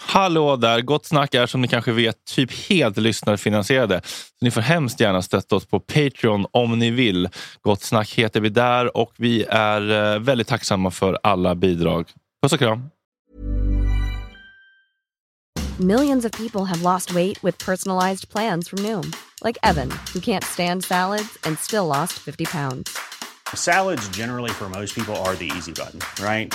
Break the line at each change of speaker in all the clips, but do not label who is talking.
Hallå där! Gott snack är som ni kanske vet typ helt lyssnarfinansierade. Så ni får hemskt gärna stötta oss på Patreon om ni vill. Gott snack heter vi där och vi är eh, väldigt tacksamma för alla bidrag. Puss och kram!
Millions of people have lost weight with personalized plans from Noom, like Evan, who can't stand salads and still lost 50 pounds.
Salads, generally, for most people, are the easy button, right?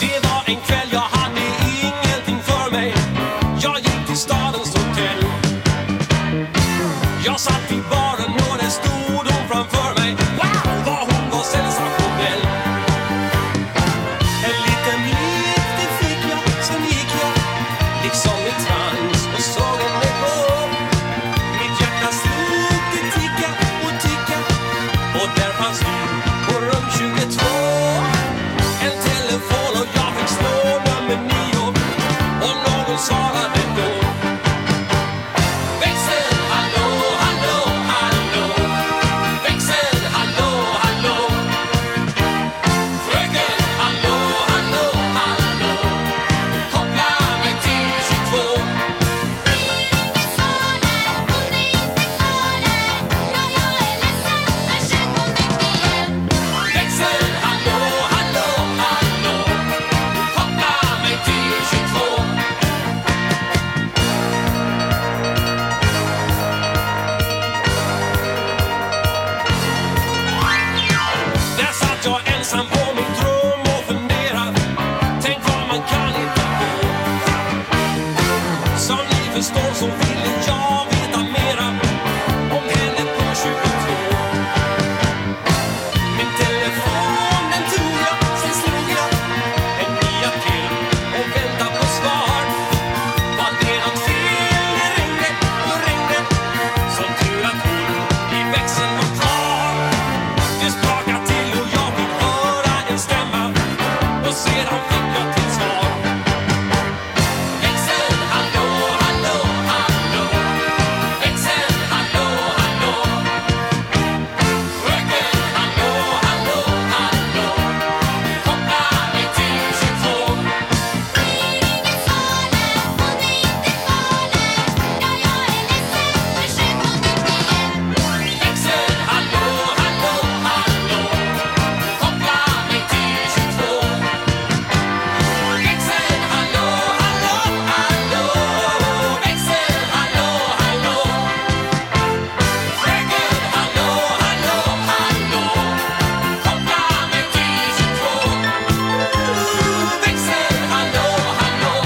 Det var en kväll jag hade ingenting för mig Jag gick till stadens hotell Jag satt i baren och där stod hon framför mig Wow, vad hon var sensationell En liten blick det fick jag, sen gick jag liksom i trans och såg henne gå Mitt hjärta slog, det ticka och ticka och där fanns du på rum 22 En telefon och jag fick slå nummer 9 Och någon svarade då Växel, hallå, hallå, hallå Växel, hallå, hallå Fröken, hallå, hallå, hallå Koppla mig till 22 Växel, hallå, hallå, hallå Koppla mig till 22 Där satt jag ensam på mitt rum och fundera Tänk vad man kan hitta på Som ni förstår så ville jag veta mera Om henne på 22 min telefon den tog jag, sen slog jag en nia till och väntade på svar. Var det nåt fel? Det ringde och ringde. Som tur att hon i växeln var kvar. Det sprakade till och jag fick höra en stämma och sedan fick jag till svar. Växeln, hallå, hallå, hallå. Växeln, hallå, hallå. Fröken, hallå, hallå, hallå Koppla mig till 22 Växel, hallå, hallå, hallå Koppla mig till 22 Växel, hallå, hallå, hallå Växel, hallå, hallå Fröken, hallå, hallå, hallå Koppla mig till 22 Växel, hallå, hallå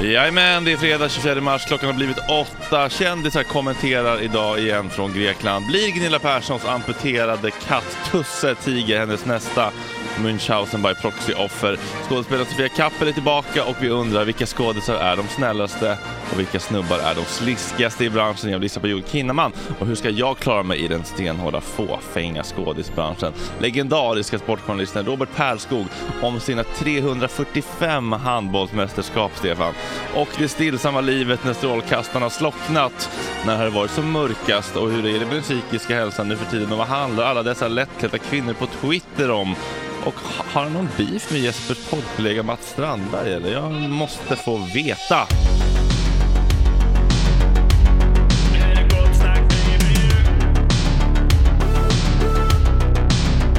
Jajamän, det är fredag 24 mars. Klockan har blivit åtta. Kändisar kommenterar idag igen från Grekland. Blir Gunilla Perssons amputerade katt-Tusse Tiger hennes nästa Münchhausen by proxy-offer? Skådespelaren Sofia Kappel är tillbaka och vi undrar vilka skådisar är de snällaste och vilka snubbar är de sliskigaste i branschen? Jag lyssnar på Joel Kinnaman. Och hur ska jag klara mig i den stenhårda fåfänga skådisbranschen? Legendariska sportjournalisten Robert Perskog om sina 345 handbollsmästerskap, Stefan. Och det stillsamma livet när strålkastarna slocknat, när det har varit som mörkast och hur är det med den psykiska hälsan nu för tiden och vad handlar alla dessa lättklädda kvinnor på Twitter om? Och ha- har han någon beef med Jespers poddkollega Mats Strandberg eller? Jag måste få veta.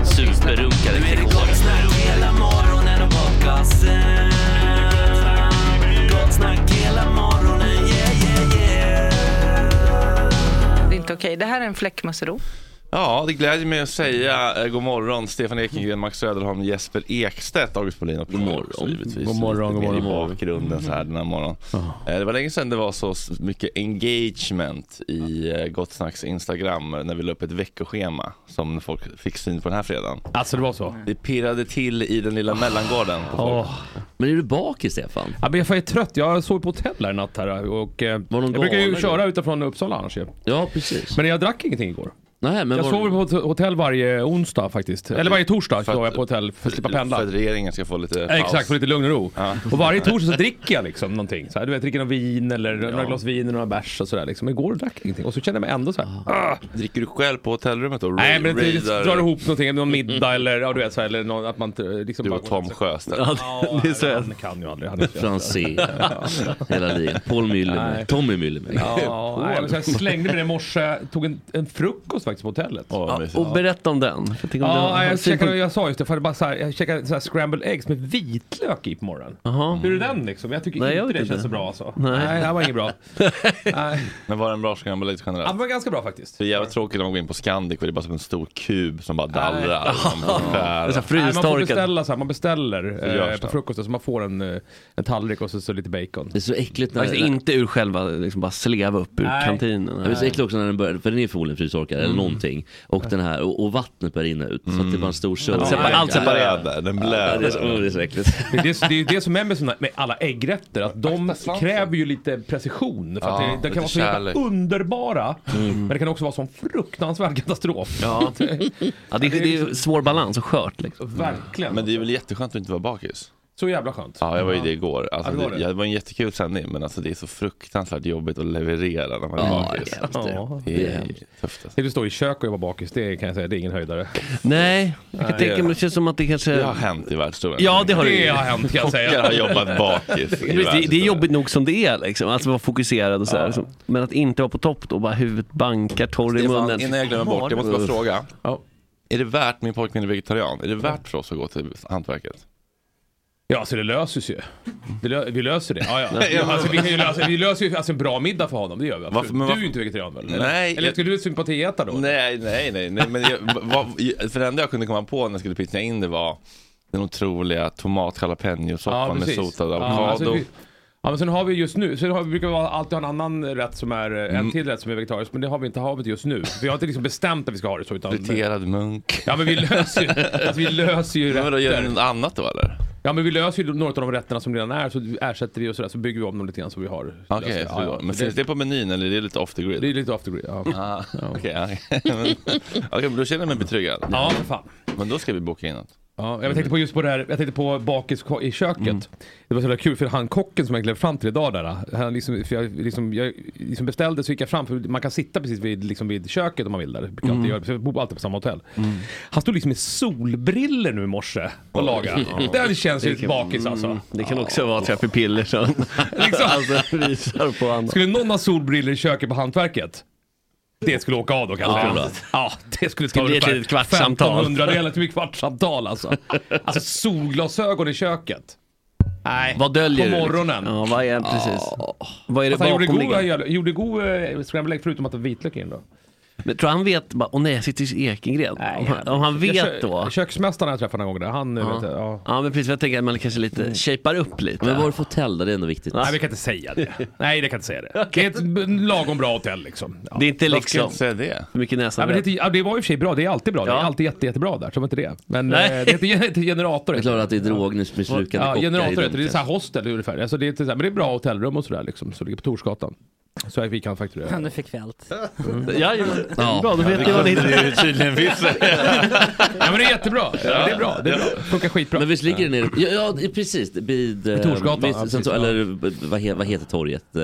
Superrunkare Nu är det gott snack hela morgonen och podcasten Gott snack hela morgonen, yeah yeah yeah
Det är inte okej. Det här är en fläckmussero.
Ja, det glädjer mig att säga eh, god morgon Stefan Ekengren, Max Söderholm, Jesper Ekstedt, August Bolin och god
morgon.
givetvis.
God morgon,
Lite
god
mer
morgon.
I bakgrunden så här den här morgonen. Eh, Det var länge sedan det var så s- mycket engagement i eh, Gott Snacks Instagram eh, när vi la upp ett veckoschema som folk fick syn på den här fredagen.
Alltså det var så?
Mm.
Det pirrade till i den lilla mellangården på folk.
Ah. Åh.
Men är du bakis Stefan?
Ja, men jag är trött, jag sov på hotell här i natt här och eh,
någon
jag brukar ju
gala,
köra
eller?
utifrån Uppsala annars ju.
Ja precis.
Men jag drack ingenting igår.
Nej, men
Jag
var-
sover på hot- hotell varje onsdag faktiskt. Eller varje torsdag
För att-
sover jag på hotell för att slippa pendla.
För att regeringen ska få lite paus.
Exakt, för lite lugn och ro. Och varje torsdag så dricker jag liksom någonting. Så här, du vet, dricker någon vin eller några glas vin och några bärs och sådär. Liksom. Men Igår drack jag ingenting och så kände jag mig ändå så här. "Ah."
Dricker du själv på hotellrummet då?
Nej men det
Raidar-
drar ihop någonting, någon middag eller ja, du vet så här, eller någon, att man inte, liksom
Du
bara
och Tom Sjöstedt.
Ja, det är så jag...
Han kan ju aldrig. Han är inte-
Franzén, hela ligan. Paul Müller,
Nej.
Tommy Müller menar jag.
Ja, nej, men så jag slängde mig ner i morse, tog en, en frukost faktiskt på hotellet.
Åh, vad
Ja,
mysigt.
och berätta om den. För tänk om den
Ja,
har-
jag, käkade, jag sa just det, för det bara så här, jag käkade så här scrambled eggs med vitlök i på morgonen.
Jaha.
Hur är den liksom? Jag tycker
Nej,
inte
jag vet
det
inte.
känns så bra alltså. Nej. det här var inget bra. Nej,
Men var den bra ska jag bara lite generellt?
den var ganska bra faktiskt.
Det är jävligt tråkigt när man går in på Scandic och det är bara som en stor kub som bara dallrar. Som
Det är så
där.
här
Nej, man får
Frystorkad.
beställa så här, man beställer
görs
eh, på
det.
frukosten så man får en, eh, en tallrik och så, så lite bacon.
Det är så äckligt när...
Alltså
när-
inte ur själva, liksom bara sleva upp ur
Nej. Mm.
kantinen.
Jag blir så äcklig också när den börjar, för den är förmodligen frystorkad eller någonting. Och den här, och, och vattnet börjar rinna ut. Så att det är bara en stor sump.
Ja,
Separ- allt separerat.
separerat där. Den
Ja, det, är så,
blöder.
oh, det är så äckligt.
Det är, det, det är ju det som är med, såna, med alla äggrätter, att de
svansen.
kräver ju lite precision. För att
Ja,
det, de
lite
kan vara så jävla
kärlek.
underbara, men det kan också vara sån fruktansvärd katastrof.
Ja. Ja, det, är, det är svår balans och skört liksom.
Verkligen.
Men det är väl jätteskönt att inte vara bakis?
Så jävla skönt.
Ja, jag var ju det igår. Alltså,
Ja, det var
det,
det.
ja, det var en jättekul sändning, men alltså, det är så fruktansvärt jobbigt att leverera när man är
Ja,
bakis.
jävligt.
Ja.
Det är tufft. Alltså.
Tänk att stå i kök och jag var bakis, det kan jag säga, det är ingen höjdare. Eh,
Nej, jag kan tänka mig, det känns som att det
Det har
kanske...
hänt i världshistorien.
Ja, det har det
Det
ju.
har hänt kan jag
Jag har
säga.
jobbat bakis. i
Du vet, Det, det är
världshistorien.
jobbigt nog som det är liksom, att vara fokuserad och sådär. liksom. Men att inte vara på topp då, bara huvudet bankar, torr i munnen.
Stefan, innan jag glömmer bort, jag måste bara fråga.
Ja.
Är det värt, min pojkvän är vegetarian, är det värt för oss att gå till hantverket?
Ja, så det löses ju. Det lö vi löser det. Ja, ja. Ja, Alltså, vi, kan ju lösa, vi löser ju alltså, en bra middag för honom, det gör vi absolut.
Varför- men
Du är
varför-
ju inte vegetarian väl? eller?
Nej,
Eller
jag-
skulle du sympatiäta då?
Nej, nej, nej. nej men jag, vad, för det enda jag kunde komma på när jag skulle pitcha in det var den otroliga tomat jalapeno soppan med
precis.
sotad
Ja,
avokado.
alltså, vi- Ja men sen har vi just nu, sen har vi, brukar vi ha- alltid ha en annan rätt som är, eh,
Mm.
en till rätt som är vegetarisk, men det har vi inte havet just nu. Vi har inte liksom bestämt att vi ska ha det så utan...
Friterad munk.
Ja men vi löser ju, alltså, vi löser ju
Men vadå, gör du
rätter.
något annat då eller?
Ja men vi löser ju några av de rätterna som redan är, så ersätter vi och sådär, så bygger vi om dem lite grann så vi har...
Okej,
löser-
så
ja, ja.
men
det,
finns det på menyn eller är det lite off the
det
grid?
är lite off the grid. Ja,
Ah, Okej, ja. men, okej, men då känner jag mig betryggad.
ja för fan.
Men då ska vi boka in något.
Ja, jag tänkte på just på det här, jag tänkte på bakis ko- i köket.
Mm.
Det var så jävla kul för han kocken som jag klev fram till idag där. Han liksom, för jag, liksom, jag liksom beställde så gick jag fram, för man kan sitta precis vid, liksom vid köket om man vill där. Jag mm. göra, för jag bor alltid på samma hotell.
Mm.
Han stod liksom i solbriller nu i morse och lagade. Den känns ju lite bakis alltså.
Det kan också vara träffipiller som
Liksom.
Mm. alltså, visar på annat.
Skulle någon ha solbriller i köket på hantverket? Det skulle åka av då kanske.
Ja.
Ja, ja det skulle ta
Skulle bli ett
ungefär
litet kvartssamtal.
1500 delar till ett kvartssamtal alltså. Alltså solglasögon i köket. Nej,
Vad döljer
på
du,
morgonen.
Ja, vad är precis? Vad är det
Fast han gjorde god, han
bakomliggande?
gjorde- gjorde god eh, scrambled egg förutom att det var vitlök i den då.
Men tror han vet, bara, åh nej, jag sitter i Ekengren. om, han, om han
Jag kö-
vet då.
Köksmästaren jag träffade någon gång där, han eh, vet jag, ja.
Ja men precis, jag tänker att man kanske lite shapear upp lite.
Men var det för hotell då? Det är ändå viktigt.
Mm. Nej vi kan inte säga det. Nej det kan inte säga det. Det är ett b- lagom bra hotell liksom. Ja.
Det är inte
Jag ska
liksom
inte säga det.
för mycket
Ja,
näsan
men det,
rätt.
heter, ja, det var i och för sig bra, det är alltid bra. Det
Ja.
är alltid jätte, jättebra där, så det var inte det. Men
Nej.
eh, det heter, det heter generator.
Det är klart att det är drogmissbrukande
Ja,
kockar i
generator
rummet.
heter det. Det är så här hostel ungefär. Alltså det är, till, men det är bra hotellrum och sådär liksom. Så det ligger på Torsgatan. Så här, vi kan fakturera.
Nu fick vi allt.
Mm.
Mm. Ja, ja. bra då vet ni vad det heter.
Tydligen finns det.
Ja men det är jättebra. Ja, det är bra. Det är bra. funkar skitbra.
Men visst ligger det nere? Ja, ja det- precis. Vid... eh,
Torsgatan,
vid-
ja, precis,
central-
ja.
eller eh, vad, he, vad heter torget? Eh,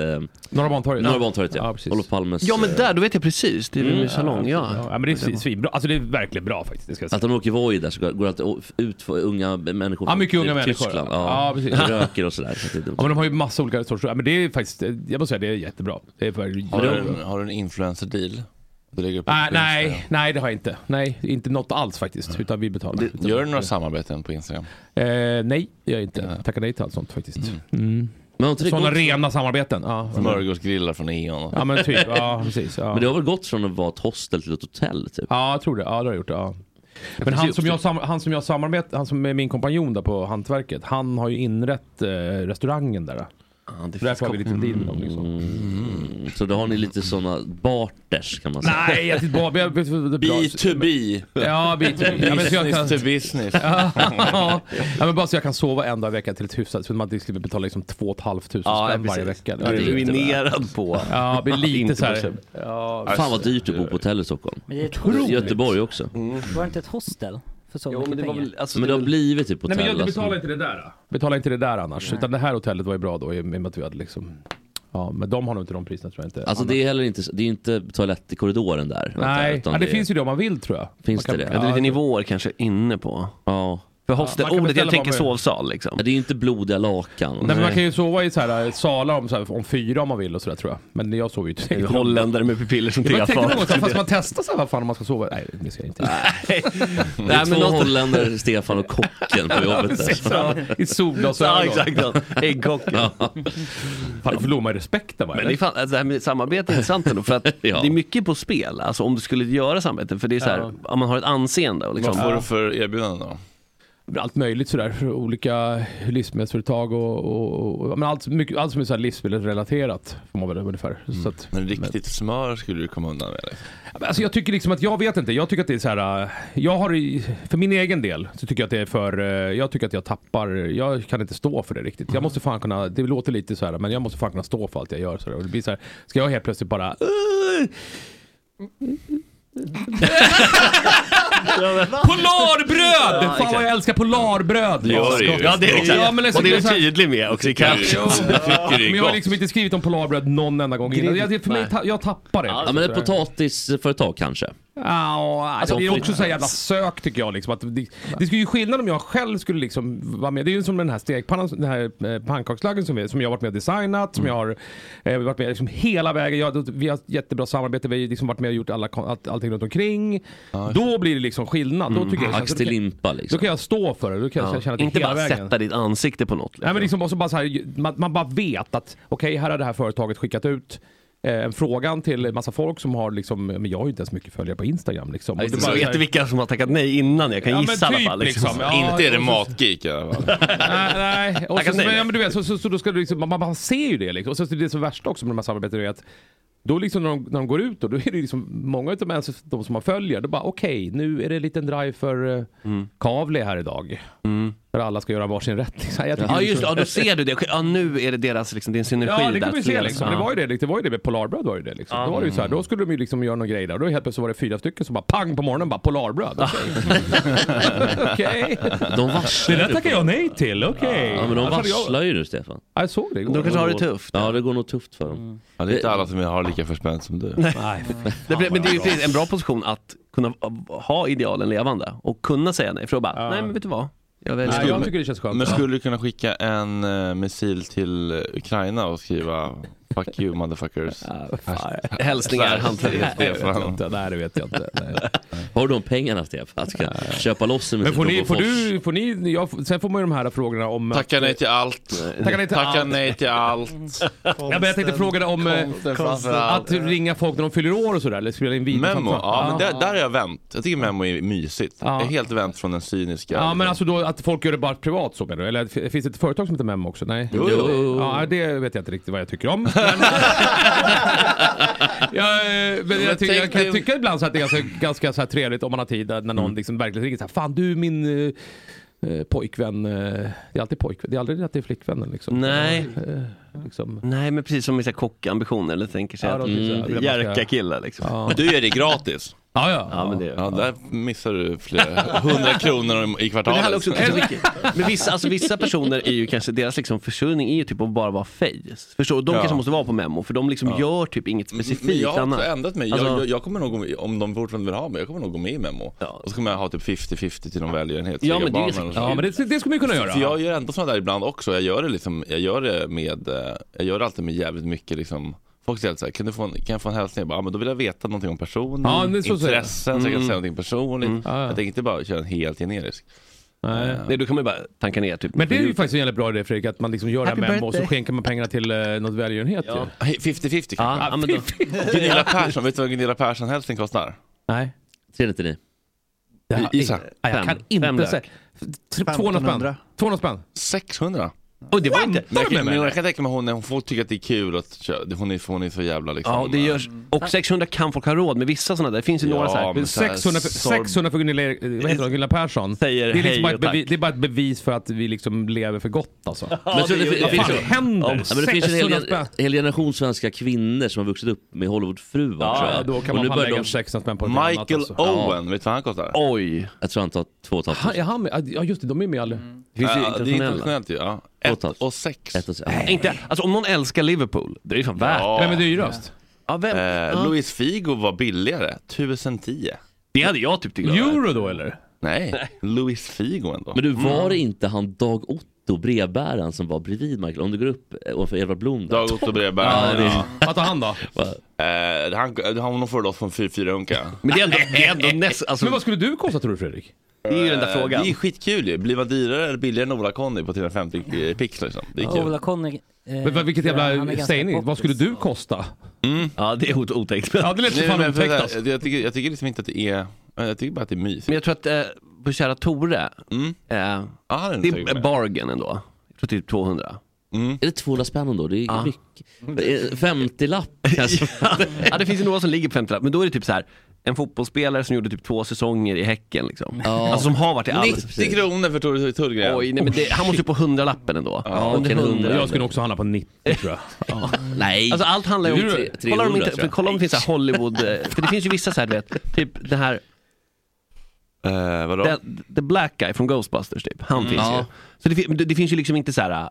Norra Bantorget.
Norra Bantorget ja.
Ja, precis.
Olof Palmes...
Ja men
eh,
där, då vet jag precis. Det är min salong, ja.
Mm. Ja, men det är svin- svinbra. Alltså det är verkligen bra faktiskt. Det ska jag säga.
Att de åker Voi där så går går det alltid o- ut för unga människor
Ja, mycket
från
unga människor.
Tyskland.
Ja, precis.
Röker och sådär. Så att det är dumt.
Ja, men de har ju massa olika sorters. Ja, men det är faktiskt, eh, jag måste säga det är jättebra. Det är verkligen-
Har du en, har du en influencer deal? Du lägger upp
Nej,
på
Ah, nej,
Instagram.
nej det har jag inte. Nej, inte något alls faktiskt. Utan vi betalar. Utan-
Gör du några samarbeten på Instagram?
Eh, nej, jag inte. Tackar nej till allt sånt faktiskt. Mm.
Men har inte det
Sådana
gått-
rena samarbeten. Ja,
Smörgåsgrillar från Eon.
ja men typ. Ja, precis. Ja.
Men det har väl gått från att vara ett hostel till ett hotell typ?
Ja, jag tror det. Ja, det har jag gjort. Ja. Men
kan se
han
upp
som,
det.
jag, sam- han som jag samarbetar, han som är min kompanjon där på Hantverket, han har ju inrett eh, restaurangen där. Därför har vi lite deal med dem liksom.
Mm. Så då har ni lite sådana barters kan man säga.
Nej, jag tyckte bara... vi har- vi har- vi har-
B2B.
Ja, B2B. Ja, men så jag
Business to
kan-
business.
ja, men bara så jag kan sova en dag i veckan till ett hyfsat, så att man inte slipper betala liksom 2 500 spänn varje vecka.
Du är ruinerad på.
Ja, det blir lite
Inte
så här.
procent.
Ja,
Fan vad dyrt att bo på hotell i Stockholm.
Men det är ett
I Göteborg också.
Mm.
Var det inte ett hostel? För så
Jo,
mycket
men det var
pengar?
väl, alltså,
Men det har blivit typ hotell.
Nej men jag
alltså.
betalar inte det där. då. Betalar inte det där annars. Utan det här hotellet var ju bra då i och med att vi hade liksom... Ja, men de har nog inte de priserna tror jag inte.
Alltså det är heller inte, det är inte toalett i korridoren där.
Nej,
utan
ja, det, finns ju det om man vill tror jag.
Finns
man
det det?
ja, det är lite
Ja,
nivåer kanske inne på.
Ja.
För
Ja, man kan
hostelordet,
beställa
jag tänker
vad man vill.
sovsal liksom.
Men Det är ju inte blodiga lakan.
Nej, men man kan ju sova i så här, salar om, så här, om fyra om man vill och sådär tror jag. Men jag sover ju inte.
En Holländare med pupiller som
Jag tänkte något så här, fast
tefat.
man testar så här, vad fan om man ska sova. Nej, det ska jag inte.
Det är
men
två
någonstans-
holländare, Stefan och kocken på jobbet
Precis,
där.
ja, I
Ja,
solglasögon.
exakt. ja. Äggkocken.
Fan, då förlorar man ju respekten va?
Men det, är fan, alltså det här med samarbete är intressant ändå, för att
Ja.
det är mycket på spel, alltså om du skulle göra samarbete, för det är så här, om man har ett anseende och liksom,
Vad får du för erbjudanden då?
Det är allt möjligt sådär. för Olika livsmedelsföretag och, och, och men allt, mycket, allt som är så här livsmedelsrelaterat. Får man väl ungefär. Så att,
Mm. Men riktigt smör skulle du komma undan med. liksom.
Alltså jag tycker liksom att, jag vet inte, jag tycker att det är så här. äh, Jag har, i- för min egen del, så tycker jag att det är för, äh, jag tycker att jag tappar, jag kan inte stå för det riktigt. Jag måste fan kunna, det låter lite så här, men jag måste fan kunna stå för allt jag gör. Så där. Och det blir så här, ska jag helt plötsligt bara, Polarbröd! fan vad jag älskar polarbröd!
gör det ju.
Ja, det är exakt.
Ja, men liksom,
och det är
så
du
här-
tydlig med också i kanske.
Det tycker det
Men
är
jag har
gott.
liksom inte skrivit om polarbröd någon enda gång innan. Jag, det- för mig, ta, jag tappar det.
Ja men ett potatisföretag kanske.
Ja, alltså, det är också så här jävla sök tycker jag. Liksom, att det, det skulle ju skillnad om jag själv skulle liksom vara med. Det är ju som den här stekpannan, den här eh, pannkakslaggen som, vi- som jag har varit med och designat. Som jag har eh, varit med liksom hela vägen. Jag, vi har ett jättebra samarbete. Vi har liksom varit med och gjort alla, kon- allt, allting runt omkring. Då blir det liksom skillnad. Då,
Mm.
tycker jag,
Ax
då,
till
kan,
limpa
då
liksom.
kan jag stå för det. Då kan jag känna att det
Inte
hela
bara
vägen.
sätta ditt ansikte på något.
Nej, men liksom också bara så här, man, man bara vet att okej, här har det här företaget skickat ut eh, en frågan till en massa folk som har liksom, men jag har ju inte ens mycket följare på Instagram liksom. Och
Jag
bara så
vet
här-
inte vilka som har tackat nej innan, jag kan
Ja, men
gissa i alla
typ,
fall. Liksom.
liksom. Ja,
Inte är det
och så-
matgeek i alla fall.
Nej, nej. Och så,
Tackat nej.
men, ja, men du vet, så, så, så då ska du liksom, man, man, man ser ju det liksom. Och så, så det som är värsta också med de här samarbetena är att då liksom när de, när de går ut då, då är det liksom många av de, de som man följer, då bara okej, nu är det en liten drive för eh,
Mm.
Kavli här idag. Där alla ska göra varsin rätt. Liksom. Jag tycker
Ja
det är
just
så-
det, ja, då ser du det. Ja nu är det deras, liksom, det är en synergi
Ja, det
där.
kan vi
fler,
se liksom. Det var ju det, det var ju det med Polarbröd var ju det liksom. Då var det ju så här, då skulle de ju liksom göra någon grej där. Och då helt plötsligt var det fyra stycken som bara pang på morgonen bara Polarbröd. Okej. Okej.
De
Det
varslar
där
ju.
tackar jag nej till, okej.
Ja men de
Alltså, hade jag-
varslar ju nu Stefan.
Ja, Jag såg det igår.
De kanske har det tufft.
Ja det går nog tufft för dem.
Ja, det är inte alla som har lika förspänt som du.
Nej,
Det, blir- men det är ju precis en bra position att kunna ha idealen levande och kunna säga nej. För då bara, nej men vet du vad? Jag väljer
Nej, jag tycker det känns skönt.
Men skulle du kunna skicka en eh, missil till Ukraina och skriva Fuck you motherfuckers?
hälsningar, hantverk.
Stefan.
inte. Nej, det vet jag inte. Nej.
Har du de pengarna Stefan? Att du kan köpa loss dem i
Men får ni,
Robofors?
får du, får ni, jag, f- sen får man ju de här frågorna om... eh,
Tacka nej till allt.
Tackar nej till
Tacka
allt.
nej till
Mm.
allt.
Ja, men jag tänkte fråga dig om eh,
Konsten framför allt.
att ringa folk när de fyller år och sådär, eller spela in video.
Memo, ja men
ja.
där, där har jag vänt. Jag tycker memo är mysigt.
Ja.
Jag är helt vänt från den cyniska.
Ja men alltså då att folk gör det bara privat så menar du? Eller f- finns det ett företag som heter Memo också? Nej?
Jo, jo, jo.
Ja det vet jag inte riktigt vad jag tycker om. Men, jag, eh, men jag, tycker, jag
tänk
kan
dig-
tycka ibland så att det är ganska, ganska så här trevligt om man har tid där, när någon liksom verkligen ringer så här, Fan du är min eh, eh, pojkvän. eh." Det är alltid pojkvän, det är aldrig att det är flickvännen liksom.
Nej.
Eh, liksom.
Nej men precis som med så här kockambitioner eller tänker sig
Ja,
att Mm.
de tycker så här, vill att man ska-
jerka-killar liksom. Ja.
Du gör det gratis.
Ja, ja.
men det,
Ja, där missar du flera hundra kronor om- i
men det handlar
kvartalet.
också om Men vissa, alltså, vissa personer är ju kanske, deras liksom försörjning är ju typ att bara vara face. Förstår du? De
Ja.
kanske måste vara på memo, för de liksom gör typ inget
Men
specifikt
jag har
annat.
också ändrat mig.
Alltså-
jag, jag, jag kommer nog, gå med- om de fortfarande vill ha mig, jag kommer nog gå med i Memo.
Ja.
Och så kommer jag ha typ 50-50 till någon välgörenhet.
Ja,
tre
men det är ju
barn eller
så-
något
Ja men det, det skulle man ju kunna göra.
För jag gör ändå sådana där ibland också. Jag gör det, liksom, jag gör det med, eh, jag gör det alltid med jävligt mycket liksom Folk säger alltid så här, kan, du få en, kan jag få en hälsning? Jag bara, ja, men då vill jag veta någonting om personen,
Ja, men det är så-
intressen, så jag kan säga någonting personligt.
Ja, ja.
Jag tänker inte bara köra en helt generisk. Eh.
Nej.
Nej, då kan man ju bara tanka ner typ.
Men det är ju faktiskt en jävla bra idé Fredrik, att man liksom gör det här
Happy
med och så
birthday.
skänker man pengarna till eh, något välgörenhet ju.
Hej, 50-50 kanske?
Ja, ja, men då,
Gunilla Persson, vet du vad Gunilla Persson-hälsning kostar?
Nej.
399.
Det här,
Gissa.
Nej, jag
Fem.
kan
Fem
inte
lök.
säga. Tre- 200 spänn.
1500.
200 spänn.
600.
och det var inte...
Men jag,
Vad
kan, men
menar
jag kan tänka mig hon, hon får tycka att det är kul att köra. Hon är, hon är så jävla liksom.
Ja, det görs, och 600 kan folk ha råd med vissa sådana där. Det finns ju
Ja,
några så här.
men-
Men,
så här,
600 för,
sorg-
600 för Gunilla, eh, vad heter hon, Gunilla Persson.
Säger
det, är liksom
hej
bara
och
ett bevis,
tack.
det är bara ett bevis för att vi liksom lever för gott alltså.
Men så det, det,
Vad
finns
fan
ju-
händer?
Ja, men det finns ju en
600
hel,
spänn.
hel generation svenska kvinnor som har vuxit upp med Hollywoodfruar tror
Ja,
jag.
då kan
och
man
nu
fan
börjar
lägga
de...
600 spänn på något
Michael
annat alltså.
Owen, vet du vad han kostar?
oj!
Jag tror han tar två och ett halvt
Han,
tusen.
är han med? Ja just det, de är med aldrig.
Mm.
Det finns
Ja,
ju
det är
internationella.
internationellt ju. Ja.
Och
Ett
tack.
och sex.
Ett och så- ja.
Inte, alltså om någon älskar Liverpool, det är ju fan värt
Ja.
Vem är dyrast?
Ja, vem?
Eh,
ja.
Luis Figo var billigare, 1010.
Det hade jag typ tyckt det var värt.
Euro då eller?
Nej, Luis Figo ändå.
Men du,
Mm.
var det inte han Dag Otto, brevbäraren, som var bredvid Michael? Om du går upp eh, ovanför Edvard Blom där.
Dag Otto Bredberg. Ja,
Vad tar han då?
Eh, han, han, hon får då från 4-4 unka.
Men det är ändå, det är ändå näst, alltså,
Men vad skulle du kosta tror du Fredrik?
det är ju den där
Eh, Det
frågan.
är skitkul ju. Blir man dyrare eller billigare än Ola Conny på 350 pix liksom? Det är kul.
Ola Conny... eh,
Men vad- vilket
han är
jävla
ganska
sägning. Vad
poppis.
skulle du kosta?
Ja, det är ot- otäckt. Men
Ja, det lät så
Mm. Nej,
fan
men,
otäckt
vänta,
alltså.
jag, tycker, jag tycker liksom inte att det är... Jag tycker bara att det är mys.
jag tror att, eh, på kära Tore,
Mm.
eh,
Ja, han är
det
inte Mm.
är
säker på
bargain ändå. Jag tror typ 200.
Är det 200 spänn då? Det är
Ja.
mycket. 50-lapp kanske.
ja, det finns ju några som ligger på 50 men då är det typ så här. En fotbollsspelare som gjorde typ två säsonger i Häcken liksom. Alltså som har varit i
det.
all...
90 kronor för Tore Tullgren.
Oj, nej, men det, han måste ju på 100-lappen ändå.
Ja,
Under
okej,
100.
hundra.
Jag skulle också hamna på 90 tror jag.
Nej.
Alltså allt handlar ju om...
Det är tre-
kolla om,
300,
inte,
tror jag.
för, kolla om det finns så här Hollywood... eh, För det finns ju vissa så här, du vet, typ den här...
Eh, vadå?
The, the black guy från Ghostbusters typ, han finns ju.
Mm. Ja.
Så det, fin- men det, det finns ju liksom inte så här äh,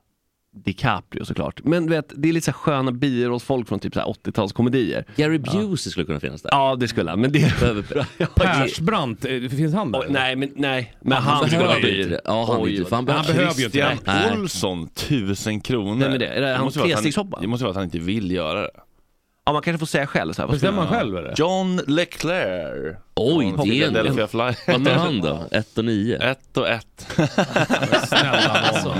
DiCaprio såklart. Men du vet, det är lite så här sköna birollsfolk från typ så här 80-talskomedier.
Gary Busey skulle kunna finnas där.
Ja, det skulle han, men det...
Behöver-
Persbrandt, eh, finns han där?
Oj, nej, men nej. Men
Han,
han skulle vara
behöver
dyr.
inte det. Ja, han, är
Oj,
dyr, för han
vad-
behöver...
Han behöver ju inte
Christian
det.
Nej.
Olsson, 1000 kronor.
Vem är det? Är det han
måste vara att
trestegshoppa?
Det måste vara att han inte vill göra det.
Ja, man kanske får säga själv så här, vad ska
Bestämmer han själv eller?
John Leclerc.
Oj,
Från
det är
Philadelphia
en...
Fly.
Vad tar han då? 1 och 9?
Ett och ett.
Snälla nån, alltså.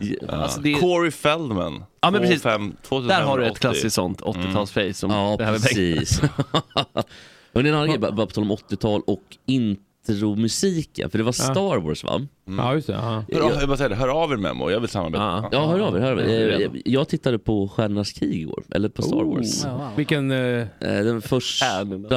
jag- alltså, det är,
Corey Feldman.
Ja, men
Två
precis.
fem- Mm.
Där har du ett
2580.
klassiskt sånt 80-talsface som
Ja,
behöver pengar.
precis. Men det är en annan grej, bara bara på tal om 80-tal och intromusiken. För det var Star Wars va?
Mm.
Ja just det. ja.
Hör, av- jag bara säger det, hör av er Memo, jag vill samarbeta.
Ja.
Ja, hör av er. Hör av er. Eh, Jag tittade på Stjärnornas krig igår, eller på Star
Oh.
Wars.
Ja, wow.
Vilken... eh,
Eh, Den första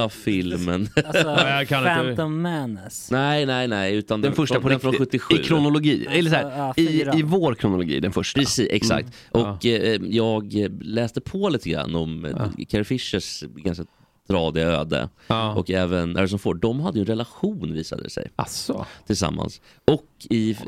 filmen.
Alltså,
jag kan inte-
Phantom Menace.
Nej, nej, nej. Utan
Den första på
den från
riktigt.
77.
I kronologi. Eller så här,
Ja,
i,
fyra.
I vår kronologi, den första. Mm.
Precis, exakt. Och eh, jag läste på lite grann om eh, Carrie Fishers ganska tradiga öde.
Ja.
Och även Harrison Ford. De hade ju en relation visade det sig,
Asså?
tillsammans. Och i f-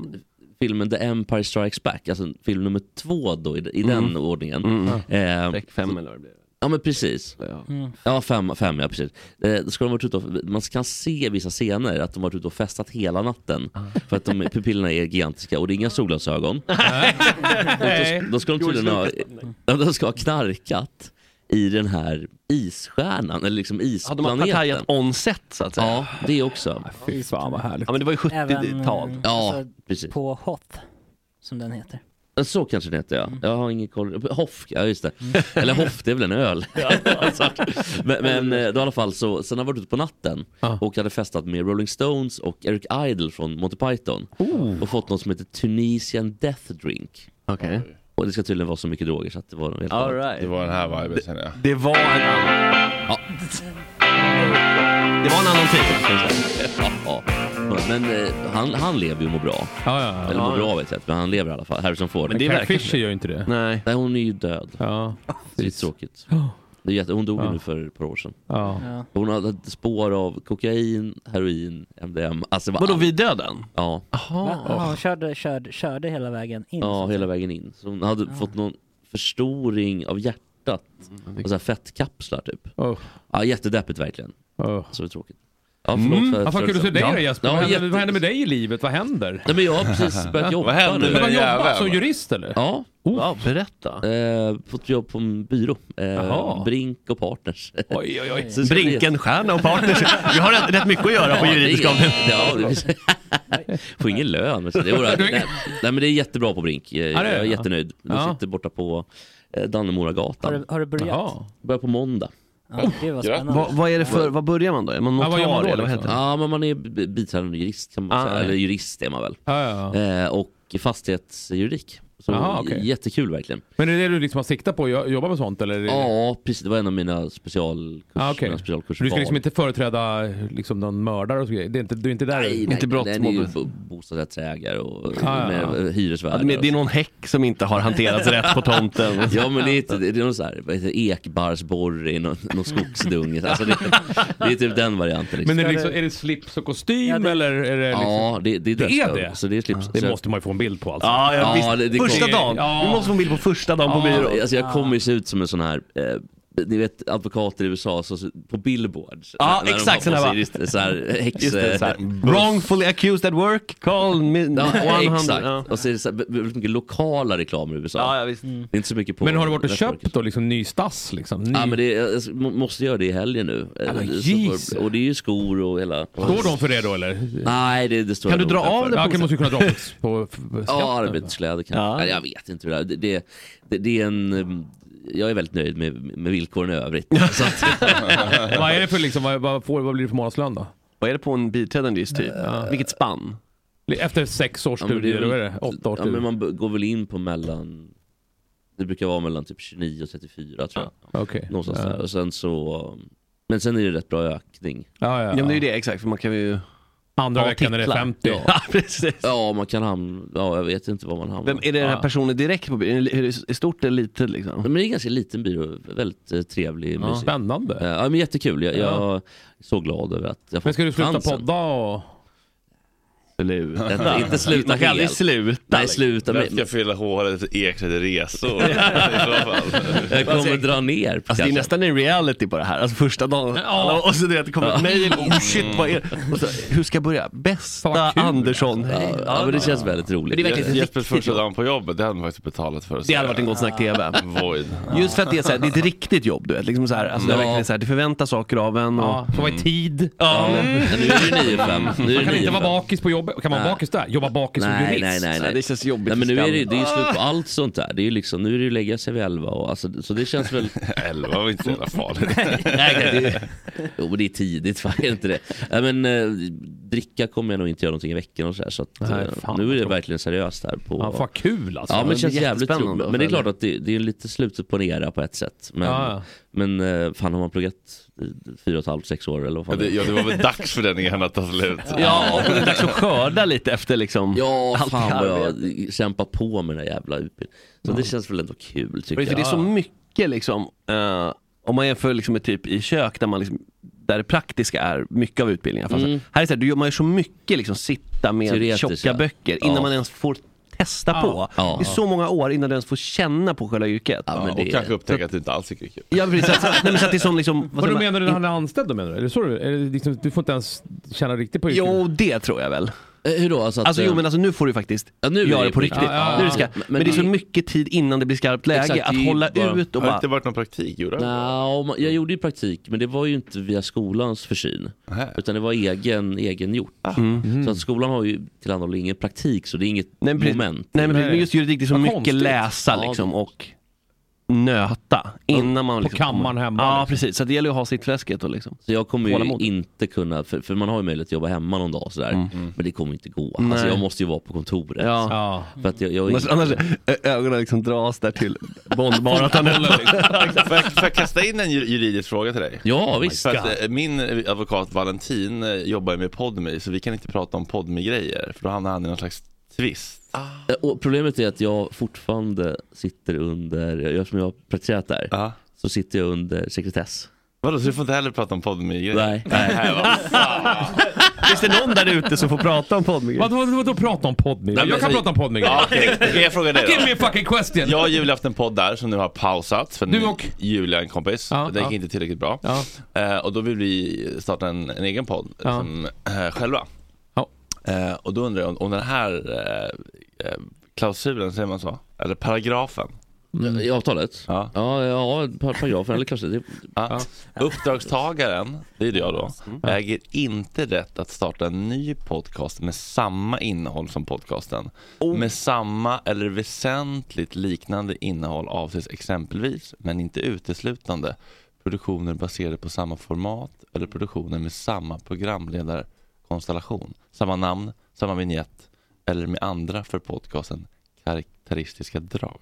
filmen The Empire Strikes Back, alltså film nummer två då i, i den ordningen. Eh,
Streck fem Mm. eller vad det blir.
ja men precis.
Ja.
Ja, fem, fem ja precis. Eh, då ska de ha varit ute och, man kan se i vissa scener att de har varit ute och festat hela natten. För att de, pupillerna är gigantiska och det är inga solglasögon.
Nej.
Då ska de tydligen ha, Mm. ja, de ska ha knarkat i den här isstjärnan, eller liksom
Hade man partajat
isplaneten.
on set så att säga?
Ja, det också.
Fy fan vad härligt.
Ja, men det var ju 70-tal.
Även
Ja,
alltså,
precis.
på Hoth, som den heter.
Så kanske det heter ja. Jag har ingen koll. Hoff, ja just det. Eller Hoff, det är väl en öl. men men eh, då i alla fall så, sen har jag varit ute på natten
Ja.
och hade festat med Rolling Stones och Eric Idle från Monty Python. Och fått något som heter Tunisian Death Drink.
Okej.
Och det ska tydligen vara så mycket droger så att det var något helt
All
annat.
Det
right.
var den här viben känner jag.
Det var en annan... Det var en annan tid.
Ja. Men eh, han, han lever ju och mår bra.
Ja, ja,
Eller
ja.
mår bra vet jag inte, men han lever i alla fall. Harrison Ford.
Men det är
Carrie
verkligen-
Fisher gör ju inte det.
Nej.
Nej hon är ju död.
Ja.
Det är
precis.
tråkigt. Det är jätte... Hon dog ju nu för ett par år sedan.
Ja.
Hon hade ett spår av kokain, heroin, MDM. Alltså, det var
Vadå,
allt.
vid döden?
Ja,
Va? Ja, hon körde, körde, körde hela vägen in.
ja
så.
hela vägen in. Så hon hade fått någon förstoring av hjärtat. Och så här fettkapslar typ.
Mm. Oh,
Ja, jättedeppigt verkligen.
oh. Mm.
Så det är tråkigt. Ja, förlåt för
Ja, fan kul att se dig
ja.
då Jesper.
Ja,
vad, händer,
jätte-
vad händer med dig i livet? Vad händer?
Nej, men jag har precis börjat jobba
Vad hände med
nu.
Men
den
jobbar
jäveln?
som jurist eller?
Ja,
Ja, berätta.
eh, fått jobb på en byrå. Eh,
Jaha.
Brink och Partners.
Oj, oj, oj.
Så det ska bli-
Brinkenstjärna och partners. Vi har rätt, rätt mycket att göra på
Ja, det är-
juridiska avdelningen.
Ja, det är- Får ingen lön. Men så, det, är, nej, nej, men det är jättebra på Brink. Eh,
Ja, det är
Jag är
det.
jättenöjd. De
Ja.
sitter borta på eh,
Har
Dannemoragatan.
du, har du börjat?
Börjar på måndag.
Ja, det var spännande.
Vad, vad är det för, vad börjar man då? Är man
Ja, vad
notarie
gör man då,
eller vad
liksom?
heter det?
Ja, men man är b- biträdande jurist kan man
Ah,
säga.
ja.
Eller jurist är man väl.
Ja, ja, ja.
Eh, och fastighetsjuridik. Så
Aha, okej.
Jättekul verkligen.
Men är det det du liksom har siktat på? Jo- Jobba med sånt eller? är det-
Ja, precis. Det var en av mina specialkurser.
Ah, okej.
mina specialkurser
Du ska
var-
liksom inte företräda liksom någon mördare och så grejer. Det är inte, du är inte där?
Nej,
Inte
nej,
brott,
nej, det är ju
mobbe.
bo- bostadsrättsägare och
Ah, ja,
med hyresvärdar.
Ja, men det är
och så.
någon häck som inte har hanterats rätt på tomten.
Ja men det är, inte- det är någon så här, vad heter det, ekbarrsborre i någon, någon skogsdunge. Alltså det, det är typ den varianten. Liksom.
Men är det, liksom, är det slips och kostym
Ja, det-
eller är det liksom...
ja, det, det är
Det är
dresscode.
det?
Så det är slips.
Det
så jag-
måste man ju få en bild på alltså.
Ja,
Ja,
ja, visst.
det- det
första
kommer-
dagen.
Ja.
Vi måste få en bild på första dagen på byrån.
Alltså jag kommer ju se ut som en sån här, eh, ni vet advokater i USA så, så, på billboards.
Ja,
När- när de
exakt,
har på
sån här
sig
va?
just- så här häx...
Just det, så här.
eh,
Wrongfully accused at work, call me
Ja,
100.
exakt.
Ja.
Och så är det så här, v- väldigt mycket lokala reklamer i USA.
Ja, ja, visst.
Det är inte så mycket på
Men har du varit och
restauranger.
köpt då liksom ny stass liksom? Ny...
Ja, men det, är- jag s- må- måste göra det i helgen nu. Eh,
men
så får-
Jesus.
och det är ju skor och hela...
Står de för det då eller?
Nej, det, det står
Kan
jag
du
nog
dra
inte
av
för.
det
Ja, kan, måste ju kunna dra på- på på skatten.
Ja, arbetskläder kanske.
Ja.
Nej, Jag vet inte hur det är. Det, det, det, det är en... ehm, Jag är väldigt nöjd med, med villkoren i övrigt. Så att,
Vad är det för liksom, vad, vad, får, vad blir det för månadslön då?
Vad är det på en biträdande jurist typ? Vilket spann?
Efter sex års
Eh, ja, men
studier, eller vad är det?
väl-
Åtta års
ja, men
studier?
Man b- går väl in på mellan... Det brukar vara mellan typ 29 och 34 tror jag.
Okej.
Någonstans
Ja.
där. Och sen så... Men sen är det rätt bra ökning.
Ja, ja,
Ja, men det är ju
ja.
det, exakt. För man kan ju...
Andra
Ja,
veckan är det
titlar.
50.
Ja, precis.
Ja, man kan hamna... Ja, jag vet inte var man hamnar.
Vem, är det den här
Ja.
personen direkt på byrån? Är det- Är det stort eller litet liksom?
Men det är en ganska liten byrå. Väldigt eh, trevlig,
Ja.
mysig.
Spännande.
Eh, Ja, men jättekul. Jag, jag
Ja.
är så glad över att jag fått
Men ska du sluta
chansen.
podda och...
Sluta.
Inte- Inte sluta
Man kan aldrig
helt.
sluta.
Nej, sluta.
liksom. Vem
med-
ska fylla håret i Ekstedt resor? I så fall.
Jag kommer dra ner.
Alltså det är nästan en reality på det här, alltså första dagen. Alla- Och så du vet, det kommer ett mejl, oh shit vad är det? Och så, hur ska jag börja? Bästa
Fan, vad kul.
Andersson, hej.
Ja, ja, men det känns väldigt roligt.
Men det är verkligen-
Jespers första dag på jobbet, det hade man faktiskt betalat för. att
Det hade
se.
varit en god snack TV.
Void.
Just för att det är, så här, det är ett riktigt jobb du vet, liksom så här, alltså, det, är
Ja. Mm.
verkligen så här, det förväntas saker av en. Och...
Ja, får vara i tid.
Ja.
Ja, men nu är det 9 5. Nu är
Man
det
kan
9
inte vara
5.
bakis på jobbet. Kan man vara bakis där? Jobba bakis som Ah!
Nej,
jurist?
nej, nej,
Nej,
nej.
det känns jobbigt
Nej, men nu är det,
för
det är ju slut på allt sånt där. Det är ju liksom, nu är det ju lägga sig vid 11 och alltså, så det känns väl...
Elva var inte så jävla farligt.
Nej, det är, jo, men det är tidigt, fan, är det inte det? Nej, men eh, dricka kommer jag nog inte göra någonting i veckan och så, här, så att,
Nej,
eh,
fan,
nu är det
vad
verkligen seriöst här på...
Ja, fan kul alltså.
Ja, men det
det
känns
är
jävligt
jättespännande
roligt. Men det är
att följa.
klart att det, det är lite slutet på en era på ett sätt. Men,
Ja, ja.
men eh, fan har man pluggat eh, fyra och ett halvt, sex år eller
Ja,
vad fan
det,
det är?
ja, det var väl dags för den ena att ta slut.
Ja, och det är dags att skörda lite efter liksom.
Ja,
Allt
fan vad
arbete.
jag kämpar på med den här jävla utbildningen. Så det känns väl ändå kul tycker
För det är
jag.
så mycket liksom, eh, om man jämför liksom med typ i kök där man liksom där det praktiska är mycket av utbildningen. Fast
Mm.
Här är det så här, du gör- man gör så mycket liksom sitta med
Teoretiskt,
tjocka
ja.
böcker innan
Ja.
man ens får testa på.
Ja.
Det är så många år innan du ens får känna på själva yrket.
Ja, men
och
det,
kanske upptäcka att det inte alls är kul.
Ja, precis, så att, nej, men så att det är som liksom, vad
Vad du
säger man?
menar du när han är anställd då menar du? Är det så du, är det liksom, du får inte ens känna riktigt på yrket?
Jo, det tror jag väl.
Eh, hur då? Alltså, att,
Alltså jo
eh,
men alltså nu får du faktiskt
Ja, nu är
göra
det
det på
på
riktigt.
riktigt.
Ja, ja,
nu är det ska,
ja.
Men-
men,
men
det är så
det-
mycket tid innan det blir skarpt läge
Exakt, det är
att
ju
hålla
bara-
ut och
Har det
bara...
inte varit någon praktik? Gjorde det?
nja, om man- jag gjorde ju praktik, men det var ju inte via skolans försyn.
Nej.
Utan det var egen, egen gjort. Så att skolan har ju tillhandahåller ingen praktik, så det är inget
Mm. Nej, precis.
moment.
Nej men
Nej.
precis, just juridik, det är så
Vad
mycket
konstigt.
läsa
Ja,
liksom och nöta innan man
På
liksom
kammaren hemma?
Ja
liksom.
precis, så det gäller ju att ha sitt fläsket och liksom.
Så jag kommer ju
Tålamod.
inte kunna, för, för man har ju möjlighet att jobba hemma någon dag sådär. Men det kommer inte gå. Alltså
Mm. Nej.
jag måste ju vara på kontoret.
Ja.
Ja.
För att jag, jag,
Annars, annars ö- ögonen liksom dras där till liksom. Bondmaratonen.
liksom. Får jag, får jag kasta in en ju- juridisk fråga till dig?
ja visst.
För att, eh, min advokat Valentin eh, jobbar ju med Podme så vi kan inte prata om Podme-grejer för då hamnar han i någon slags tvist.
Eh, Och problemet är att jag fortfarande sitter under, jag- eftersom jag har praktiserat där,
Ja.
så sitter jag under sekretess.
Vadå, så du får inte heller prata om Podme-grejer?
Nej. Nej.
Finns det någon där ute som får prata om poddmigrant?
Vadå, vadå, vadå prata om Podme?
men
Jag kan
så-
alltså-
prata om Podme.
Ja, okej. Okej, jag frågar dig
Give me
då.
a fucking question!
Jag och Julia har haft en podd där som nu har pausat för
Du
nu-
och-
Julia är en kompis.
Ja,
det gick
ja.
inte tillräckligt bra.
Ja.
Eh, och då vill vi starta en, en egen podd liksom, eh, själva.
Ja.
Eh, och då undrar jag om, om den här eh, eh, klausulen, säger man så? Eller paragrafen
I avtalet? Ja, ja, par- paragrafen eller kanske. Det,
Ja. Uppdragstagaren, det är det jag då, äger inte rätt att starta en ny podcast med samma innehåll som podcasten. Med samma eller väsentligt liknande innehåll avses exempelvis, men inte uteslutande, produktioner baserade på samma format eller produktioner med samma programledarkonstellation, samma namn, samma vignett eller med andra för podcasten karaktäristiska drag.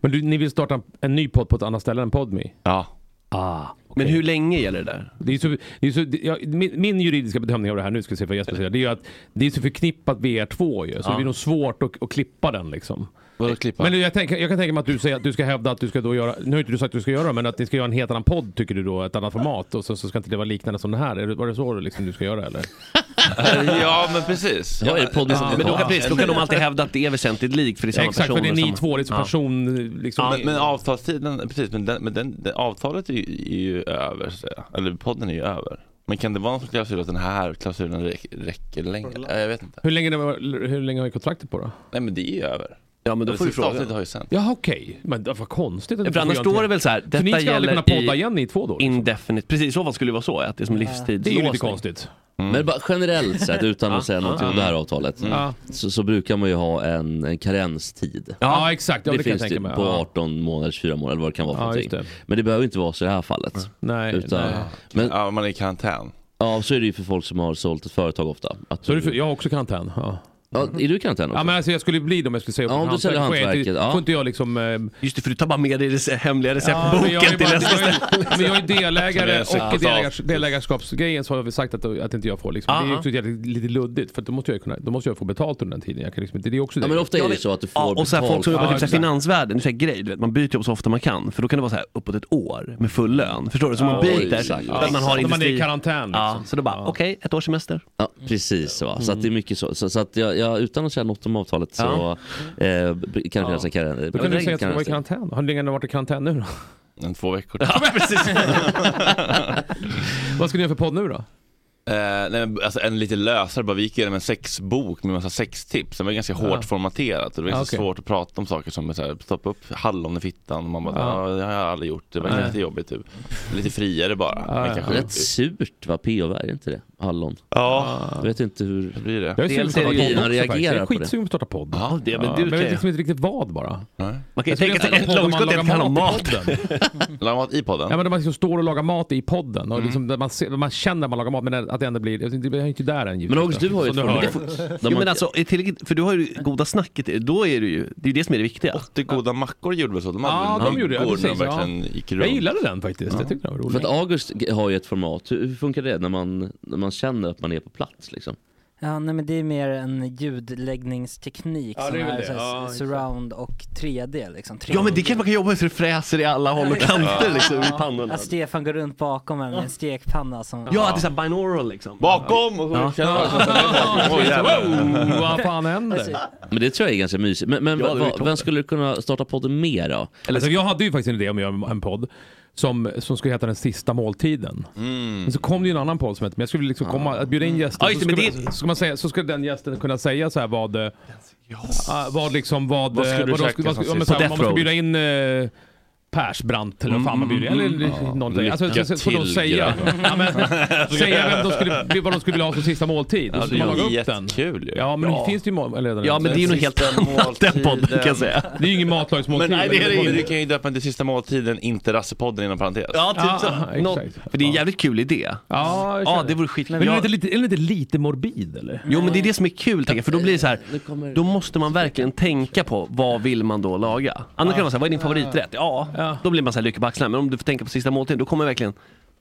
Men du, ni vill starta en, en ny podd på ett annat ställe än Podme?
Ja.
Ah,
Men hur länge gäller det där?
Det är så, det är så, det, ja, min, min juridiska bedömning av det här nu, ska vi se vad Jesper säger, det är ju att det är så förknippat VR2 ju, så
Ja.
det blir nog svårt att, att klippa den liksom.
Vadå klippa?
Men jag, tänker, jag kan tänka mig att du säger att du ska hävda att du ska då göra, nu har inte du sagt att du ska göra det, men att ni ska göra en helt annan podd tycker du då, ett annat format och så, så ska inte det vara liknande som det här. Är det, var det så du liksom du ska göra eller?
Eh, ja, men precis.
Ja, är det podden som-
Men då kan, precis, då kan de alltid hävda att det är väsentligt likt för det är samma
Exakt,
personer.
för det är ni
och samma-
två, det är så
Ja.
person liksom.
Ja, men, men avtalstiden, precis, men, den, men den, det- avtalet är ju, är ju över, så att säga. eller podden är ju över. Men kan det vara någon klausul att den här klausulen räck, räcker längre? Nej, jag vet inte.
hur, länge det var, hur länge har ni kontraktet på då?
Nej men det är ju över.
Ja, men då
Det
får du
sista
fråga.
avsnittet har ju sänt.
Ja okej, men det- vad konstigt. att
Ja,
ni
För
får
annars
göra
står det
någonting.
väl så här,
Så ni
detta
ska aldrig kunna
gäller
podda
i
igen ni två då? Liksom.
indefinite. Precis, i så fall skulle det vara så, att det är som livstidslåsning.
Det är ju lite konstigt.
Mm.
Mm. Men bara generellt sett, utan att säga någonting om det här avtalet,
Ja.
så, så brukar man ju ha en, en karenstid.
Ja, exakt, ja, det,
det,
kan jag
finns
tänka
ju
mig.
på
Ja.
18 månaders, 4 månader, vad det kan vara för
Ja, just
någonting. Men det behöver inte vara så i det här fallet.
Nej,
Utan,
nej.
Men
Ja, man är i karantän.
ja, så är det ju för folk som har sålt ett företag ofta. Att
Så är det för, jag har också karantän. Ja.
ja, är du i karantän också?
Ja, men alltså, jag skulle bli det om jag skulle säga upp
Ja,
mitt
om du säljer
hantverk. Får jag inte-
hantverket, ja.
Får inte jag liksom... Eh,
Just det, för du tar bara med dig rece- hemliga
ja, men,
receptboken
jag är
till
bara,
nästa
jag
ställe.
är, men jag är delägare
Som är
och i delägars, delägarskapsgrejen så har vi sagt att, att inte jag får. Liksom. Det är ju
Aha.
också jävligt- lite luddigt för att då, måste jag kunna, då måste jag få betalt under den tiden. Jag kan liksom inte, det är också det.
Ja, men ofta är
Jag
det
vet-
så att du får
Ja, och så här, folk som jobbar
Ja,
typ i
exakt.
finansvärlden, det är grej, du vet, man byter jobb så ofta man kan. För då kan det vara så här, uppåt ett år med full lön. Förstår du? Så man
oj,
byter,
exakt.
för att man har
När man är i
industri.
karantän. Liksom.
Ja, så då bara, okej, ett års semester.
Ja, precis. Va? Så att det är mycket så. Så, så att jag, jag, utan att säga något om avtalet så
Ja.
eh, b- kan det finnas en karantän.
Då kan du säga att du var i karantän. Har du länge varit i karantän nu då?
En två veckor till.
Vad ska ni göra för podd nu då?
Eh, nej, men, alltså, en lite lösare bara, vi gick igenom en sexbok med massa sextips. Den var ganska hårt formaterat och det var
Ah,
ganska
okej.
svårt att prata om saker som är så här, stoppa upp hallon i fittan och man bara,
Ja.
ja. det har jag aldrig gjort, det
Nej.
var lite jobbigt typ. Lite friare bara.
Ja,
Men
ja.
kanske,
Rätt surt va? POV, är det inte det? Hallon.
ja,
Jag vet inte hur...
det blir det.
Jag är
Dels
sugen på
är
att
det ju-
starta podd
man
också, faktiskt. Jag
reagerar
är
på det.
skitsugen på att starta podd.
Ja, det, men
Ja,
du
men jag vet
kan
liksom inte riktigt vad bara.
Nej.
Man kan ju
Jag skulle
tänka sig
nästan
en
ha en podd om
långskott
man
kan handla om
lagar
mat.
podden.
Lagar mat i podden?
Ja, men där man liksom står och lagar mat i podden. Och liksom där man, ser, man känner att man lagar mat men att det ändå blir... Jag vet inte, jag är inte där än
Men
givetvis.
August, du har ju ett
Som du hör.
format. där
Jo,
man-
men alltså, är tillräckligt, för du har ju det goda snacket, då är du ju, det är ju det som är det viktiga.
80 goda mackor gjorde väl så? De
Ja,
hade
de gjorde det. Ja,
mackor när de
precis, ja.
verkligen gick runt.
Jag gillade den faktiskt. Jag tyckte den var
För att
rolig.
August g- har ju ett format. Hur, hur funkar det när man, när man känner att man är på plats? Liksom?
Ja, nej men det är mer en ljudläggningsteknik som är, så här surround och 3D liksom. 3D.
Ja men det kanske man kan jobba med så det fräser i alla håll och kanter liksom i pannorna.
Att
Alltså,
Stefan går runt bakom en med en stekpanna som...
Ja, att det är såhär binaural liksom.
Bakom! Och så känner man- Oj, jävlar.
Oh, vad fan händer?
Men det tror jag är ganska mysigt. Men, men
Ja, det är
va-
ju toppen.
vem skulle kunna starta podden med då?
Alltså, jag hade ju faktiskt en idé om att göra en podd som, som skulle heta Den sista måltiden.
Mm.
Men så kom det ju en annan podd som hette, men jag skulle liksom komma, att bjuda in gäster.
Ah. Ja, just
så,
det, men
skulle,
det-
man- så, ska man säga, så ska den gästen kunna säga så här vad... eh, ah, vad liksom, vad...
Vad skulle
eh,
du
de
käka
skulle- vad
som
skulle- ja, men
sist?
så här,
På Death Mm,
Om man ska
Row.
bjuda in eh, Persbrandt eller vad fan man bjuder in. Eller någonting. Alltså,
lycka
så, så, får de
till,
säga.
grabbar.
Ja, men, säga vem de skulle, vad de skulle vilja ha som sista måltid. Och så
Det
ska man laga
är
upp den.
jättekul ju.
Ja men det finns det ju må- eller redan. alltså.
Ja men det är ju något helt
Sista
annat den podden kan jag
måltiden.
säga.
Det är ju ingen matlagsmåltid.
Men nej, det är det ju.
ju.
Du kan ju döpa den till sista måltiden, inte Rassepodden inom parentes.
Ja typ så.
Ah,
Nå-
exakt.
För det är en jävligt kul idé.
Ja, jag
Ja
känner
det vore skitkul.
Men är
Jag-
den inte lite, är den inte lite morbid eller?
Jo men det är det som är kul tänker jag, för då blir det så här. Då måste man verkligen tänka på vad vill man då laga. Annars kan det vara såhär, vad är din favoriträtt? Ja,
Ja.
då blir man såhär lycka på axlarna. Men om du får tänka på sista måltiden, då kommer verkligen,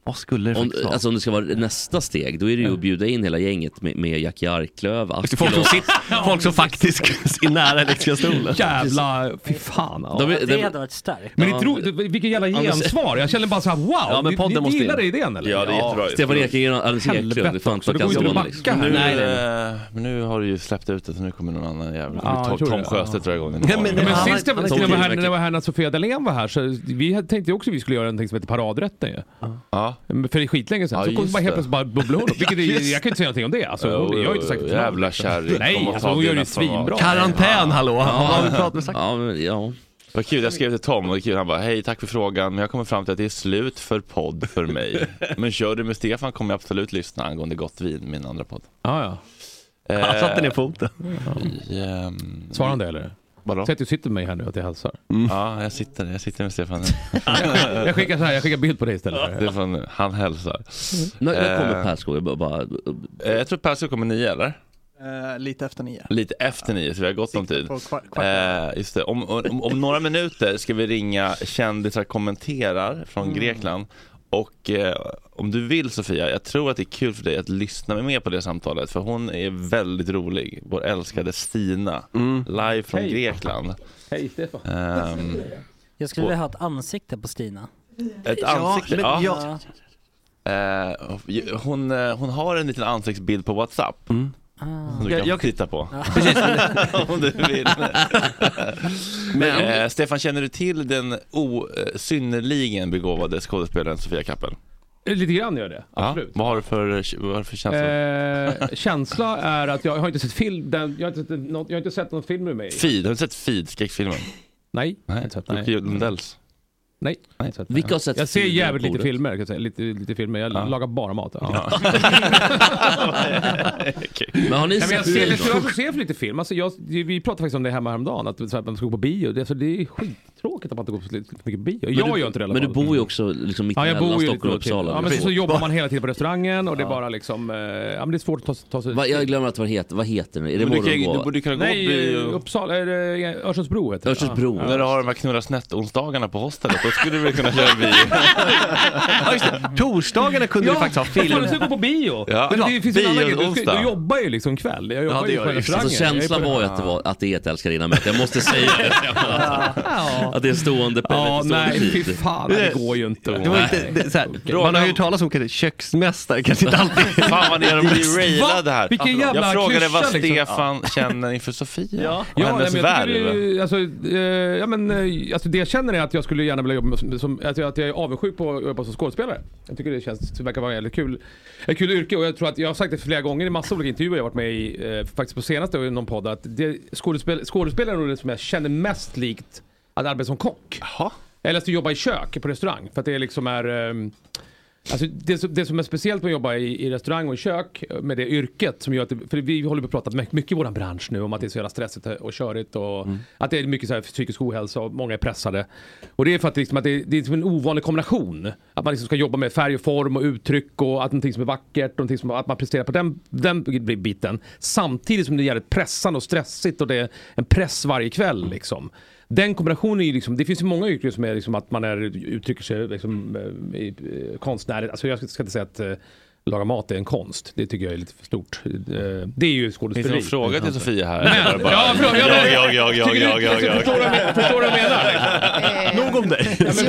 vad skulle det
Om,
faktiskt vara?
alltså om det ska vara nästa steg, då är det ju att bjuda in hela gänget med, med Jackie Arklöv,
Alltså, folk,
Akilov.
som sitter, folk som faktiskt är nära elektriska stolen.
Jävla, fy fan. Ja.
De är-
Det hade varit starkt.
men det tro, det, vilket jävla gensvar. Jag känner bara såhär wow.
Ja, men
ni-
podden
ni,
måste
gillar
in.
idén eller?
Ja, det är jättebra.
Stefan Ekengren och
Alltså,
Alice Eklund. Det
Helvete
är fan
också, det går ju inte att
Backasson,
backa
liksom.
här.
Nej, nej,
Eh, Men nu har du ju släppt ut det, så nu kommer någon annan jävel.
Ja, jag
Tom,
tror
Tom
det.
Sjöstedt drar igång den.
Ja, men-
Men
Ja, han-
sist jag,
han är
när, jag var här,
tillverkad.
när jag var här när Sofia Dalén var här så vi hade- tänkte också att vi skulle göra någonting som heter paradrätten ju.
Ja.
Men För det är skitlänge sedan.
Ja,
så kom det
just
bara helt
det.
plötsligt bara bubbla hon upp. Vilket är, jag kan inte säga någonting om det. Alltså, hon, jag har ju inte sagt ett namn. liksom.
Jävla kärring.
Nej,
Kom och
alltså,
ta
hon gör
dina
det svinbra.
format.
Karantän hallå! Vad har vi pratat om?
Ja, men, ja.
Vad kul, jag skrev till Tom och det är kul, han bara hej tack för frågan men jag kommer fram till att det är slut för podd för mig. Men kör du med Stefan kommer jag absolut lyssna angående Gott vin, min andra podd.
Ja, ja.
Eh.
Han satte ner foten.
Ehm,
Svarar han det eller?
Vadå? Mm.
Säg att du sitter med mig här nu, att jag hälsar.
Ja, jag sitter, jag sitter med Stefan nu.
Jag skickar så här, jag skickar bild på dig istället.
Det är från, han hälsar.
När, när
Eh.
kommer Persgård? Jag bara- bara,
Eh, Jag tror Persson kommer nio eller?
Eh, lite efter nio.
Lite efter nio så vi har gott om tid.
På kvar, kvart.
Eh, just det. Om, om, om några minuter ska vi ringa kändisar kommenterar
Mm.
från Grekland. Och eh, om du vill Sofia, jag tror att det är kul för dig att lyssna med på det samtalet för hon är väldigt rolig. Vår älskade Stina, live från
Hej.
Grekland.
Hej Stefan.
Ehm,
Jag skulle vilja ha ett ansikte på Stina.
ett ansikte.
men
Ja,
jag-
Ja.
Eh, hon, eh, hon har en liten ansiktsbild på Whatsapp.
Mm.
Som du
Jag-
kan
jag-
titta på. om du vill. Men, eh, Stefan, känner du till den o- eh, synnerligen begåvade skådespelaren Sofia Kappel?
Lite grann gör det, absolut.
Vad har du för, vad har du för känsla?
Eh, känsla är att jag har inte sett film, den, jag, har inte sett något, jag har inte sett någon film med mig.
Feed, har du sett Feed, skräckfilmen?
Nej, jag har
Nej,
inte sett,
Jocke
nej.
Lundells.
nej. jag har inte sett den.
Vilka har sett
jag ser
film
jävligt
på
lite
bordet?
filmer, kan jag säga. Lite, lite filmer. Jag
Ja.
lagar bara mat. Ja.
Okej.
men har ni
Nej, men jag
sett
ser, jag
Feed?
ser, jag ser för lite film. Alltså, jag, vi pratade faktiskt om det hemma häromdagen, att, så här, att man ska gå på bio. Det, alltså, det är skittråkigt att man inte går på så lite- mycket bio. jag
du,
gör inte det i alla
Men du
fall.
bor ju också liksom mitt
Ja, jag
mellan
bor ju
Stockholm och
lite
Uppsala.
Ja, men så, så jobbar man hela tiden på restaurangen och det är bara liksom, eh, ja men det är svårt att ta, ta sig...
Va, jag glömmer att vad heter, vad heter den? Är det
Men du, kan, ju- du
Morgongåva?
borde ju kunna gå
Nej,
på
eh,
bio.
Uppsala, är det Örsundsbro heter det.
Örsundsbro.
När du har de här knulla snett-onsdagarna på hostelet, då skulle du väl kunna köra bio.
Ja, just det. Torsdagarna kunde vi faktiskt ha
vad fan,
film.
du ska gå på bio!
Ja.
Men det, finns ju en annan grej. Du,
Bio-onsdag.
ska, du jobbar ju liksom kväll. Jag jobbar
Ja, det
ju
gör
på
jag ju.
restaurangen.
Alltså känslan
Jag är på
var ju att det, var, att det är ett älskarinna-möte, jag måste säga det. Att det är en stående,
Ja,
en stående
nej fy
tid.
fan. Det går ju inte.
Det var inte, det, så här,
Fråga
man har ju
om-
hört talas om kanske köksmästare, kanske inte alltid.
Fan vad ni har blivit railade här. Alltså,
Vilken jävla
jag frågade vad
klyscha, liksom.
Stefan känner inför Sofia och
Ja, nej,
hennes
men jag tycker
värv.
det, är- alltså, eh, ja, men, eh, alltså, det jag känner är att jag skulle gärna vilja jobba med, som, som, att, jag, att jag är avundsjuk på att jobba som skådespelare. Jag tycker det känns, det verkar vara ett kul, ett kul yrke och jag tror att jag har sagt det flera gånger i massa olika intervjuer jag har varit med i, eh, faktiskt på senaste och i någon podd, att det, skådespel, skådespelare är nog det som jag känner mest likt att arbeta som kock. Eller att jobba i kök på restaurang. För att det liksom är... ehm, Alltså det, som- det som är speciellt med att jobba i, i restaurang och i kök med det yrket som gör att, det- för vi håller på att prata mycket, mycket i vår bransch nu om att det är så jävla stressigt och körigt och att det är mycket så här psykisk ohälsa och många är pressade. Och det är för att, liksom, att det, det är liksom en ovanlig kombination. Att man liksom ska jobba med färg och form och uttryck och att någonting som är vackert och någonting som, att man presterar på den, den biten. Samtidigt som det är jävligt pressande och stressigt och det är en press varje kväll liksom. Den kombinationen är ju liksom, det finns ju många yrken som är liksom att man är, uttrycker sig liksom, eh, i, eh, konstnärligt. Alltså jag ska ska inte säga att eh, laga mat är en konst. Det tycker jag är lite för stort. Eh, det är ju
Finns det
skådespeleri.
någon fråga
Alltså.
till Sofia här?
Nej,
Eller bara,
ja, förlåt, jag-
jag, jag, jag, jag, jag, jag,
Alltså,
jag.
Förstår du vad jag men- förstår du vad jag menar?
Eh,
Nog om dig.
så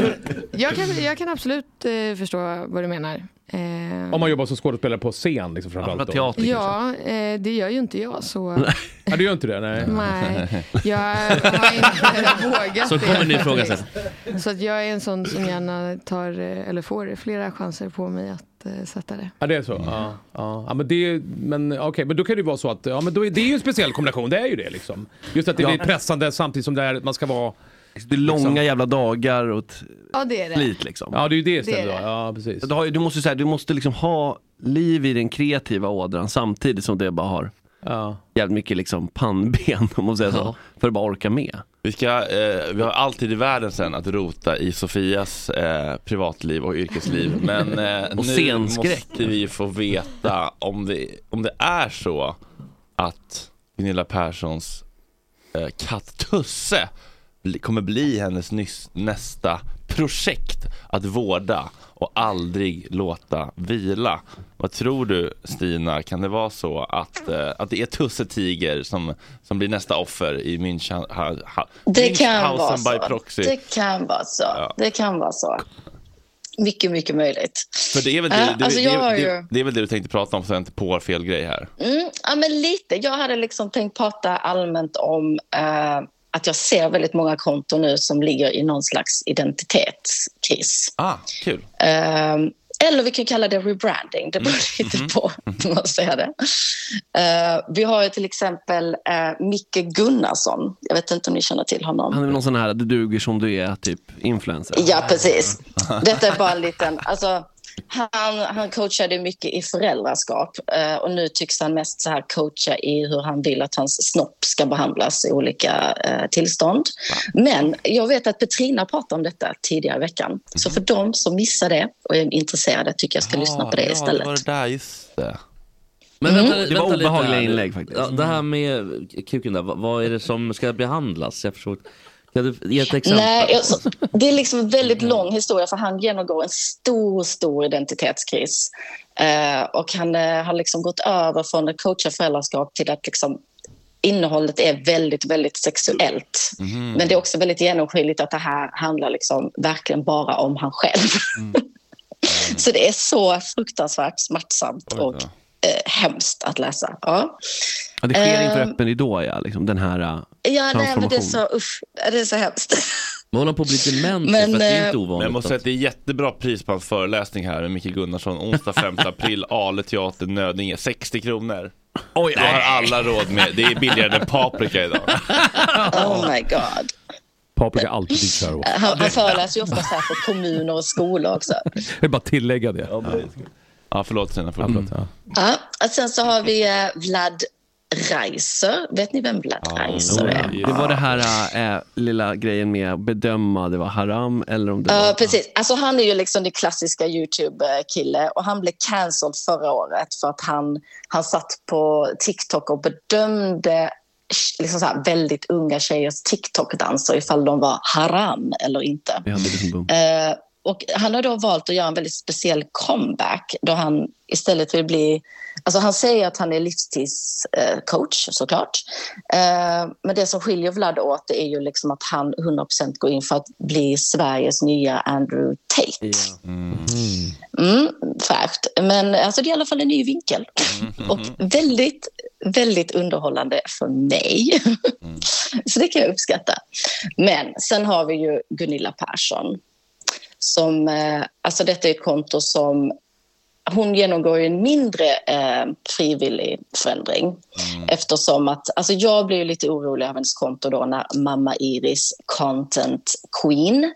jag, kan, jag kan absolut eh, förstå vad du menar. Eh,
Om man jobbar som skådespelare på scen liksom, framförallt. då.
Teater kanske.
ja, eh, det gör ju inte jag så
Ja, du gör inte det? Nej.
nej, jag har inte vågat
Så kommer
det.
en ny fråga sen.
Så att jag är en sån som gärna tar, eh, eller får flera chanser på mig att eh, sätta det.
Ja, det är så. Ja, ja. ja men det, men okej, men då kan det ju vara så att, ja men då är, det är ju en speciell kombination, det är ju det liksom. Just att det blir pressande samtidigt som det är, att man ska vara, liksom-
Det är långa jävla dagar och ett
Ja, det är det.
slit liksom.
ja det är ju det istället
Det är det.
då. Ja, precis.
Du, har, ju- du, måste, så här, du måste liksom ha liv i den kreativa ådran samtidigt som det bara har
Ja.
jävligt mycket liksom pannben om man säger så. För att bara orka med.
Vi, ska, eh, vi har alltid i världen sen att rota i Sofias eh, privatliv och yrkesliv. Men eh,
Och
nu
scenskräck.
måste vi få veta om det, om det är så att Gunilla Perssons eh, katt-Tusse bli- kommer bli hennes nyss, nästa projekt att vårda och aldrig låta vila. Vad tror du Stina, kan det vara så att, eh, att det är Tusse Tiger som, som blir nästa offer i München, ha, ha,
Det kan vara
Münchhausen by
så.
proxy?
Det kan vara så. Det kan vara så. Mycket, mycket möjligt.
För det är väl
Ja,
det, det,
alltså, jag har
det,
ju-
det, det är väl det du tänkte prata om så jag inte på fel grej här.
Mm, ja, men lite. Jag hade liksom tänkt prata allmänt om eh, att jag ser väldigt många konton nu som ligger i någon slags identitetskris.
Ah, kul.
Ehm, Eller vi kan kalla det rebranding, det beror
Mm.
lite på hur man säger det. Eh, vi har ju till exempel uh, Micke Gunnarsson. Jag vet inte om ni känner till honom.
Han är väl någon sån här, du duger som du är, typ influencer.
Ja, precis. Detta är bara en liten... Alltså, han, han coachade ju mycket i föräldraskap eh, och nu tycks han mest så här coacha i hur han vill att hans snopp ska behandlas i olika eh, tillstånd. Men jag vet att Petrina pratade om detta tidigare i veckan. Så för de som missar det och är intresserade tycker jag ska lyssna på det
Ja, det
istället.
var det där, just det.
Men
Mm.
vänta,
Det var
vänta lite
obehagliga
här nu.
inlägg faktiskt.
Ja, det här med kuken där, vad- vad är det som ska behandlas? Jag förstår inte. Kan du ge ett exempel?
Nej, jag- så- det är liksom en väldigt lång historia för han genomgår en stor, stor identitetskris. Eh, och han eh, har liksom gått över från att coacha föräldraskap till att liksom, innehållet är väldigt, väldigt sexuellt. Men det är också väldigt genomskinligt att det här handlar liksom verkligen bara om han själv. så det är så fruktansvärt smärtsamt och eh, hemskt att läsa. Ja.
Ja, det sker inför
Ehm,
öppen ridå, ja, liksom, den här uh,
Ja, nej, men det är
transformationen.
så, usch, det är så hemskt.
Man håller på att bli dement
Men, för att det är inte eh, ovanligt
Men jag måste säga att det är jättebra pris på hans föreläsning här med Mikael Gunnarsson. Onsdag 5 april, Ale Teater, Nödinge. 60 kronor. Oj, det har alla råd med. Det är billigare än paprika idag.
Oh my god.
Paprika är alltid dyrt så här års.
Han, han föreläser ju ofta så här för kommuner och skolor också.
Jag vill bara tillägga det. Ja,
ja förlåt Stina. Förlåt. Mm.
Ja.
Ja, och sen så har vi eh, Vlad Reiser. Vet ni vem Vlad Reiser är?
Det var det här eh, lilla grejen med att bedöma det var haram eller om det
Ja,
var...
precis. Alltså, han är ju liksom den klassiska Youtube-kille och han blev cancelled förra året för att han, han satt på TikTok och bedömde liksom så här, väldigt unga tjejers TikTok-danser ifall de var haram eller inte.
Vi hade liksom boom.
Eh, och han har då valt att göra en väldigt speciell comeback då han istället vill bli... Alltså han säger att han är livstidscoach såklart. Eh, men det som skiljer Vlad åt det är ju liksom att han 100% går in för att bli Sveriges nya Andrew Tate. Mm, fräscht. Men alltså, det är i alla fall en ny vinkel. Och väldigt, väldigt underhållande för mig.
Mm.
Så det kan jag uppskatta. Men sen har vi ju Gunilla Persson. Som, eh, alltså detta är ett konto som... Hon genomgår ju en mindre eh, frivillig
Mm.
förändring. Eftersom att, alltså jag blir ju lite orolig av hennes konto då när mamma Iris, content queen,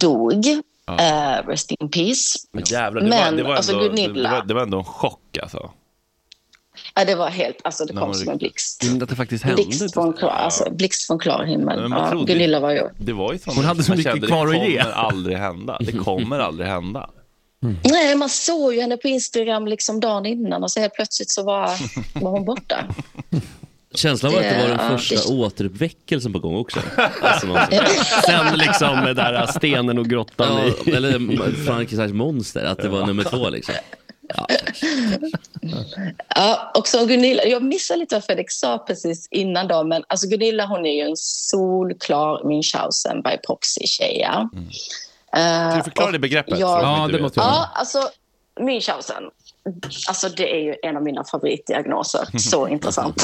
dog.
Ja.
Eh, rest in peace.
Men jävlar, det,
Men,
var, det, var
alltså,
ändå, det, det,
Gunilla.
var, det var ändå en chock alltså.
Ja, det var helt, alltså det
När
kom
man
som
ryckte.
en blixt.
Men att det faktiskt hände.
Blixt från, klar, alltså, blixt från klar himmel.
Men man
Ja,
trodde- Mm.
Gunilla var ju...
Det var ju sånt
Hon hade så
man
mycket
kände,
kvar att
Det
ge.
kommer aldrig hända. Det kommer aldrig hända.
Nej, man såg ju henne på Instagram liksom dagen innan och så helt plötsligt så var, var hon borta.
Känslan var att Eh, det var
Ja,
den första
det-
återuppväckelsen på gång också. Alltså, man-
Sen liksom med där stenen och grottan
ja,
i.
eller Frankensteins monster, att det var nummer två liksom.
Ja, och som Gunilla, jag missade lite vad Fredrik sa precis innan då, men alltså Gunilla hon är ju en solklar Münchhausen by proxy-tjej. ja. Eh,
Kan du förklara
och
det begreppet?
jag-
för de inte vet?
Ja, alltså Münchhausen. Alltså det är ju en av mina favoritdiagnoser. Så intressant.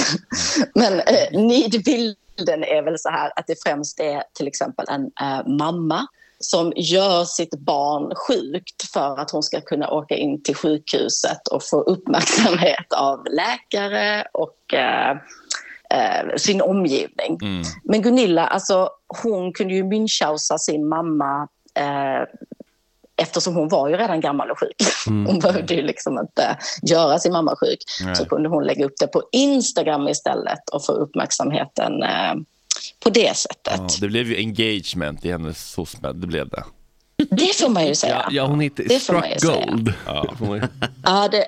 Men eh, nidbilden är väl så här att det främst är till exempel en eh, mamma som gör sitt barn sjukt för att hon ska kunna åka in till sjukhuset och få uppmärksamhet av läkare och eh, eh, sin omgivning. Men Gunilla, alltså, hon kunde ju münchhausa sin mamma eh, eftersom hon var ju redan gammal och sjuk.
Mm,
Hon behövde ju liksom inte göra sin mamma sjuk.
Nej.
Så kunde hon lägga upp det på Instagram istället och få uppmärksamheten eh, på det sättet.
Ja, det blev ju engagement i hennes SOSMED, det blev det.
Det får man ju säga. Ja,
Ja, hon hittade
Det får man ju
struck
säga.
gold.
Ja.
det...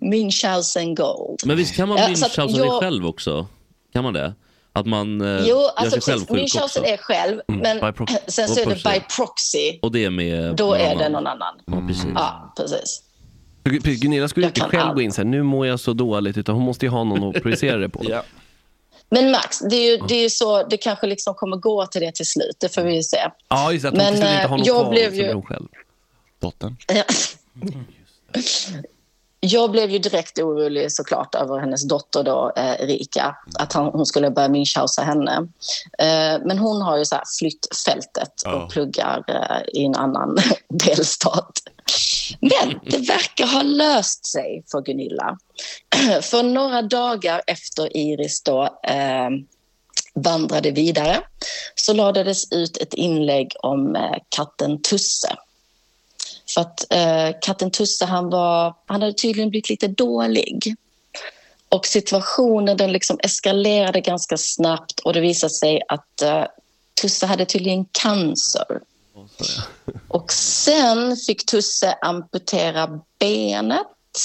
Münchhausen Gold.
Men visst kan man
Ja,
bli
så att
tjafsad
jag-
sig själv också? Kan man det? Att man eh,
Jo,
gör
alltså
sig själv
precis.
sjuk också?
Münchhausen är själv,
Mm,
men
by proxy.
sen så är
Och
det
proxy.
by proxy.
Och det är med
Då
någon
är det
annan.
någon annan.
Ja, precis.
Ja, precis.
Precis, Gunilla skulle inte
kan
själv
allt.
gå in så här, nu mår jag så dåligt, utan hon måste ju ha någon att projicera det på.
Men Max, det är ju, det är ju så, det kanske liksom kommer gå till det till slut. Det får vi ju se.
Ja, just det, att hon
Men,
till slut inte
eh,
har någon
jag
kvar
blev
som
ju-
är hon själv.
Dottern.
Ja. Jag blev ju direkt orolig såklart över hennes dotter då, eh, Erika, att han, hon skulle börja münchhausa henne. Eh, men hon har ju så här flytt fältet och
Ja.
pluggar eh, i en annan delstat. Men det verkar ha löst sig för Gunilla. För några dagar efter Iris då, eh, vandrade vidare så lades ut ett inlägg om eh, katten Tusse. För att eh, katten Tusse han, var, han hade tydligen blivit lite dålig. Och situationen den liksom eskalerade ganska snabbt och det visade sig att eh, Tusse hade tydligen cancer. Och sen fick Tusse amputera benet.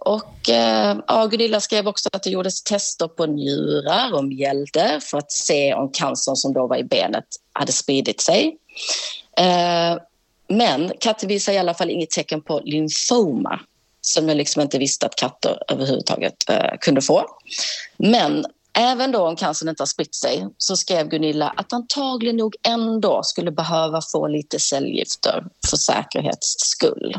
Och eh, ja, Gunilla skrev också att det gjordes tester på njurar och mjälder för att se om cancern som då var i benet hade spridit sig. Eh, men katter visar i alla fall inget tecken på lymfoma som jag liksom inte visste att katter överhuvudtaget eh, kunde få. Men även då om cancern inte har spritt sig så skrev Gunilla att antagligen nog ändå skulle behöva få lite cellgifter för säkerhets skull.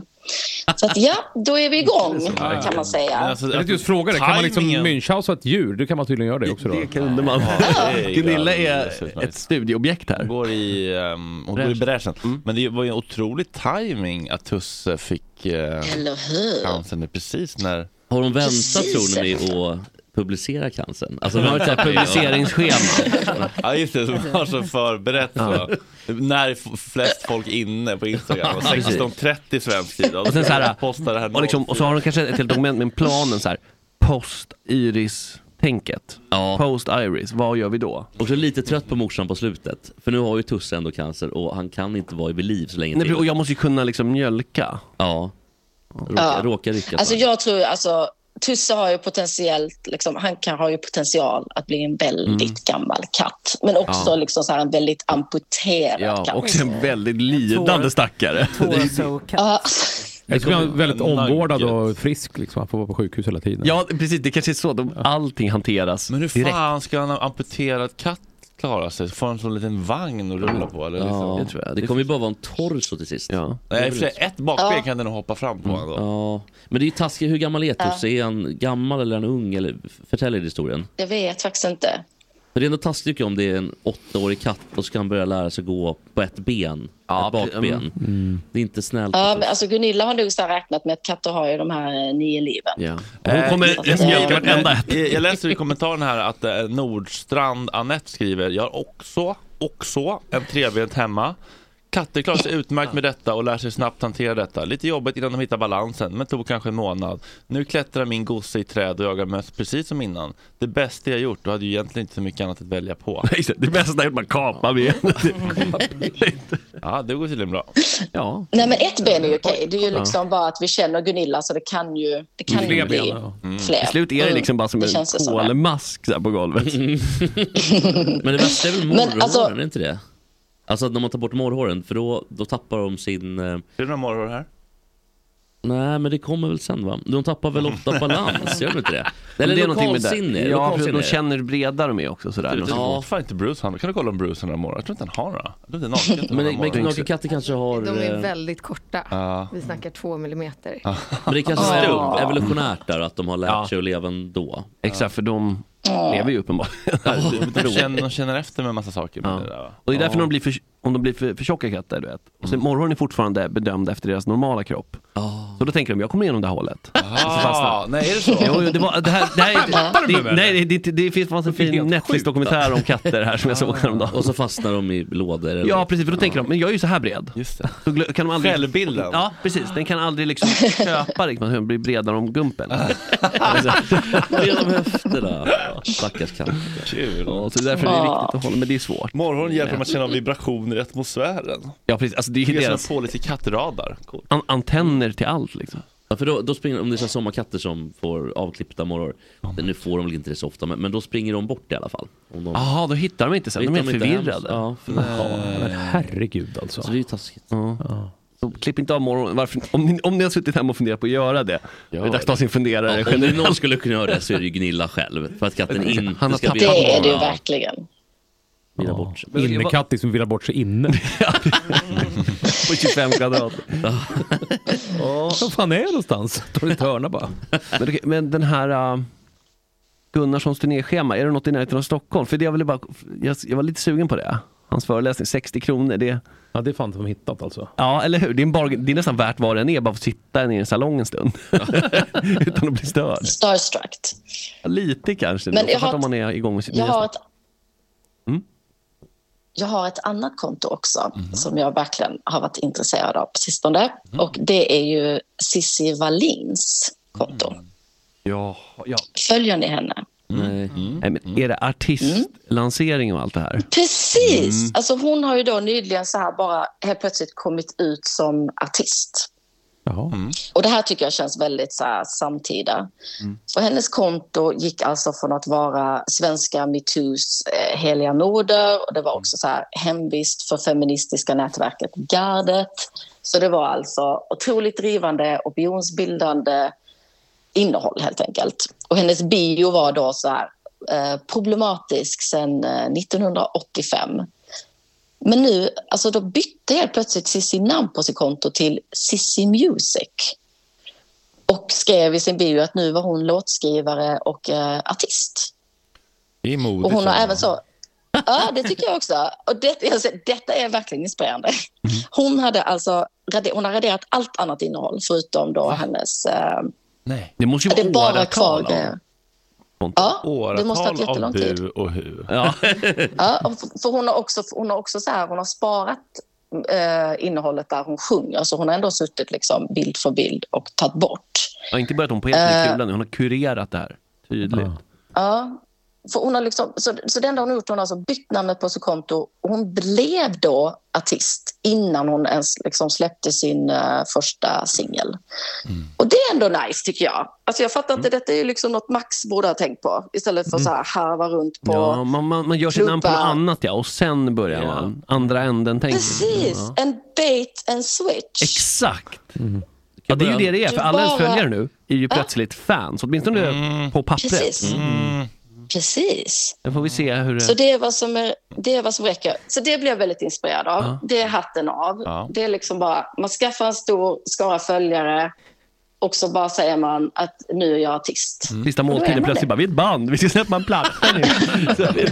Så att, ja, då är vi igång kan man säga.
alltså, jag tänkte just fråga det, kan man liksom Münchhausa ett djur? Det kan man tydligen göra det också då. Det
kunde man.
Gunilla är ett studieobjekt här. Mm.
Går i, ehm, hon går i bräschen. Men det var ju en otrolig timing att Tusse fick eh,
Eller hur?
cancern precis när...
Har hon
Precis
väntat tror ni
efter.
med att publicera cancern?
Alltså de har ett sånt här
publiceringsschema.
ja just det, som har så förberett så. När är f- flest folk inne på Instagram? Och
Ja, precis.
16.30 svensk tid.
Och sen så här,
postar det här
och, liksom, och så har de kanske ett helt dokument med planen så här, post Iris tänket. Post Iris, vad gör vi då?
Också lite trött på morsan på slutet. För nu har ju Tusse ändå cancer och han kan inte vara vid liv så länge
Nej,
till.
och jag måste ju kunna liksom mjölka.
Ja. Råka,
Ja.
råka
Alltså
rycka. Alltså,
jag tror alltså Tusse har ju potentiellt, liksom, han kan ha ju potential att bli en väldigt
Mm.
gammal katt. Men också
Ja.
liksom så här en väldigt amputerad
Ja,
katt.
och en väldigt lidande stackare.
Ja. alltså,
Jag tror han är väldigt
Nugget.
omvårdad och frisk liksom. Han får vara på sjukhus hela tiden.
Ja, precis. Det kanske är så. De, allting hanteras
Men hur
direkt.
fan ska en amputerad katt klara sig? Får han en sån liten vagn att rulla på? Eller?
ja.
liksom?
det, kommer ju bara vara en torso till sist. Ja.
Nej, i och för sig, ett bakben kan den nog hoppa fram på ändå.
Mm. Ja, men det är ju taskigt. Hur gammal är Tusse? Är han gammal eller är han ung? Eller, förtälj er historien.
Jag vet faktiskt inte.
För det är ändå taskigt tycker jag, om det är en åttaårig katt och så ska han börja lära sig gå på ett ben. ett bakben.
mm.
Det är inte snällt.
Ja, men alltså Gunilla har nog så här räknat med att katter har ju de här eh, nio liven.
Ja.
Eh, jag- jag-
vartenda
jag- Jag läser i kommentaren här att eh, Nordstrand Anette skriver Jag har också, också en trebent hemma. Katter klarar sig utmärkt med detta och lär sig snabbt hantera detta. Lite jobbigt innan de hittar balansen, men tog kanske en månad. Nu klättrar min gosse i träd och jagar möss precis som innan. Det bästa jag gjort och hade ju egentligen inte så mycket annat att välja på.
Det bästa är att man kapar benet.
ja, det går tydligen bra.
Ja.
Nej, men ett ben är ju okej. Det är ju
Ja.
liksom bara att vi känner Gunilla så det kan ju, det
Mm.
kan ju bli fler.
Till slut är det
Mm,
liksom bara som
det
en
känns det som.
kolmask så här på golvet.
Men det värsta är väl
Men
morrhåren,
alltså-
är det inte det? Alltså att när man tar bort morrhåren, för då, då tappar de sin... Är
det några morrhår här?
Nej, men det kommer väl sen va? De tappar väl ofta balans, gör de inte det? Eller
Men
det är
någonting med det.
lokalsinne.
Ja,
lokalsinne.
för då känner du breda de är också sådär.
Du, ja. fan inte Bruce har Kan du kolla om Bruce har några morrhår? Jag tror inte han har några. Jag tror inte naken har några
Men, men
morrhår.
nakenkatter kanske har...
De är
eh,
väldigt korta.
Ja.
Vi snackar två millimeter.
Men det kanske är
Ja.
evolutionärt där, att de har lärt sig att leva ändå.
Exakt, för de lever ju uppenbarligen.
De känner, de känner efter med massa saker. Med det där, va?
Och det är därför
Ja.
de blir för, om de blir för, för tjocka katter, du vet. Och sen morgonen är fortfarande bedömd efter deras normala kropp. Så då tänker de, jag kommer igenom det här hålet. Och så Alltså, fastnar de.
Ah, nej, är det så?
Jo, jo, det, var, det här, det här
Fattar
är,
du
det,
med det?
nej, det, det, det finns fanns en fin
alltså.
Netflix-dokumentär om katter här som jag såg häromdagen.
Och så fastnar de i lådor. Eller?
Ja precis, för då tänker de, men jag är ju så här bred.
Just det.
Så glö- kan de aldrig,
Självbilden.
Ja precis, den kan aldrig liksom köpa riktigt, man blir bredare om gumpen. Alltså,
Genom höfterna. Ja, Stackars katter.
Kul.
Ja, så därför är det viktigt att hålla, men det är svårt.
Morgon hjälper dem att känna av vibrationer i atmosfären.
Ja precis, alltså det är
Det
ju
är som
deras
en pålitlig kattradar. Coolt.
an- antenner till allt liksom.
Ja, för då, då springer, om det är så här sommarkatter som får avklippta morrar. Nu får de väl inte det så ofta, men, men då springer de bort i alla fall. Om de-
Jaha, då hittar de inte sen, de är
Hittar
helt
de inte
förvirrade.
hem, ja, för-
Ja, men
herregud alltså.
Så det är ju taskigt.
Ja. Så klipp inte av morgonen, varför, om, ni, om ni har suttit hemma och funderat på att göra det, det är dags att ta sin funderare.
Om det är någon skulle kunna göra det så är det ju Gnilla själv. För att katten inte
Han har
ska
tappat
vilja-
Det är det ju
Ja,
verkligen.
vilja bort sig.
Innekattis som villar bort sig inne.
på 25 kvadrat.
Var fan är jag någonstans? Tar en törna bara.
Men, okej, men den här uh, Gunnarssons turnéschema, är det något i närheten av Stockholm? För det jag, ville bara, jag, jag var lite sugen på det. Hans föreläsning, 60 kronor. Det...
Ja, det är fan de hittat alltså.
Ja, eller hur? Det är, en bargain, det är nästan värt vad den är, bara för att sitta ner i en salong en stund. Utan att bli störd.
Starstruck.
Ja, Lite kanske,
Men
men
jag
jag
har-
om man är igång med sitt
Jag
nya
har ett,
Mm. Mhm.
jag har ett annat konto också som jag verkligen har varit intresserad av på sistone. Och Det är ju Cissi Wallins konto.
Ja, ja.
Följer ni henne?
Nej. Mm. Nej, men är det
Mm.
artistlansering och allt det här?
Precis!
Mm.
Alltså hon har ju då nyligen så här bara helt plötsligt kommit ut som artist. Och det här tycker jag känns väldigt så här, samtida. För hennes konto gick alltså från att vara svenska metoos eh, heliga noder och det var också så här, hemvist för feministiska nätverket Gardet. Så det var alltså otroligt drivande, opinionsbildande innehåll helt enkelt. Och hennes bio var då så här, eh, problematisk sedan eh, 1985. Men nu, alltså då bytte helt plötsligt Cissi namn på sitt konto till Cissi Music. Och skrev i sin bio att nu var hon låtskrivare och eh, artist.
Det är
Oh,
modigt.
Och hon har
ändå.
liksom.
även så... Ja, det tycker jag också. Och det, jag säger, detta är verkligen inspirerande. Hon, hade alltså, rader- hon har raderat allt annat innehåll förutom då hennes... Eh,
Nej.
Det måste
det är
ju vara
bara kvar
åratal av
grejer.
Åratal
det måste ha varit jättelång
av
tid.
bu och hu.
Ja.
Ja, och f- för hon har också, hon har också så här, hon har sparat eh, innehållet där hon sjunger, så hon har ändå suttit liksom bild för bild och tagit bort.
Ja, inte börjat hon på helt ny
Eh.
kula nu, hon har kurerat det här. Tydligt.
Ja, för hon har liksom, så, så det enda hon har gjort, hon har alltså bytt namnet på sitt konto. Och Hon blev då artist innan hon ens liksom släppte sin eh, första singel.
Mm.
Och det är ändå nice tycker jag. Alltså jag fattar inte, detta är ju liksom något Max borde ha tänkt på istället för att så här harva runt på...
Mm. Ja, man, man, man gör sitt namn på något
klubbar.
annat ja, och sen börjar man. Andra änden tänker
Precis,
Ja.
en bait and switch.
Exakt.
Mm.
Ja, det är ju det det är, för
Du
alla ens
bara-
följare nu är ju
Ja.
plötsligt fans, åtminstone på pappret.
Precis.
Mm.
Precis.
Sen får vi se hur
Så
det...
det är, vad som är, det är vad som räcker. Så det blir jag väldigt inspirerad av.
Ja.
Det är hatten av.
Ja.
Det är liksom bara, man skaffar en stor skara följare och så bara säger man att nu är jag artist.
Mm.
Sista
Och då är
måltiden
man
plötsligt
det.
bara, vi är ett band, vi ska släppa en platta nu.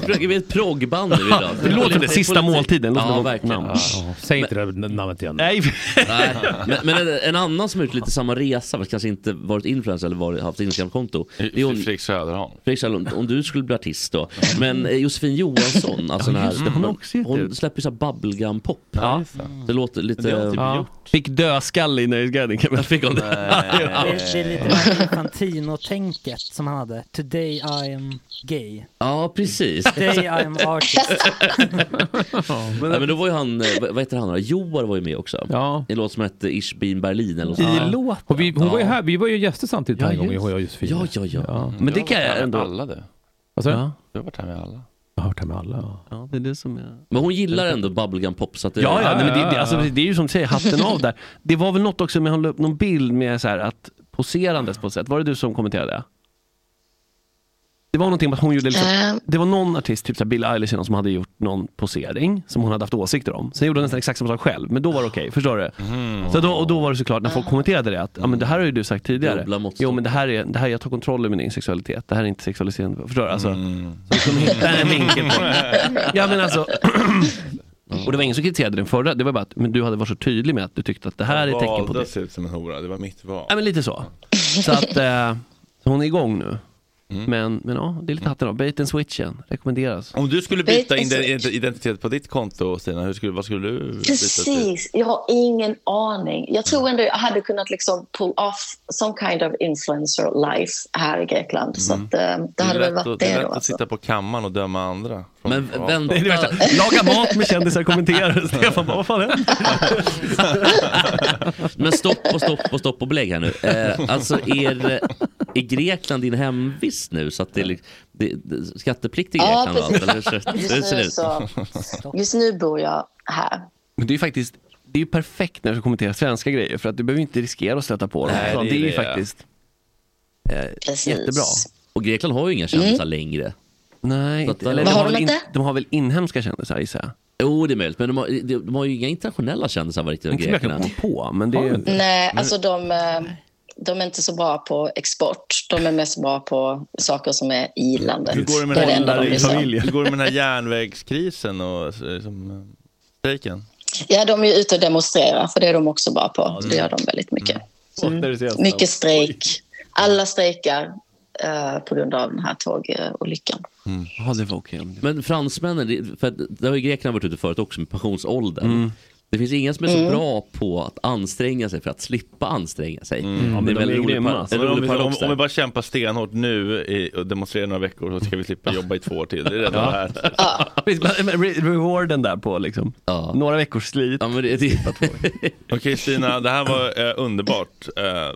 Vi är ett proggband nu idag.
Det låter som det, sista måltiden. Låter
Ja,
som
verkligen.
namn.
Säg inte det där namnet igen.
Nej.
Nej. Men, men en, en annan som har gjort lite samma resa, fast kanske inte varit influencer eller varit, haft Instagramkonto. det är hon-
Fredrik Söderholm.
Fredrik Söderholm, om du skulle bli artist då. Men eh, Josefin Johansson, alltså
Ja,
den här,
just det, hon har också gett
hon
ut.
släpper ju så här bubblegum-pop.
Ja.
Det låter lite...
Det har hon typ Ja. gjort. Fick dödskalle i Nöjesguiden kan man fick hon
Det, det är lite det här Infantino-tänket som han hade. Today I am gay.
Ja, precis.
Today I am artist.
men, ja, men då var ju han, eh, vad vad heter han då? Joar var ju med också.
Ja.
En låt som hette Ich bin Berlin eller något
I
sånt.
låten?
Och vi, hon var ju
Ja.
här, vi var ju gäster samtidigt den här
Ja,
gången,
just.
hon och Josefin.
Ja, ja, ja.
Mm.
Men det kan jag ändå...
Alla det.
Vad sa du?
Ja.
Du har varit här med alla.
Jag har hört det med alla.
Ja, det är det som jag...
Men hon gillar ändå bubblegum pop så att det...
Ja, ja, nej, men det,
ja,
det, alltså, det är ju som du säger, hatten av där. Det var väl något också med, han la upp någon bild med så här att poserandes på ett sätt. Var det du som kommenterade det? Det var någonting med att hon gjorde liksom, det var någon artist, typ så här Billie Eilish eller någon, som hade gjort någon posering som hon hade haft åsikter om. Sen gjorde hon nästan exakt samma sak själv, men då var det okej, förstår du?
Mm.
Så då, och då var det såklart, när folk kommenterade det, att ja, men det här har ju du sagt tidigare.
Dubbla måttstockar.
Jo men det här är, det här, jag tar kontroll över min egen sexualitet, det här är inte sexualiserande, förstår du? Alltså, Så liksom hitta en vinkel på det. Ja men alltså, och det var ingen som kritiserade den förra, det var bara att men du hade varit så tydlig med att du tyckte att det här är ett tecken på
Valde
det.
att se ut som en hora, det var mitt val.
Ja men lite så. Så att eh, så hon är igång nu. Men, men ja, det är lite hatten av. Bait and switchen rekommenderas.
Om du skulle byta
Byta
in din identitet på ditt konto, Stina, hur skulle, vad skulle du byta till?
Precis, jag har ingen aning. Jag tror ändå jag hade kunnat liksom pull off some kind of influencer life här i Grekland. Så att, eh, det hade
det är
väl
lätt,
varit
att, det
det
är
då.
lätt att
Alltså.
sitta på kammaren och döma andra. från-
Men
ja.
vänta.
Laga mat med kändisar kommenterar. Stefan bara, vad fan är det?
Men stopp och stopp och stopp och belägg här nu. Eh, alltså är, det- är Grekland din hemvist nu? Så att det är li- det, det, skatteplikt i
Ja,
Grekland och allt? Eller hur ser hur
Just
ser
nu,
det ut?
så, just nu bor jag här.
Men det är ju faktiskt, det är ju perfekt när du ska kommentera svenska grejer för att du behöver inte riskera att stöta på dem.
Nej,
Så
det är
det är ju
det.
faktiskt eh,
Precis. Mm.
jättebra.
Och Grekland har ju inga kändisar längre.
Nej,
att- eh,
inte, eller,
Vad har
väl
de
in,
inte?
de har väl inhemska kändisar gissar jag.
Jo, det är möjligt. Men de har, de, de har ju inga internationella kändisar vad riktigt
Inte som jag kan
grekerna.
alltså,
komma på, men det är ju...
Nej, alltså de... eh, de är inte så bra på export. De är mest bra på saker som är i landet.
Hur går det med,
Det är
den,
det enda de bryr sig om.
Hur går det med den här järnvägskrisen och eh, liksom, eh, strejken?
Mm.
Ja, de är ju ute och demonstrerar, för det är de också bra på. det gör de väldigt mycket.
Mm.
Mycket strejk. Alla strejkar eh, på grund av den här eh, tågolyckan.
Ja, det var okej.
Men fransmännen, det- för att det har ju Grekland varit ute förut också med pensionsåldern.
Mm.
Det finns ingen som är så
Mm.
bra på att anstränga sig för att slippa anstränga sig.
Mm.
Det är väldigt roligt par- en
Men Om,
rolig
vi, om,
paradox
om vi
där.
bara kämpar stenhårt nu i, och demonstrerar några veckor så ska vi slippa jobba i två år till. Det är redan
Ja.
värt det.
Visst, men- men re- Rewarden där på liksom. Några veckors slit.
Ja, men det, det...
Okej Stina, det här var eh, underbart. Eh,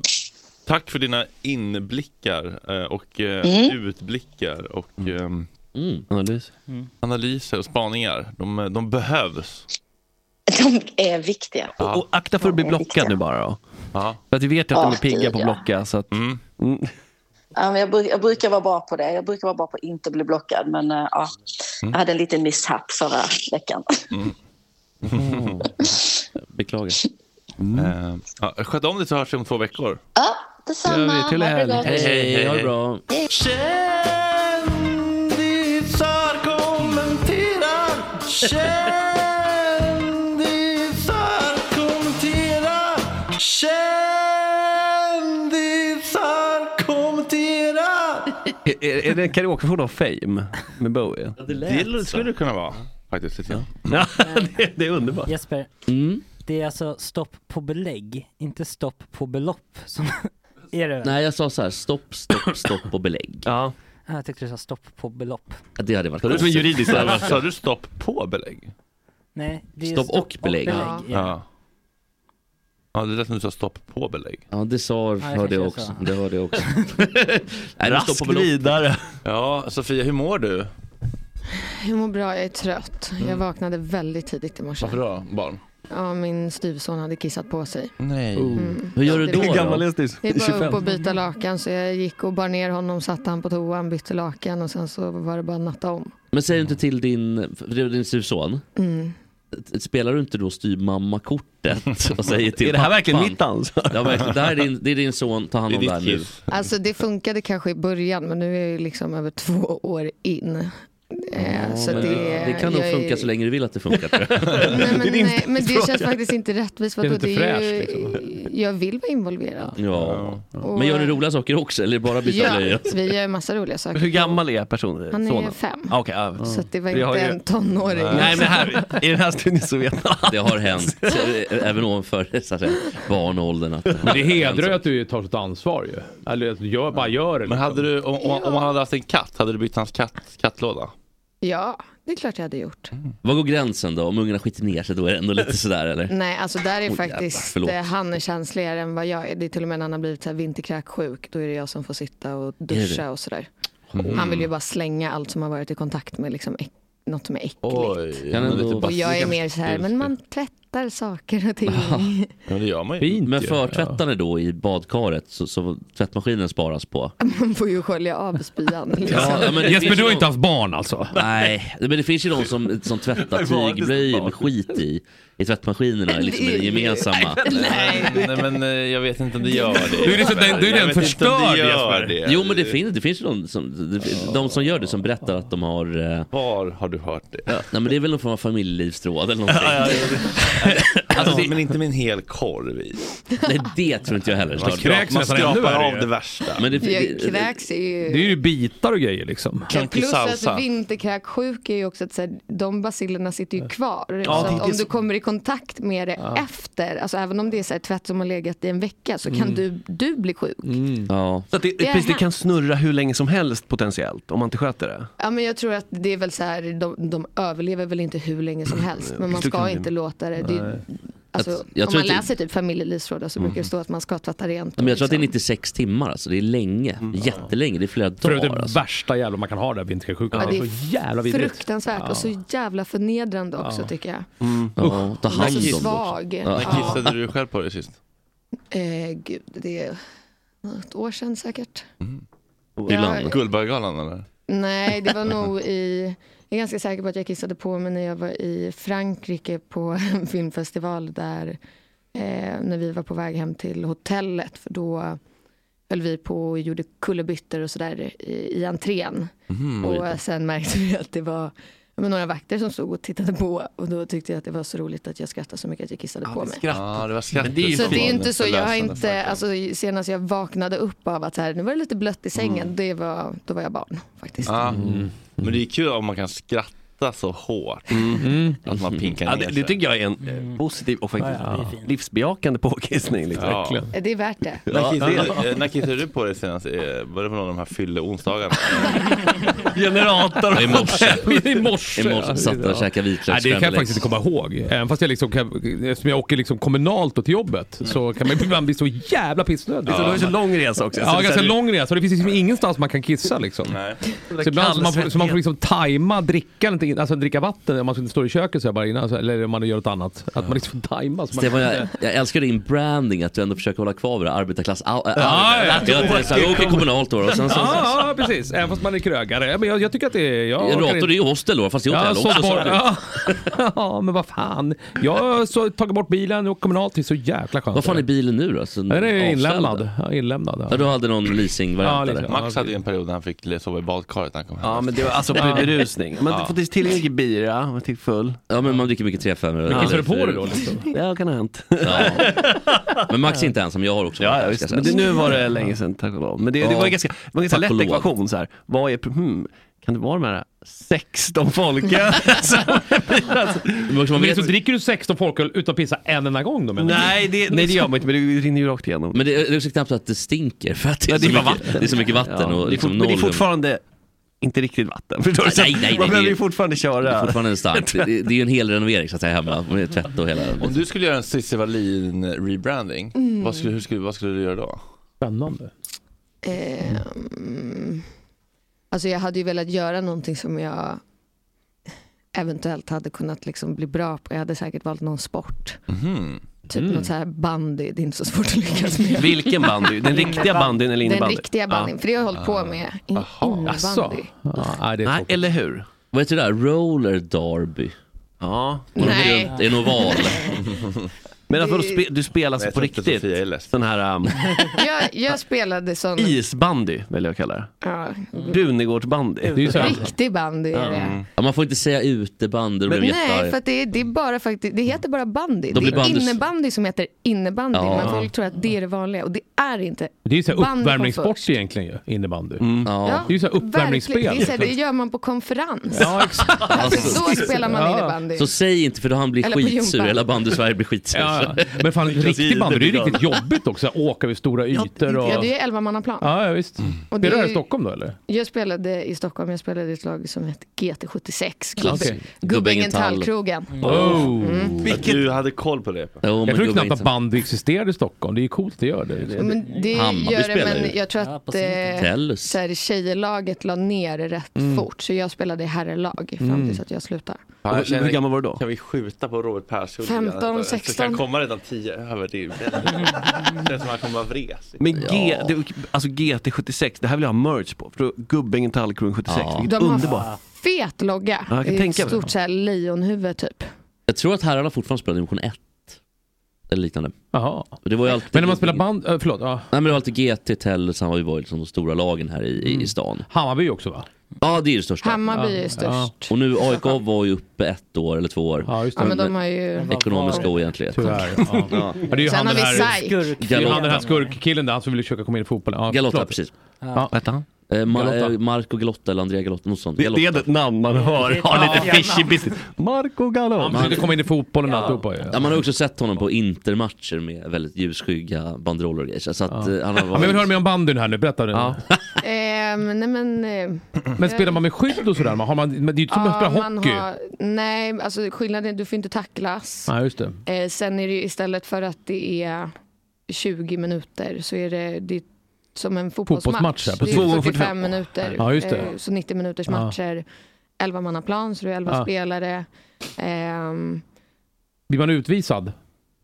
tack för dina inblickar eh, och eh, utblickar och
Mm.
ehm,
Analys.
analyser och spaningar. De, eh, de behövs.
De är viktiga.
Och, och akta för att bli blockad nu bara då. För att vi vet ju att de är
Ja, Ah, gud,
pigga på att
ja.
blocka. Så att, Mm.
Ja, men jag, bruk, jag brukar vara bra på det. Jag brukar vara bra på att inte bli blockad, men eh, ja, jag hade en liten mishap förra veckan.
Mm.
Mm.
Beklagar.
Eh, ja, sköt om dig så hörs vi om två veckor.
Ja, detsamma. Ha det gott.
bra.
Kändisar kommenterar. Kändisar kommenterar. Kändisar kommenterar.
är, är är det en karaokeversion av Fame med Bowie?
Det,
det skulle det kunna vara faktiskt. Lite grann.
Ja, det, det är underbart.
Jesper,
Mm.
det är alltså stopp på belägg, inte stopp på belopp. Som är det väl?
Nej, jag sa så här, stopp, stopp, stopp och belägg.
Ja.
Ah, Jag tyckte du sa stopp på belopp.
Det hade varit
Sa du som
konstigt.
juridiskt där? Sa du stopp på belägg?
Nej, det är
Stopp och belägg.
Ja.
Ja. ja, det lät som du sa stopp på belägg.
Ja, det sa
det
hörde
kanske
jag
jag
också.
sa.
Det hörde jag också. Nej, det
Rask
står på belopp.
vidare.
Ja, Sofia, hur mår du?
Jag mår bra, jag är trött. Jag
Mm.
vaknade väldigt tidigt i morse.
Varför då, barn? Oh.
Ja, min styvson hade kissat på sig.
Nej.
Mm.
Hur gör du
Det
då?
var-
då?
Det är bara upp och byta lakan så jag gick och bar ner honom, satte han på toan, bytte lakan och sen så var det bara att natta om.
Men säger du inte till din, för det är din styvson?
Mm.
Spelar du inte då styrmamma-kortet och säger till
Är det här
pappan?
verkligen mitt ansvar?
Ja, verkligen. Det här är din, det är din son, ta hand om det,
Det är
här
ditt
nu.
kiss.
Alltså det funkade kanske i början men nu är jag ju liksom över två år in. Eh, så
Men
det,
det, det kan nog
jag är-
funka så länge du vill att det funkar. tror jag.
Nej, men, nej, men det känns faktiskt inte liksom. rättvist.
Det är
Vadå,
inte
det är ju,
fräscht,
Jag vill vara involverad.
Ja.
Och-
Men gör ni roliga saker också eller bara byta
Ja,
blöjor?
vi gör massa roliga saker.
Hur gammal är personen?
Han är
sonen?
fem.
Ah, okej,
Mm.
ja.
Så att det var
Vi har
inte
ju-
en tonåring.
Nej, men här, i den här stunden så vet man.
Det har hänt, eh, även ovanför så att säga, barnåldern. Att
Men det hedrar ju att du tar sitt ansvar ju. Eller att du gör, bara gör det.
Alltså- Men hade du, om, om, om han hade haft en katt, hade du bytt hans katt, kattlåda?
Ja, det är klart jag hade gjort.
Vad går gränsen då? Om ungarna skiter ner sig då är det ändå lite sådär eller?
Nej, alltså där är
Åh, jävlar,
faktiskt
förlåt.
eh, han är känsligare än vad jag är. Det är till och med när han har blivit så här vinterkräksjuk. Då är det jag som får sitta och
Är det?
duscha och sådär.
Mm.
Han vill ju bara slänga allt som har varit i kontakt med liksom äck, något som är äckligt.
Oj.
Kan ändå-
och jag är mer så här, men man tvättar saker och ting.
Ja, det gör man ju.
Fint, Men förtvättar ni då i badkaret så, så tvättmaskinen sparas på?
Man får ju skölja av spyan. Liksom.
Jesper, du har inte haft barn alltså?
Nej, men det finns ju de som, som tvättar tygblöjor med skit i, i tvättmaskinerna, liksom i det gemensamma.
Nej, men, nej, men eh, jag vet inte om det gör det.
Du är liksom- du är
Jag vet
redan
inte om det
förstörd,
gör
Jesper.
det.
Jo men det finns, det finns ju de som, det, fin- de som gör det som berättar att de har... eh,
Var har du hört det?
Ja, nej men det är väl någon form av familjelivsråd eller någonting.
Alltså, men inte med en hel korv i.
Nej det tror inte jag heller.
Man skrapar, man skrapar av det värsta.
Men det,
Jag kräks är ju...
Det är ju bitar och grejer liksom.
Plus att vinterkräksjuka är ju också att så här, de bacillerna sitter ju kvar.
Ja,
så
det är
att om
så-
du kommer i kontakt med det efter, alltså även om det är så här, tvätt som har legat i en vecka så kan
Mm.
du, du bli sjuk.
Mm.
Ja.
Så att det,
Det har
precis, det
hänt.
kan snurra hur länge som helst potentiellt om man inte sköter det.
Ja, men jag tror att det är väl så här, de, de överlever väl inte hur länge som helst men man
Du kan
ska
ju-
inte låta det. det är ju- alltså,
Jag- jag
om
tror
man
att det-
läser typ familjelivsråd så brukar det stå att man ska tvätta rent.
Men jag tror att det är 96 timmar alltså, det är länge, jättelänge, det är flera
Mm. För det är
dagar.
det
Alltså.
värsta jävla man kan ha där vinterkräksjukan.
Ja, det är
så jävla vidrigt.
Fruktansvärt och så jävla förnedrande också
Ja.
tycker jag.
Ja, ta
Man är
hand
så
om dem.
svag.
När
Ja.
Alltså, kissade du själv på dig sist?
Eh, gud, det är något år sedan säkert.
I
Ja.
landet? Guldbaggegalan eller?
Nej, det var nog i... Jag är ganska säker på att jag kissade på mig när jag var i Frankrike på en filmfestival där eh, när vi var på väg hem till hotellet. För då höll vi på och gjorde kullerbyttor och sådär i, i entrén.
Mhm, oj.
och sen märkte vi att det var ja, men några vakter som stod och tittade på. Och då tyckte jag att det var så roligt att jag skrattade så mycket att jag kissade på mig.
Ja, det var skrattet.
Det så
som
det är ju
var
inte så, jag har
förlösande
inte,
faktorn.
alltså, senast jag vaknade upp av att så här, nu var det lite blött i sängen, det var, då var jag barn.
Ja. Mm.
Mm.
Men det är kul om man kan skratta så hårt.
Mm.
Att man pinkar
Ja,
ner
det-
sig.
det tycker jag är en eh, positiv och faktiskt livsbejakande påkissning. Liksom.
Ja. Verkligen.
Det är värt det.
När kissade, eh, när kissade du på dig senast? Eh, Var det på någon av de här fylleonsdagarna?
Generator.
I morse.
I morse.
I morse satt jag och käkade vitlöksskämt.
Nej, Det kan jag faktiskt inte komma ihåg. Även fast jag liksom kan, eftersom jag åker liksom kommunalt och till jobbet så kan man ibland bli så jävla pissnödig.
Ja, det var ju så lång resa också.
Ja,
Så det är
ganska
så här-
lång resa. Det finns liksom ingenstans man kan kissa liksom. Så, ibland, så, man får, så man får liksom tajma dricka, lite in- alltså dricka vatten om man står i köket så här bara innan, så- eller om man gör något annat. Att man liksom får tajma. Så man
Stefan,
kan-
jag, jag älskar din branding, att du ändå försöker hålla kvar vid det arbetarklass... Äh, ja,
ja, ja.
jag åker kommunalt då. Och sen, så,
ja, ja, precis. Även fast man är krögare. Men jag, jag tycker att det är... Jag orkar
Generator
inte-
är ju hostel då, fast i hotell
sålt
också. så-
bort- ja. ja, men vad fan. Jag har så, tagit bort bilen och kommunalt. Det är så jäkla skönt.
Vad fan är bilen nu då? Så,
Den är
avställd?
inlämnad. Ja, inlämnad ja.
Ja, du hade någon leasingvariant
Ja,
där.
liksom.
Max hade ju en period när han fick sova i badkaret när han kom hem.
Ja, men det var alltså
Ja.
berusning. Man
Ja.
får tillräckligt mycket bira, man är full.
Ja, men man dricker mycket 3-5.
Men kissar du på dig
det
då, liksom? Ja, kan ha hänt.
Men Max är inte ensam, jag har också
Ja,
varit
ja
där,
visst.
ska
Men
jag
det,
säga.
nu var det länge sedan, tack och lov. Men det, det
Ja.
var en ganska, det var en ganska
Tack och
lätt
lov.
ekvation. Så här. Vad är, hmm, kan det vara de här 16 folköl? som blir, alltså.
Men så dricker du 16 folköl utan att pissa en enda gång då menar du?
Nej, det, nej, det gör man inte, men det rinner ju rakt igenom.
Men det, det är också knappt att det stinker, för att det är,
Ja, det
så,
är bara
mycket,
vatten.
det är så mycket vatten.
Ja, det är
och
fort-
liksom
men det är
noll-
fortfarande inte riktigt vatten. Förstår du?
Nej,
Så
nej, nej,
man
det
behöver
är-
ju fortfarande
Det är
köra.
fortfarande en stark. Det, det är ju en hel renovering så att säga hemma, med tvätt och hela...
Om du skulle göra en Cissi Wallin rebranding,
Mm.
vad, skulle, hur skulle, vad skulle du göra då?
Spännande.
Ehm, alltså jag hade ju velat göra någonting som jag eventuellt hade kunnat liksom bli bra på. Jag hade säkert valt någon sport. Typ något så här bandy, det är inte så svårt att lyckas med.
Mm. Vilken bandy? Den riktiga bandyn eller innebandy?
Den riktiga
Ja.
bandyn,
Ah.
för det har jag hållit på med. In- Innebandy.
Nej,
eller hur?
Vad heter det där? Roller derby?
Ja.
Nej.
Det är en oval.
Men alltså, vadå, spe, du spelar alltså
Nej,
på
jag tror inte
riktigt? Den här um,
Jag, jag spelade sån
isbandy, vill jag kalla det.
ja,
Brunegårdsbandy. Det är
ju så här- Mm.
riktig bandy. Är det.
Ja, man får inte säga utebandy, då blir man
Nej,
jättearg.
för att det, är, det, är bara faktiskt, det heter bara bandy.
Då
det är
blir bandy-
innebandy som heter innebandy.
Ja.
Men folk tror att det är det vanliga och det är inte.
Det är ju så här
Bandy kom
uppvärmningssport
först.
egentligen ju, innebandy.
Mm.
Ja,
Det är ju så här uppvärmningsspel.
verkligen. Det, är så här, det gör man på konferens.
Ja, exakt.
Alltså,
Så spelar man innebandy.
Alltså, Så säg inte för då han blir
Eller på
skitsur,
gympan.
hela bandy-Sverige blir skitsur.
Ja, ja. Men fan, riktig bandy, det är ju riktigt jobbigt också. Åka över stora ytor och...
Ja, det är elvamannaplan.
Ja, ja visst.
Och
Spelar
det
du
är
här i
ju-
Stockholm då eller?
Jag spelade i Stockholm, jag spelade i ett lag som hette GT76,
Okej.
Gubbe- Gubbängen Tallkrogen.
Oh.
Oh.
Mm.
Att du hade koll på det.
jag tror knappt att bandy existerade i Stockholm. Det är ju coolt att det liksom. gör det.
Men det gör det, men jag tror att eh,
Tellus.
så här, tjejlaget la ner det rätt
Mm.
fort, så jag spelade i herrelag fram
Mm.
tills att jag slutade.
Fan, jag känner-
Hur gammal var du då?
Kan vi skjuta på Robert Pershult?
15,
Så kan
16.
komma redan 10 över. Det är ju bättre. Det känns som han kommer vara vres.
Men G, det, alltså GT76, det här vill jag ha merch på. För då, Gubbängen Tallkrogen 76,
Ja.
vilket
De har
underbart.
fet logga.
Ja, jag kan
Det är
tänka
ett
mig
stort så här, lejonhuvud typ.
Jag tror att herrarna fortfarande spelar division 1. Eller liknande.
Jaha.
Det var ju alltid...
Men när man spelar band, äh, förlåt. Ja.
Nej men det var alltid GT, Tellus, Hammarby var ju liksom de stora lagen här i, i stan.
Mm. Hammarby också va?
Ja det är ju det största.
Hammarby är ju störst.
Och nu AIK var ju uppe ett år eller två år.
Ja,
Ja, men de har ju...
Ekonomiska oegentligheter.
Tyvärr, ja. Ja, det är ju
Sen
han
har
den
vi
här,
SAIK.
det är ju han den här skurkkillen där, han som ville försöka komma in i fotbollen. Ja,
Galotta,
förlåt.
precis.
Ja.
Vad hette han?
Eh, Ma-
Galotta.
eh, Marco Galotta eller Andrea Galotta, något sånt.
Det, det är ett namn man hör har lite
Ja.
fishy business. Marco Gallo.
Han försökte komma in i fotbollen och alltihopa ju.
Ja, man har också sett honom på intermatcher med väldigt ljusskygga banderoller och grejer. Så att, eh, han har
Ja, men jag vill höra mer om bandyn här nu, berätta nu.
Ehm, nej men... eh,
Men spelar man med skydd och sådär? Man har man, men det är ju inte som att
ja,
spela
man
hockey.
har- nej, alltså skillnaden är att du får inte tacklas.
Nej, just det.
Eh, sen är det ju istället för att det är 20 minuter så är det, det är som en fotbollsmatch.
Fotbollsmatch, ja,
det är
precis.
45 minuter.
Ja, just det.
Eh, så 90 minuters
Ja.
matcher. 11 mannaplan så det är 11
Ja.
spelare. Ehm,
Blir man utvisad?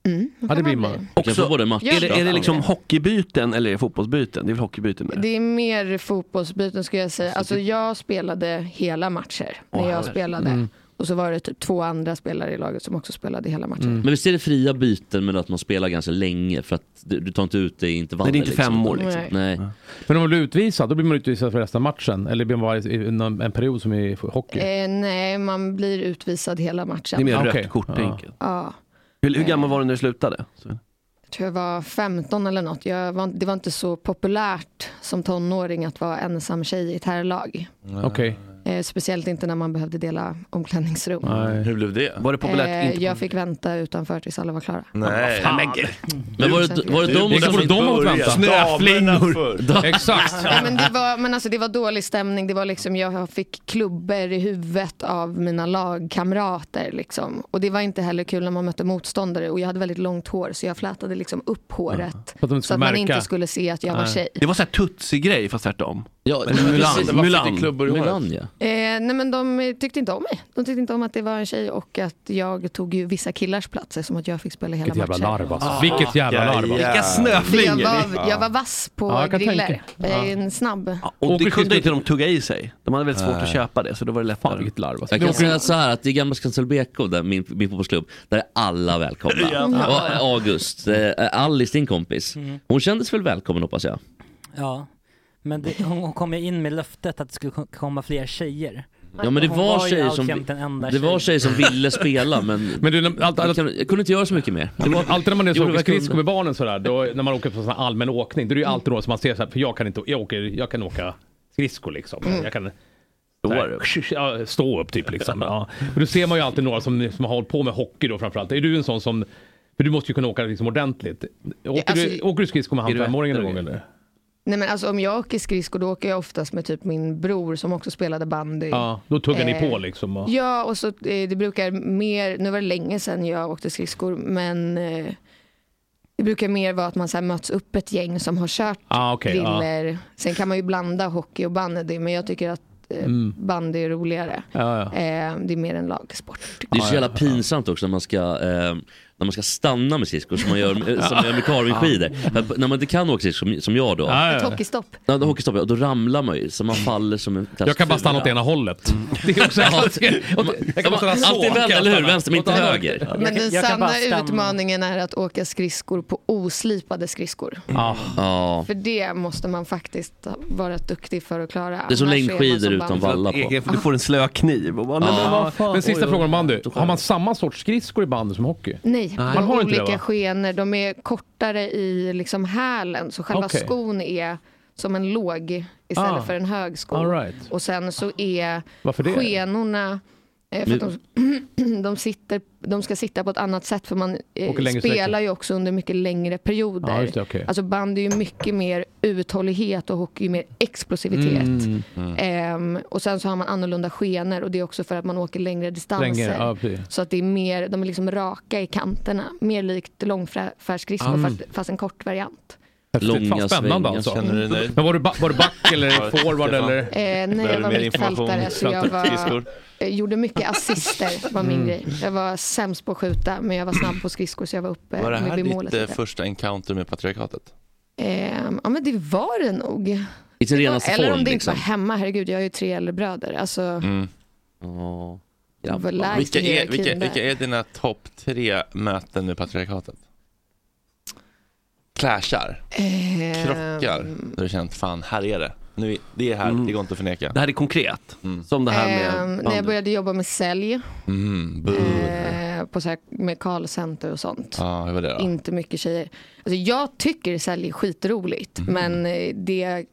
Mm,
ja, det blir man.
Också,
Ja.
är, det, är det liksom hockeybyten eller är det fotbollsbyten? Det är väl hockeybyten med det?
det är
typ-
mer fotbollsbyten skulle jag säga. Alltså jag spelade hela matcher när
Åh,
jag
herre.
spelade.
Mm.
Och så var det typ två andra spelare i laget som också spelade hela matchen.
Mm. Men visst är det fria byten men att man spelar ganska länge för att du, du tar inte ut det i intervaller? liksom, utan-
liksom.
Nej.
Men om man blir utvisad, då blir man utvisad för resten av matchen? Eller blir man bara i- i någon- en period som i hockey?
Eh, nej, man blir utvisad hela matchen.
Ja.
Ja,
Hur, hur gammal var du när du slutade?
jag tror jag var 15 eller något. Jag var, det var inte så populärt som tonåring att vara ensam tjej i ett herrlag.
Okej.
Eh, speciellt inte när man behövde dela omklädningsrum.
Hur blev det?
Var det
Eh, jag fick vänta utanför tills alla var klara.
Nej.
Fan, men
Men var det, var det
Det-
de
det
som
borde de ha fått vänta.
Snöflingor!
Damerna förr. Exakt.
Nej, men det, var, men alltså, det var dålig stämning. Det var liksom, jag fick klubbor i huvudet av mina lagkamrater. Liksom. Och det var inte heller kul när man mötte motståndare. Och jag hade väldigt långt hår så jag flätade liksom upp håret.
För att de inte
så att
skulle
man
märka.
inte skulle se att jag var
Nej.
tjej.
Det var så här Tutsi-grej fast tvärtom.
Ja,
Eller Mulan.
precis. Varför fick klubbor i håret? Mulan, ja.
Eh, nej men de tyckte inte om mig. De tyckte inte om att det var en tjej och att jag tog ju vissa killars plats eftersom att jag fick spela hela
Vilket jävla
matchen.
larv alltså. Vilket jävla larv alltså.
Vilka snöflingor.
Jag var, jag var vass på
Ja, jag kan
griller.
tänka.
Jag är en snabb.
Och det kunde
Christer-
inte de tugga i sig. De hade väldigt svårt
Nej.
att köpa det så då var det lättare. Fan vilket larv
Jag kan säga så här att i gamla Skanselbeko, där min, min fotbollsklubb, där är alla välkomna.
Ja.
Och August, eh, Alice din kompis,
Mm.
hon kändes väl välkommen hoppas jag?
Ja, men det, hon, hon kom ju in med löftet att det skulle ko- komma fler tjejer.
Ja men det
Hon
var,
ju
tjejer som,
alltjämt den enda
det var
tjejen.
tjejer som ville spela men,
men du,
jag, kunde inte göra så mycket mer.
Ja, men alltid när man är så
Jo,
åker
jag kunde.
skridskor med barnen sådär, då, när man åker på sån här allmän åkning, då är det ju alltid någon som man ser såhär, för jag kan inte, jag, åker, jag kan åka skridskor liksom.
Mm.
Jag kan stå upp. Ja, stå upp typ liksom. Ja. Men då ser man ju alltid några som, som har hållit på med hockey då framförallt. Är du en sån som, för du måste ju kunna åka liksom ordentligt. Åker,
alltså-
du, åker du skridskor med han
Är du
femåringen någon gång eller?
Nej, men alltså, om jag åker skridskor då åker jag oftast med typ min bror som också spelade bandy.
Ja, då tuggar ni
Eh,
på liksom. Och...
Ja, och så eh, det brukar mer, nu var det länge sedan jag åkte skridskor, men eh, det brukar mer vara att man så här möts upp ett gäng som har kört
Ah, okej, ja.
griller. Sen kan man ju blanda hockey och bandy, men jag tycker att eh,
Mm.
bandy är roligare.
Ja, ja.
Eh, det är mer en lagsport.
Det är så jävla pinsamt också när man ska, eh, när man ska stanna med skridskor som man gör, eh, som man gör med carvingskidor. För att När man inte kan åka skridskor som, som jag då.
Ja, ja, ja. Ett
hockeystopp.
Ja, då hockeystopp, ja, då ramlar man ju så man faller som en Mm.
Jag kan bara stanna åt ena hållet. Det är också jag kan bara stanna så.
Alltid
Kan
vänster,
jag
eller hur?
stanna.
Vänster men inte
Åt alla
höger.
Men den
jag kan bara
sanna
stanna.
utmaningen är att åka skridskor på oslipade skridskor.
Ja.
För det måste man faktiskt vara duktig för att klara.
Det är som
Annars man
längdskidor
som
utan
band-
valla på.
Du får en slö kniv. Och bara,
Ja.
nej, men vad fan.
Ah. Men sista
Oj, oj,
frågan om
oj.
bandy. Har man samma sorts skridskor i bandy som hockey?
Nej,
Man
man
har
har
inte det,
olika
va?
skenor. De är kortare i liksom hälen, så själva
Okej.
skon är som en låg istället
Ah.
för en hög sko.
All right.
Och sen så är
Varför det?
skenorna eh, för att de, de, sitter, de ska sitta på ett annat sätt för man eh,
Åker längre
spelar
sträckor.
ju också under mycket längre perioder.
Ja, just det, okej.
Alltså band är ju mycket mer uthållighet och hockey är mer explosivitet.
Mm. Mm.
Ehm, och sen så har man annorlunda skenor och det är också för att man åker längre distanser.
Längre, ja, precis.
så att det är mer, de är liksom raka i kanterna. Mer likt långfärsskridskor
Mm.
fast, fast en kort variant.
Häftigt. Fan, spännande alltså.
Känner du dig nöjd?
Men var du, ba- var du back eller forward
Stefan?
eller?
Eh, nej, jag var mittfältare så jag var, eh, gjorde mycket assister var min
Mm.
grej. Jag var sämst på att skjuta men jag var snabb på skridskor så jag var uppe
Var det här
vid målet.
ditt eh,
lite.
första encounter med patriarkatet?
Ehm, ja men det var det nog.
I sin
Eller
renaste form
om det inte
liksom.
var hemma, herregud jag har ju tre äldre bröder. Alltså,
Mm.
Ja.
var lägst
Vilka
i
är,
hierarkin
vilka,
där.
vilka är dina topp tre möten med patriarkatet? Clashar?
Ehm.
Krockar? När du känt fan, här är det. Nu, är- det är här, det går inte att förneka. Mm. Det
här är konkret.
Som
det
Ehm, när jag började jobba med sälj
Mm, boo.
eh, på så här, med callcenter och sånt.
Ja, hur var det då?
Inte mycket tjejer. Alltså, jag tycker sälj är skitroligt
Mm.
men eh, det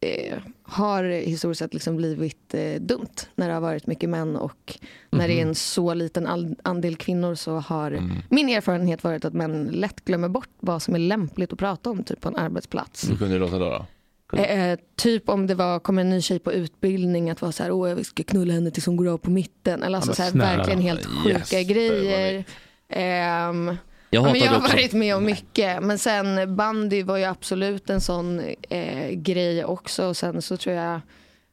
eh, har historiskt sett liksom blivit eh, dumt när det har varit mycket män och när
Mhm.
det är en så liten all- andel kvinnor så har
Mm.
min erfarenhet varit att män lätt glömmer bort vad som är lämpligt att prata om typ på en arbetsplats.
Hur kunde det låta då? då?
Eh, typ om det var, kommer en ny tjej på utbildning att vara så här, åh jag ska knulla henne tills hon går av på mitten. Eller alltså
men
så här,
snälla.
verkligen helt sjuka
Jesper, vad
grejer. Ehm,
Jag
ja, men
hatar
jag
det
har
också.
varit med om mycket. Men sen bandy var ju absolut en sån eh, grej också. Och sen så tror jag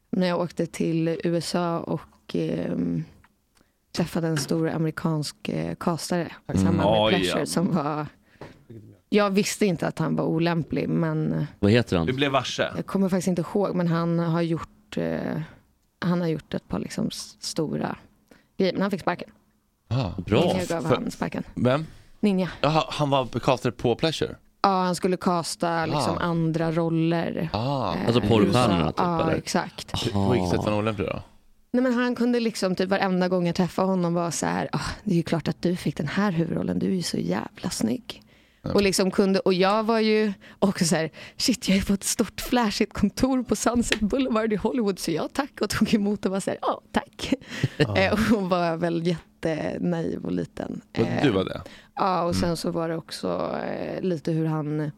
när jag åkte till USA och ehm, träffade en stor amerikansk eh, castare i
Mm.
samband med
Oj,
Pleasure
ja.
som var jag visste inte att han var olämplig men
Vad heter han?
Du blev varse.
jag kommer faktiskt inte ihåg, men han har gjort, eh, han har gjort ett par liksom s- stora grejer, men han fick sparken.
Bra.
Ninja gav
För-
han sparken.
Vem?
Ninja.
Jaha, han var castare på Pleasure?
Ja, han skulle kasta liksom
Ah.
andra roller.
Ah.
Eh,
Alltså porrstjärnorna, typ,
Ja,
eller?
exakt.
På vilket sätt var han olämplig då?
Nej, men han kunde liksom typ varenda gång jag träffade honom var så här, ah, det är ju klart att du fick den här huvudrollen, du är ju så jävla snygg. Och, liksom kunde, och jag var ju också så här, shit jag är på ett stort flashigt kontor på Sunset Boulevard i Hollywood så jag tack och tog emot och var så här, ja tack. Eh, och hon var väl jättenaiv och liten. Eh,
Du var det?
Ja, och
Mm.
sen så var det också eh, lite hur han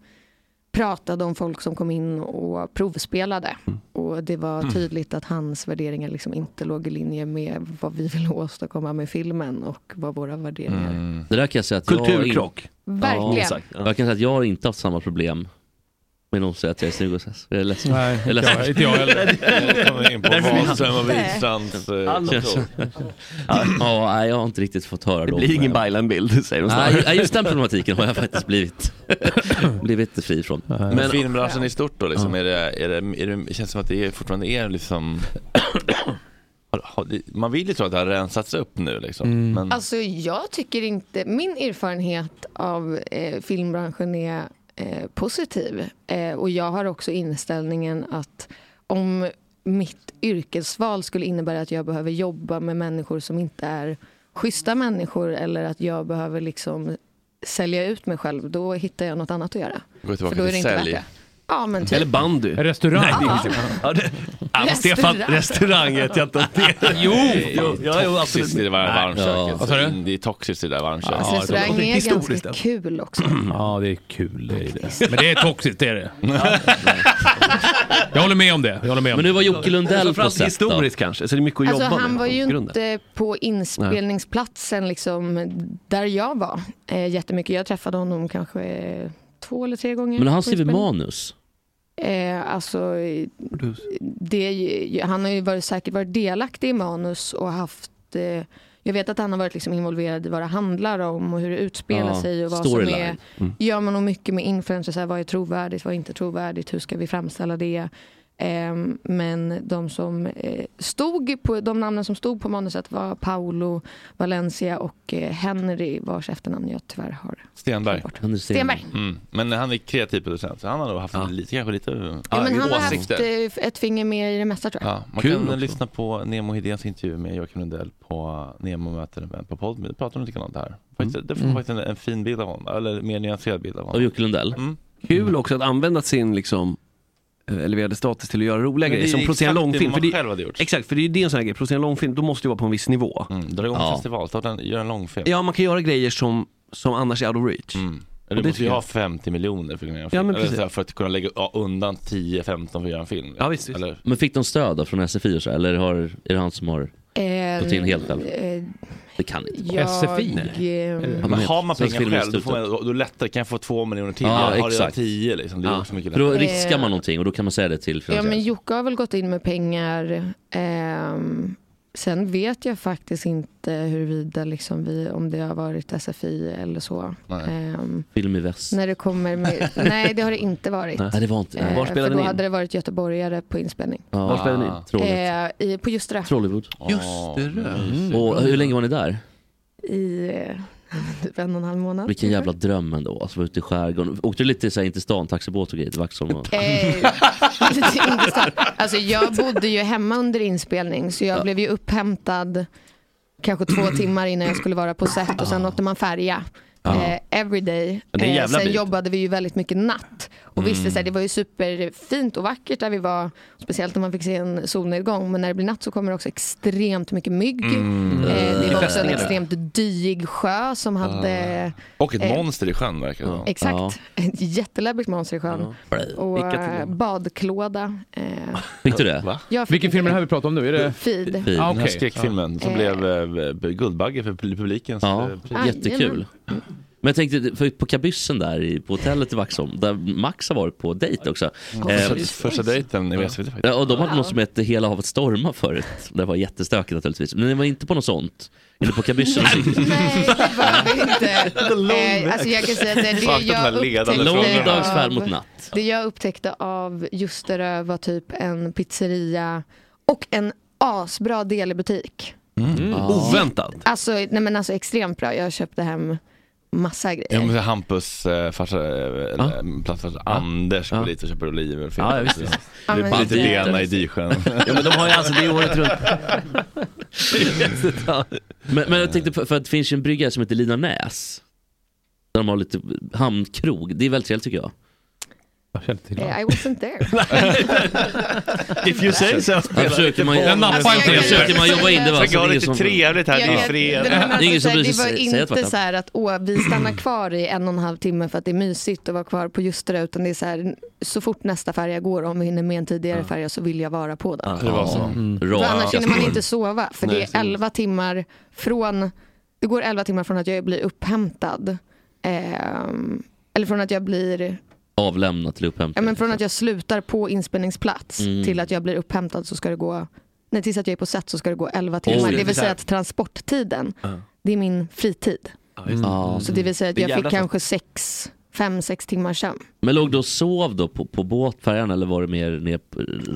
pratade om folk som kom in och provspelade. Och det var
Mm.
tydligt att hans värderingar liksom inte låg i linje med vad vi vill åstadkomma med filmen och vad våra värderingar
Mm.
Mm.
Det där kan jag säga att
Kulturkrock.
Jag, har in-
Verkligen.
Ja, exakt. jag kan säga att jag har inte haft samma problem med någon som säger att jag är snygg och sess. Jag är ledsen.
Nej,
är
inte
ledsen.
jag- inte jag heller. Jag kommer in på
Därför vi-
Wahlström och Wikstrands, eh,
Alla-
kontor.
Ja, ja, nej, jag har inte riktigt fått höra
Det
dem.
blir ingen
Bajlan-bild, säger
de
Nej,
snarare.
nej, just den problematiken har jag faktiskt blivit, blivit fri från.
Men, filmbranschen i stort då, liksom, är det, är det, är det, känns det som att det är, fortfarande är liksom... Har- har- det- Man vill ju tro att det har rensats upp nu liksom. Men,
Alltså jag tycker inte, min erfarenhet av eh, filmbranschen är eh, positiv. Eh, och jag har också inställningen att om mitt yrkesval skulle innebära att jag behöver jobba med människor som inte är schyssta människor eller att jag behöver liksom sälja ut mig själv, då hittar jag något annat att göra.
gå tillbaka
då är det
till
inte värt
sälj.
det. Ja, men typ.
Eller bandy. Restaurang.
Ah.
Ja, det, ja, men Stefan,
Restaurang.
restaurang vet jag inte om det är. Jo, jo, jo, jo absolut.
Toxiskt i det där
Ja. Vad sa
varmköket.
du?
Det är toxiskt i det där varmköket.
Alltså, restaurang är ganska kul också.
Ja, det är kul. Det är det. Men det är toxiskt, det är det. Jag håller med om det. Jag håller med om
Men nu var Jocke
Alltså,
Lundell på
Framförallt
set
historiskt
kanske, så det är mycket
Alltså, han var ju inte på inspelningsplatsen liksom, där jag var eh, jättemycket. Jag träffade honom kanske eh, två eller tre gånger.
Men
på
han skriver
inspelning.
manus.
Eh, alltså, eh, det är ju, han har ju varit, säkert varit delaktig i manus och haft eh, jag vet att han har varit liksom involverad i vad det handlar om och hur det utspelar
Ja,
sig. och vad som
storyline.
är,
Mm.
ja, men och Mycket med influencers, så här, vad är trovärdigt, vad är inte trovärdigt, hur ska vi framställa det? Ehm, men de som eh, stod på, de namnen som stod på manuset var Paolo, Valencia och eh, Henry, vars efternamn jag tyvärr har.
Stenberg.
Stenberg.
Mm. Men han är kreativ producent, så han har nog haft lite, kanske lite
Ja, men han har haft
åsikter.
eh, ett finger med i det mesta tror jag.
Ja, man
Kul
kan
också.
lyssna på Nemo Hedéns intervju med Joakim Lundell på Nemo möter en vän på Podme. Då pratar de likadant
Mm.
här. Faktiskt, Det får man faktiskt en, en fin bild av honom, eller mer nyanserad bild av honom.
Av Jocke Lundell.
Mm.
Kul också att använda sin liksom, eh, eleverade status till att göra roliga
Men det
grejer.
är
Som
ju
producera en
exakt det
långfilm.
man
för det-
själv hade gjort.
Exakt, för det är ju det en sån här grej. Producera en långfilm, då måste du vara på en viss nivå.
Mm, dra igång en festival, starta en, gör en långfilm.
Ja, man kan göra grejer som, som annars är out of reach.
Mm. Eller
Och
Du
det
måste ju
tycker
ha 50 miljoner för att kunna göra en
Ja,
film.
men
eller,
precis.
så här, för att kunna lägga ja, undan 10-15 för att göra en film. Ja, visst, Eller,
Men fick de stöd då från SFI och så, här, eller har, är det han som har
Eh,
gått in helt själv?
eh,
Det kan inte
jag- SFI? Nej. eh,
Mm.
Ja, men har man
Svensk
pengar själv, då,
Filminstitut.
får man, då- då lättare kan jag få två miljoner till. jag
Ja,
har redan
exakt.
tio liksom. Det är
Ja.
också mycket
För då
lättare.
riskar man någonting och då kan man säga det till
Ja, men
finansiären.
Jocke har väl gått in med pengar. Ehm, sen vet jag faktiskt inte huruvida liksom vi, om det har varit SFI eller så. Ehm,
Film i väst.
när det kommer med, nej, det har det inte varit.
Nej, det var inte det.
Ehm,
Var
för
spelade
då
ni in?
hade det varit göteborgare på inspelning.
Ja. Ah. Var spelade ni? Tråligt.
Ehm, i, på Ljusterö.
Trollywood.
Just det, det.
Mm. Och hur länge var ni där?
I eh, typ en och en halv månad.
Vilken jävla dröm ändå, alltså vara ute i skärgården. Åkte du lite så här, in till stan, taxibåt och grejer till Vaxholm? Och...
Eh, lite intressant. alltså jag bodde ju hemma under inspelning så jag blev ju upphämtad kanske två timmar innan jag skulle vara på set och sen åkte man färja.
Mm. Ja.
Eh, everyday.
Ja, det är en
Eh,
jävla
sen
bit. Mm.
jobbade vi ju väldigt mycket natt. Och visst, så här, det var ju superfint och vackert där vi var. Speciellt när man fick se en solnedgång. Men när det blir natt så kommer det också extremt mycket mygg.
Mm.
Eh, det var också en
Fästingar.
extremt dyig sjö som hade...
Ah.
Och ett
eh,
monster i sjön verkar det som.
Exakt. Ett jätteläbbigt monster i sjön. Och
Vilka
eh,
tillgångar.
badklåda. Eh,
Fick du det?
jag fick
Vilken film är det här vi pratar om nu? Är det...
Feed.
Den
Ah,
här
okej.
skräckfilmen som
Eh.
blev eh, Guldbagge för publikens
Ja,
eh, pris.
jättekul. Men jag tänkte, för på kabyssen där i- på hotellet i Vaxholm, där Max har varit på dejt också. Ehm,
Mm. Första- första dejten i SVT faktiskt.
Ja, och de hade något som hette Hela havet stormar förut. Det var jättestökigt naturligtvis. Men ni var inte på något sånt? Eller på kabyssen?
Nej, det var vi inte. Eh, alltså jag kan säga att det, det
Vakna på den här
jag
ledande
upptäckte
frågan. Lång dags färd
av-
mot natt.
Det jag upptäckte av Ljusterö var typ en pizzeria och en asbra delibutik.
Mm.
Ah.
Oväntat.
Alltså, nej men alltså extremt bra. Jag köpte hem massa grejer.
Ja, men Hampus eh, farsa, eh, ah? plastfarsa Anders går dit och köper oliver.
Ja, ja, visst, visst.
Det
Ja,
är
men-
lite Lena i Disjön.
Ja, men de har ju alltså det året runt. men, men jag tänkte, för, för att det finns ju en brygga som heter Lina Näs. Där de har lite hamnkrog. Det är väldigt trevligt tycker jag. Jag
känner till
Eh, I wasn't there.
If you say so. försöker man,
Jag nappar inte.
jag försöker man jobba in det. va?
Försöker
Så
ha
det är
lite
som-
trevligt här, det är fredag.
Det, men
Det är ingen
alltså, så
som
här,
bryr
det
sig
var
säga att Mm.
inte så här att åh, vi stannar kvar i en och en halv timme för att det är mysigt att vara kvar på just det där, utan det är så här, så fort nästa färja går, om vi hinner med en tidigare färja så vill jag vara på den.
Det var så. Mm.
För annars hinner man inte sova, för
Nej,
det
precis.
är 11 timmar från, det går 11 timmar från att jag blir upphämtad, ehm, eller från att jag blir
Avlämna till
Ja,
upphämtning.
men från att jag slutar på inspelningsplats
Mm.
till att jag blir upphämtad så ska det gå, nej tills att jag är på set så ska det gå 11 timmar.
Oj.
det vill säga att transporttiden,
Ja.
det är min fritid.
Ja.
Så det vill säga att
Mm. Det är
jag
jävla
fick kanske sex, fem, sex timmar sömn.
Men låg du och sov då på, på båtfärjan eller var det mer ner,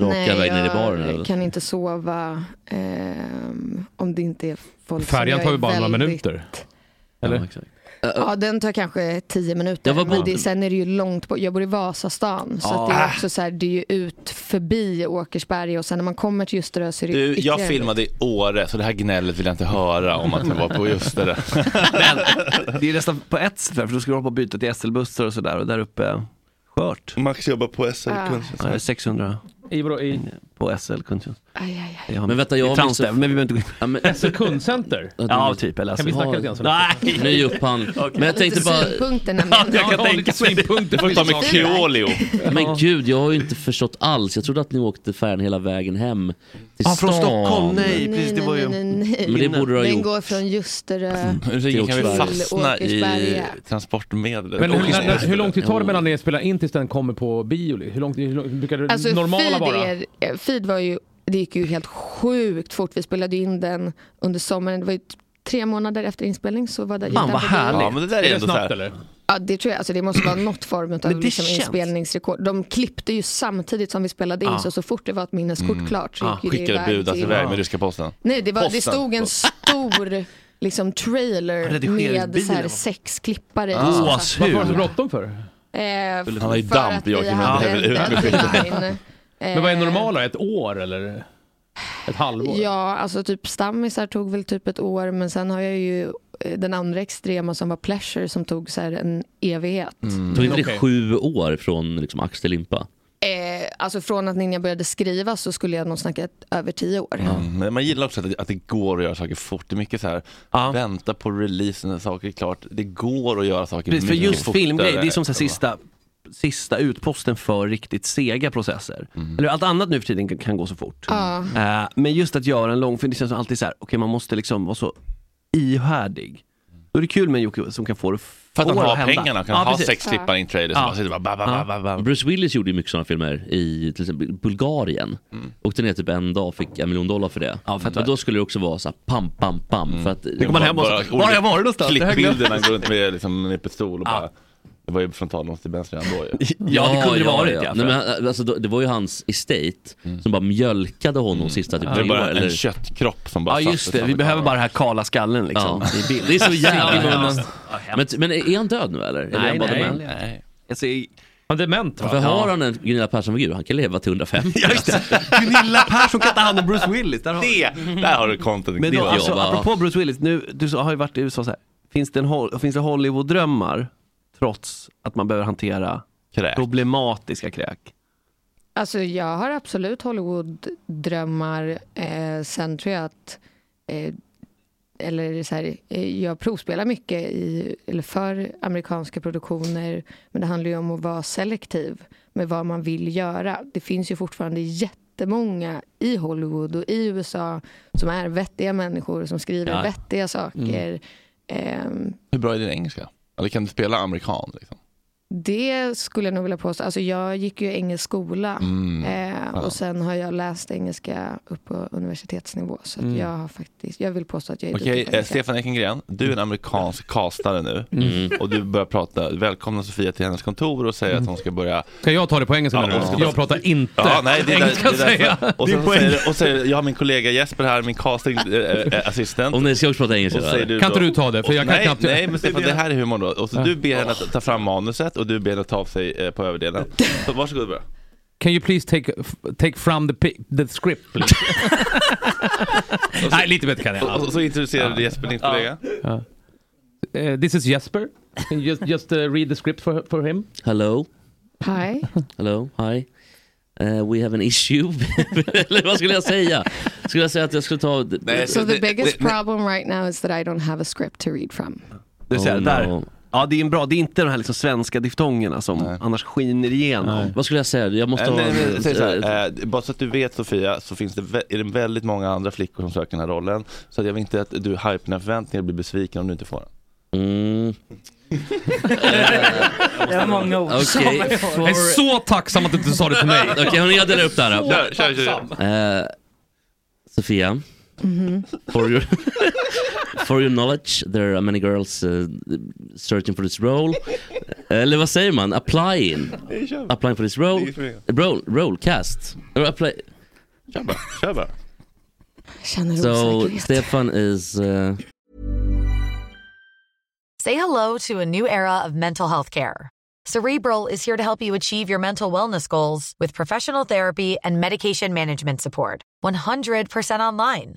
raka väg ner i baren? Eller?
jag kan inte sova ehm, om det inte är folk som
Färjan
jag
tar
är
ju bara några
väldigt-
minuter. Eller?
Ja, den tar kanske tio minuter.
Jag var
men
på-
det, sen är det ju långt bort. Jag bor i Vasastan. Så
Ah.
att det är också så här, det är ju ut förbi Åkersberga och sen när man kommer till Ljusterö så är det
Du, jag
ytterligare-
filmade i Åre, så det här gnället vill jag inte höra om att jag var på just det där.
Det är nästan på ett sätt där, för då ska du hoppa och byta till SL-bussar och sådär och där uppe, skört.
Max jobbar på SL
Ah.
Ja, jag är 600
I, vadå, i...
på SL kundtjänst.
Aj, aj, aj.
Men vänta, jag har
har
missat-
missat... Men vi behöver inte gå in
Ja, men...
SL kundcenter?
Ja, typ. Eller
Kan vi snacka lite grann sen?
Nej!
Ny upphandling. Men jag tänkte bara...
Synpunkter nämligen.
synpunkter
på ta med Keolio.
Men gud, jag har ju inte förstått alls. Jag trodde att ni åkte färjan hela vägen hem till
Ja, från
stan.
Stockholm. Nej,
Nej,
precis. Det var
nej,
ju...
nej, nej.
Men det borde du ha
Den
gjort. Mm.
går från Ljusterö
Ulrika, kan vi
till
fastna i
Åkersberga.
transportmedlet?
Men hur, när, när, hur lång tid tar det
Jo.
mellan ni spelar in tills den kommer på bio? Hur långt, hur långt brukar det
Alltså
normala
feed,
vara?
är, eh, feed var ju, det gick ju helt sjukt fort. Vi spelade ju in den under sommaren. Det var ju t- tre månader efter inspelning så var det gick den på bio.
Ja, men det där är,
Är det
ändå
snabbt,
så här.
eller?
Ja, det tror jag. Alltså, det måste vara något form av
det
liksom,
känns-
inspelningsrekord. De klippte ju samtidigt som vi spelade in,
Ja. Mm.
så så fort det var ett minneskort klart
Mm.
så gick ju det
Ah, Skickade
iväg
budat
till-
iväg med ryska posten.
Nej, det, var, det
Posten.
stod en stor liksom, trailer
Redigeringsbilen,
med så här,
va?
sex klippare i. Alltså,
Ah.
Varför var det så bråttom för?
Eh,
Han har ju
för
damp,
att vi
jag kan
hade Eh,
inte
en
ut med skiten.
deadline.
Men vad är normala? Ett år eller? Ett halvår?
Ja, alltså typ stammisar tog väl typ ett år men sen har jag ju eh, den andra extrema som var pleasure som tog så här en evighet.
Tog inte det
Mm.
Okej.
sju år från liksom, ax till limpa?
Eh, alltså från att Ninja började skriva så skulle jag nog snacka ett- över tio år.
Mm. men Man gillar också att, att det går att göra saker fort. Det är mycket så här, vänta på releasen när saker är klart. Det går att göra saker
Precis, för
Mm.
mycket
just
fortare.
filmgrejer, det är som så här sista, sista utposten för riktigt sega processer.
Mm.
Eller allt annat nu för tiden kan- kan gå så fort.
Ja.
Eh, men just att göra en långfilm, det känns som alltid så här, okej man måste liksom vara så ihärdig. Då är det kul med en Jocke som kan få det
För att han
få det
har
att hända.
pengarna, kan
Ja,
ha
precis.
sex klippar i en trailer som
Ja.
bara sitter och bara, ba, ba, ba, ba, ba.
Bruce Willis gjorde ju mycket sådana filmer i till exempel Bulgarien.
Mm.
Åkte ner typ en dag och fick en miljon dollar för det. och då skulle det också vara så här pam, pam, pam.
Mm.
För att,
Då går man hem och så,
Bara-
var har jag varit någonstans? Det har jag glömt.
Klippbilderna går runt med, liksom, med pistol och bara, det var ju frontalnos till vänster redan då ju.
Nej, men, han- alltså, då- det var ju hans estate som bara mjölkade honom sista typ
Mm. Det är
tre
bara
år,
en köttkropp som
Ja just det, vi behöver bara den här kala skallen liksom.
Ja.
i bild.
Det är så jävla
hemskt.
hemskt. Men, men är han död nu eller?
Nej,
eller
nej.
nej.
Alltså, i-
Han är dement
För har han en Gunilla Persson-figur, han kan leva till 105. Ja, just det.
Gunilla Persson kan ta hand om Bruce Willis. Där har
Det, där har du content.
Men
Det
då,
var
alltså,
jag bara-
apropå Bruce Willis, nu, du har ju varit i USA så här. Finns det, en, Hol- finns det Hollywood-drömmar trots att man behöver hantera problematiska kräk?
Alltså jag har absolut Hollywood-drömmar. Eh, sen tror jag att, eh, eller så här, eh, jag provspelar mycket i, eller för amerikanska produktioner. Men det handlar ju om att vara selektiv med vad man vill göra. Det finns ju fortfarande jättemånga i Hollywood och i USA som är vettiga människor som skriver
Ja.
vettiga saker.
Mm.
Ehm,
Hur bra är din engelska? Eller kan du spela amerikan? Liksom?
Det skulle jag nog vilja påstå. Alltså jag gick ju engelsk skola
Mm.
eh,
Ja.
och sen har jag läst engelska upp på universitetsnivå. Så att
Mm.
jag har faktiskt, jag vill påstå att jag är
typ
Okej,
duktig på
eh, Stefan Ekengren, du är en amerikansk castare nu
Mm.
och du börjar prata, välkomna Sofia till hennes kontor och
Mm.
säger att hon ska börja
Ska jag ta det på engelska
Ja,
nu?
hon ska-
Jag pratar inte
Ja, nej, det är,
engelska
där, det är
säger
därför.
jag.
Och
Det är
sen så
på
säger,
engelska.
du- och säger, jag har min kollega Jesper här, min eh, castingassistent. Och
ni ska också prata
engelska.
Kan inte du ta det? För jag kan
nej,
knappt-
Nej, men Stefan,
Det är
det
det.
här är humorn då. Och så
Ja.
du ber henne att ta fram manuset och du ber henne att ta av sig eh, på överdelen. Så varsågod och börja.
Can you please take, take from the, pi- the script please? Nej, lite bättre kan jag.
Och, och så introducerar du Jesper, din kollega.
Ja. Uh, Eh, this is Jesper. Can you just just uh, read the script for, for him?
Hello,
Hi.
hello, hi. Eh, we have an issue. Eller vad skulle jag säga? Skulle jag säga att jag skulle ta...
Eh,
So the biggest problem right now is that I don't have a script to read from.
Du ser,
Oh,
där.
no.
Ja, det är en bra. Det är inte de här liksom svenska diftongerna som annars skiner igenom.
Vad skulle jag säga? Jag måste
Eh,
ha...
nej, nej, säg så här, eh, bara så att du vet Sofia, så finns det, vä- är det väldigt många andra flickor som söker den här rollen. Så att jag vill inte att du hypar dina förväntningar och blir besviken om du inte får den.
Mm.
Det var många ord.
Okej,
Samma
for-
år.
Jag är så tacksam att du inte sa det till mig.
Okej, hörni, jag delar upp det här. då.
Kör, kör,
Eh, Sofia,
Mhm.
for your, for your knowledge, there are many girls eh, searching for this role. Uh, Eller vad säger man? Applying.
Det kör vi.
Applying for this
Det
role.
gick för
Role, role cast. Or apply.
Kör bara, kör bara.
Känner
So
osäkerhet.
Stefan is... eh,
Say hello to a new era of mental health care. Cerebral is here to help you achieve your mental wellness goals with professional therapy and medication management support. 100% online.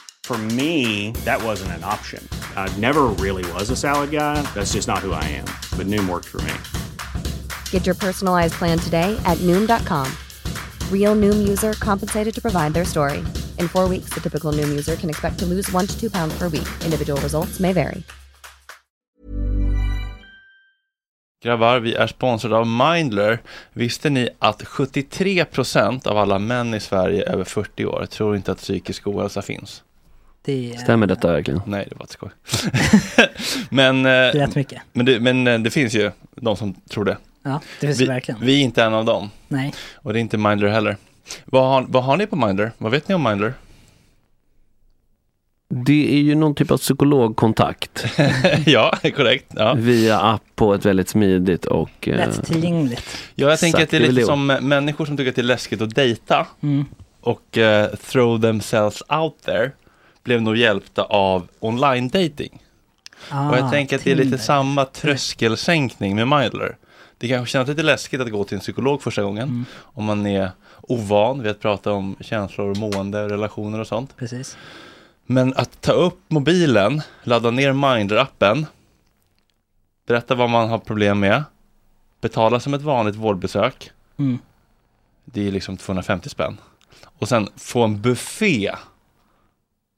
For me, that wasn't an option. I never really was a salad guy. That's just not who I am. But Noom worked for me.
Get your personalized plan today at Noom.com. Real Noom user compensated to provide their story. In four weeks, the typical Noom user can expect to lose one to two pounds per week. Individual results may vary.
Grabbar, vi är sponsrade av Mindler. Visste ni att 73% av alla män i Sverige över 40 år tror inte att psykisk ohälsa finns?
Det är...
Stämmer detta verkligen?
Nej, det var ett skoj. men, det
Rätt mycket.
Men det, men eh, det finns ju de som tror det.
Ja, det finns
vi,
det verkligen.
Vi är inte en av dem.
Nej.
Och det är inte Mindler heller. Vad har, vad har ni på Mindler? Vad vet ni om Mindler?
Det är ju någon typ av psykologkontakt.
ja, korrekt.
Via app på ett väldigt smidigt och... eh,
Ja, jag tänker
Exakt,
att det är
det är väl
lite
det.
som eh, människor som tycker att det är läskigt att dejta
Mm.
och eh, throw themselves out there blev nog hjälpta av online dating. och jag
Ah,
tänker att det är lite
Tinder.
samma tröskelsänkning med Mindler. Det kanske känns lite läskigt att gå till en psykolog första gången
Mm.
om man är ovan vid att prata om känslor, mående, relationer och sånt.
Precis.
Men att ta upp mobilen, ladda ner Mindr-appen, berätta vad man har problem med, betala som ett vanligt vårdbesök.
Mm.
Det är liksom 250 spänn. Och sen få en buffé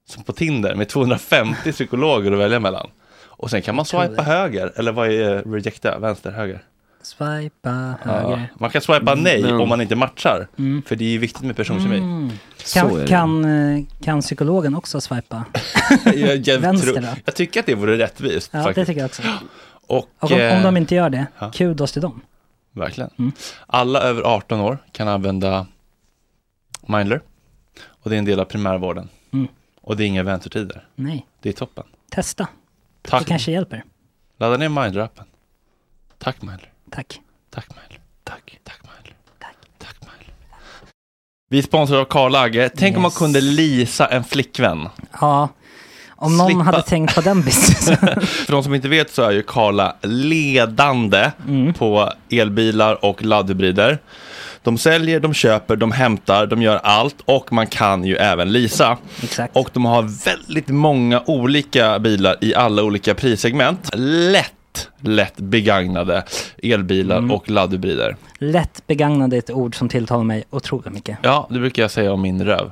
som på Tinder med 250 psykologer att välja mellan. Och sen kan man
tror
swipa
det.
höger, eller vad är rejecta? Vänster, höger?
Swipa
Ja.
höger.
Man kan swipa nej
Men-
om man inte matchar.
Mm.
För det är ju viktigt med personkemi.
Mm.
Så är
Kan,
det.
kan, eh, kan psykologen också swipa?
jag, jag,
Vänster
tror,
då?
jag tycker att det vore rättvist.
Ja,
faktiskt.
det tycker jag också.
Och,
Och om, om
eh,
de Mm. inte gör det, kudos till dem.
Verkligen. Alla över 18 år kan använda Mindler. Och det är en del av primärvården.
Mm.
Och det är inga väntetider.
Nej,
Det är toppen.
testa.
Tack.
Det kanske hjälper.
Ladda ner Mindler-appen. Tack Mindler.
Tack.
Tack Mindler. Tack. Tack Mindler. Tack. Tack Mindler. Vi är sponsrade av Karl Agge. Tänk om man kunde leasa en flickvän.
Ja, om någon
Slippa-
hade tänkt på den businessen.
För de som inte vet så är ju Karla ledande på elbilar och laddhybrider. De säljer, de köper, de hämtar, de gör allt och man kan ju även leasa. Och de har väldigt många olika bilar i alla olika prissegment. Lätt, lätt begagnade elbilar och laddhybrider.
Lätt begagnade är ett ord som tilltalar mig otroligt mycket.
Ja, det brukar jag säga om min röv.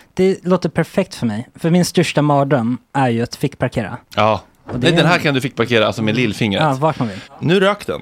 det låter perfekt för mig. För min största mardröm är ju att fick parkera.
Ja.
det
Nej,
är-
den här kan du fick parkera alltså med lillfingret.
Ja, vart man vill.
Nu rök den.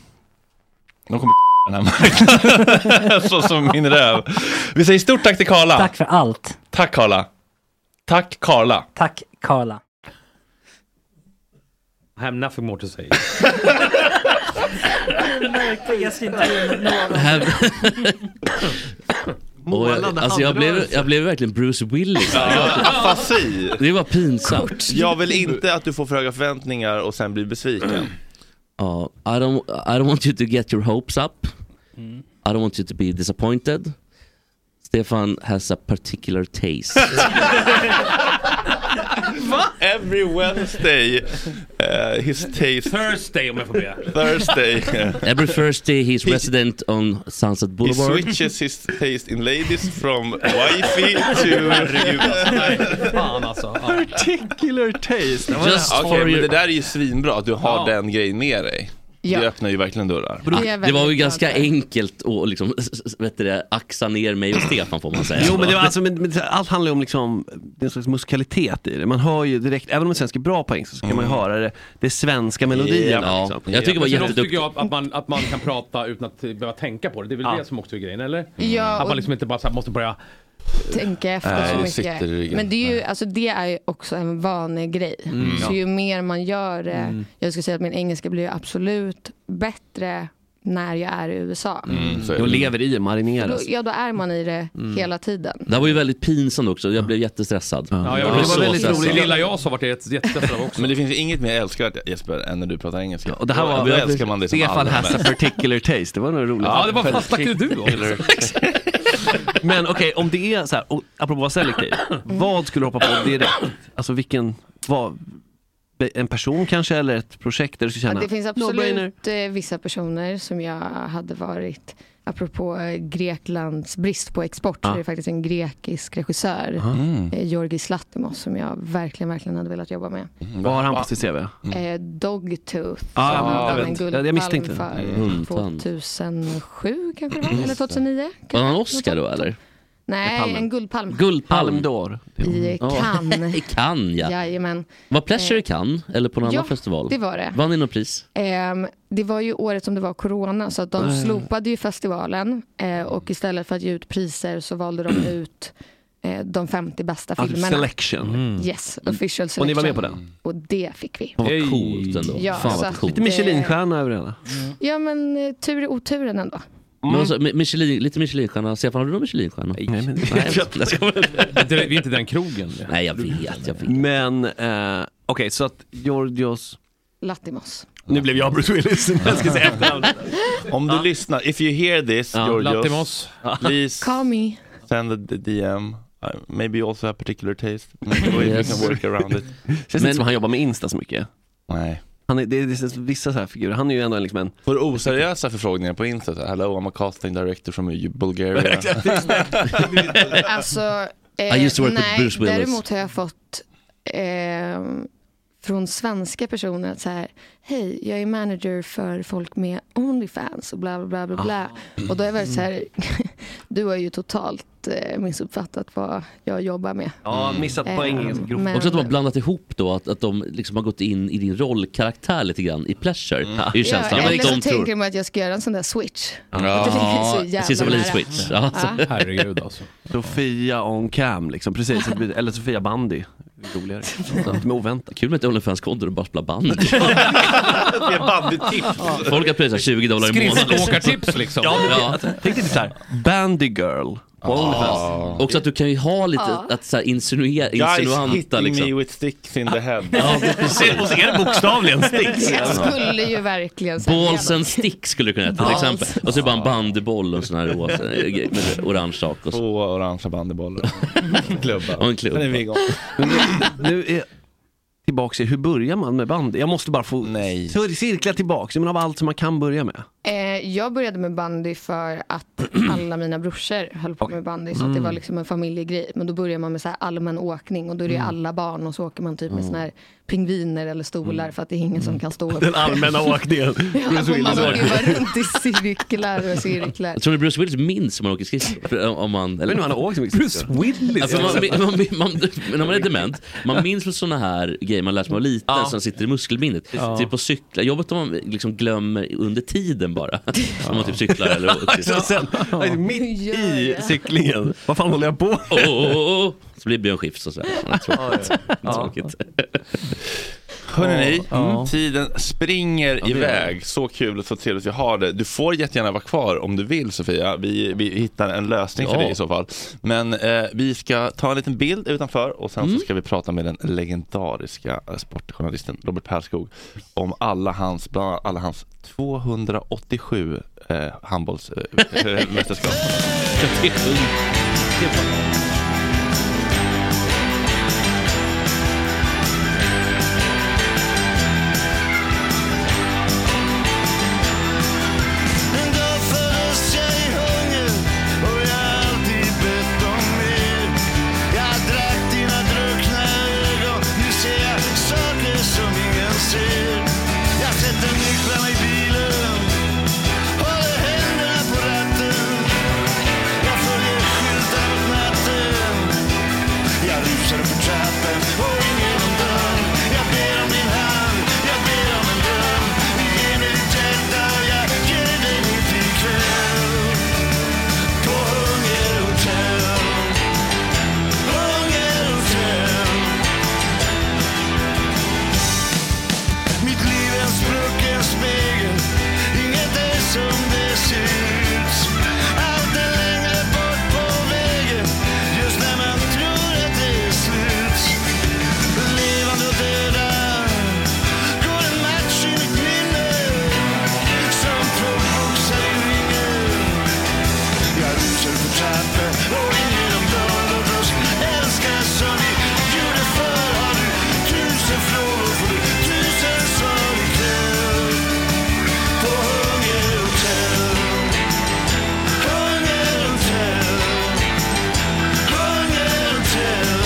De kommer den här marknaden. Så som min röv. Vi säger stort tack till Karla.
Tack för allt.
Tack Karla. Tack Karla.
Tack Karla.
I have nothing more to say.
Och,
Målande
alltså jag blev,
handrörelser.
jag blev verkligen Bruce Willis.
Afasi.
Det var pinsamt.
Jag vill inte att du får för höga förväntningar och sen blir besviken.
Ja, I don't, I don't want you to get your hopes up.
Mm.
I don't want you to be disappointed. Stefan has a particular taste.
Va? Every Wednesday, eh, his taste...
Thursday om jag får be.
Thursday.
Every Thursday he's
He-
resident on Sunset
He
Boulevard.
switches his taste in ladies from wifey to...
Fan alltså.
Particular taste.
Just
Okej,
for
men
your-
det där är ju svinbra att du har
Ja.
den grejen med dig.
Ja.
Det öppnar ju verkligen dörrar.
Det är jag
Det var ju
väldigt
ganska
glad för.
enkelt att liksom, s- s- vet du det, axa ner mig och Stefan får man säga.
Jo men, det var, alltså, men, men allt handlar ju om liksom, det är en slags musikalitet i det. Man hör ju direkt, även om en svensk är bra på engelska så kan man
Mm.
ju höra det, det är svenska melodierna.
Ja.
liksom.
Jag tycker det var
Men sen också
jätteduktigt.
tycker jag att man, att man kan prata utan att behöva tänka på det. Det är väl det som också är grejen, eller?
Mm. Ja,
att
och-
man liksom inte bara så här måste börja...
tänka efter
Nej,
så
det
mycket.
sitter i ryggen.
Men det är, ju, alltså, det är ju också en vanegrej.
Mm.
Så
Ja.
ju mer man gör det,
Mm.
jag skulle säga att min engelska blir ju absolut bättre när jag är i USA.
Mm.
Mm,
Då lever i,
Då,
marineras.
ja, då är man i det
Mm.
hela tiden.
Det här var ju väldigt pinsamt också, jag blev jättestressad.
Ja, jag
Jag
blev
blev
också
så
väldigt
stressad.
rolig. Lilla jag sa vart jag är jättestressad av också.
Men det finns ju inget mer älskvärt Jesper än när du pratar engelska. och
det här var-
då älskar man det som
Stefan
allra
has a
mest.
particular taste, det var nog roligt.
Ja, det var fan snackade du om?
Men okej, om det är så här, och apropå att vara selektiv, vad skulle du hoppa på direkt? Alltså vilken, vad, en person kanske eller ett projekt där du skulle
Ja,
känna?
det finns
No-brainer.
absolut eh, vissa personer som jag hade varit, apropå eh, Greklands brist på export,
Ah.
så är det faktiskt en grekisk regissör,
Mm.
eh, Georgis Latimos, som jag verkligen, verkligen hade velat jobba med.
Vad har han på sitt CV?
Eh, Dogtooth,
Mm. Ah,
som
jag
vann
vet.
en
Ja, jag
Guldpalm
misstänkte det. Mm.
för
Mm.
2007 kanske det var,
Just
eller
det.
2009.
Var han Oscar då eller?
Nej,
Palmen.
en Guldpalm.
Guldpalm?
I
Ja.
Cannes.
I Cannes ja.
Jajamän.
Var Pleasure i Cannes eller på någon
Ja,
annan festival?
det var det.
Vann ni något pris?
Ehm, det var ju året som det var corona så att de
Nej.
slopade ju festivalen eh, och istället för att ge ut priser så valde de ut eh, de 50 bästa
Ja, typ
filmerna.
selection.
Mm.
Yes, official selection.
mm. Och ni var med på den? Mm.
Och det fick vi.
Fan, vad coolt ändå.
Ja,
Fan,
så
vad
att
coolt. Mm.
det- Lite Michelinstjärna
över henne.
Ja men eh, tur i oturen ändå.
Men alltså, Mi- Michelin, lite Michelinstjärna. Stefan, har du någon Michelinstjärna? Nej, men det
vet jag
Vi är inte den krogen.
Nej, jag vet. Jag vet.
Men, eh, okej så att Georgios...
Latimos.
Nu blev jag Bruce Willis. Jag ska säga efternamnet.
Om du lyssnar, if you hear this,
Ja.
Georgios,
Latimos.
please
Call me.
send a d- DM. I- Maybe you also have particular taste. Maybe we
Yes.
can work around it.
Känns inte som han jobbar med Insta så mycket.
Nej.
Han är, det är, det är vissa så här figurer, han är ju ändå liksom en...
Får du oseriösa förfrågningar på Insta? så här, Hello, I'm a casting director from Bulgaria.
Alltså,
I used to work with
nej,
Bruce Willis.
däremot har jag fått eh, från svenska personer att så här, hej, jag är manager för folk med Onlyfans och bla bla bla bla. bla. Och då har jag varit så här, du har ju totalt eh, missuppfattat vad jag jobbar med.
Ja, missat
Eh,
poängen ganska grovt.
men-
Också att de har blandat ihop då, att, att de liksom har gått in i din rollkaraktär lite grann i Pleasure. Är ju känslan.
Ja,
Att
eller
de
så
tror-
tänker de att jag ska göra en sån där switch.
Ja,
Att det ligger så jävla
precis som en liten
nära.
switch.
Ja. Ja.
Herregud alltså. Sofia on cam liksom, precis. Det blir- Eller Sofia bandy. Roligare. Lite mer oväntat.
Kul med ett Onlyfans-konto där du bara spelar bandy.
Det är banditips.
Folk har pröjsat 20 dollar i månaden.
Skridskoåkartips, liksom.
Ja, men,
Ja. Tänk dig typ såhär, bandy girl.
Ah. Också att du kan ju ha lite,
Ja.
att så här insinuera,
Guys
insinuanta
hitting
liksom. Ah.
me with sticks in the head.
Och så är det bokstavligen sticks.
Jag skulle ju verkligen säga
Balls and stick skulle det kunna heta till
Balls.
exempel. Och så är det bara en bandyboll och en sån här rosa, med orange sak. Och så.
Två orangea bandybollar. Klubba.
Och en klubba.
Sen är vi igång.
Men nu, nu är tillbaks i hur börjar man med bandy? Jag måste bara få Så cirkla tillbaks, men av allt som man kan börja med.
Eh, jag började med bandy för att alla mina brorsor höll på med bandy. Så att det
Mm.
var liksom en familjegrej. Men då börjar man med så här allmän åkning och då är det ju
Mm.
alla barn och så åker man typ med
Mm.
såna här pingviner eller stolar för att det är ingen som kan stå upp.
Den allmänna åkningen. Bruce
ja, och man
Willis
åker
åker.
bara runt i cirklar och cirklar.
Jag tror ni Bruce Willis minns om man åker skridskor? För, eh, om- Om man, eller?
Men nu, han har åkt så mycket Bruce Willis?
Alltså, man, man, man, man, när man är dement, man minns väl sådana här grejer man lär sig när man var liten som sitter i muskelminnet.
Ja.
Typ på cyklar, jobbet om man liksom glömmer under tiden bara. Om man typ cyklar eller
Alltså, sen, alltså, mitt i cyklingen, vad fan håller jag på
Åh, åh, åh, åh. Så blir det Björn Skifs och sådär. Tråkigt.
Ja.
Tråkigt.
Hörrni,
Ja.
mm. tiden springer
Ja, det gör
iväg. Så kul och så trevligt vi har det. Du får jättegärna vara kvar om du vill Sofia. Vi, vi hittar en lösning
Ja.
för dig i så fall. Men eh, vi ska ta en liten bild utanför och sen
Mm.
så ska vi prata med den legendariska eh, sportjournalisten Robert Perskog om alla hans, bland annat alla hans 287 eh, handbollsmästerskap. Eh, mästerskap.
Men då föds jag i hunger och jag har alltid bett om mer. Jag drack dina druckna ögon, nu ser jag saker som ingen ser. Jag sätter nycklarna i bilen, håller händerna på ratten. Jag följer skyltar åt natten. Jag rusar upp för trappen och ringer om dörren. Jag ber om din hand, jag ber om en dröm. Ge mig ditt hjärta, jag ger dig min flickvän. På hungerhotell, hungerhotell. Mitt liv är en sprucken spegel, inget är som det ser ut. Allt är längre bort på vägen, just när man tror att det är slut. Levande och döda, går en match i mitt minne. Som två boxare i ringen. Jag rusar för trappen och in genom dörren. Låt oss älska som vi gjorde förr. Har du tusen frågor får du tusen svar ikväll. På Hungerhotell. Hungerhotell. Hungerhotell.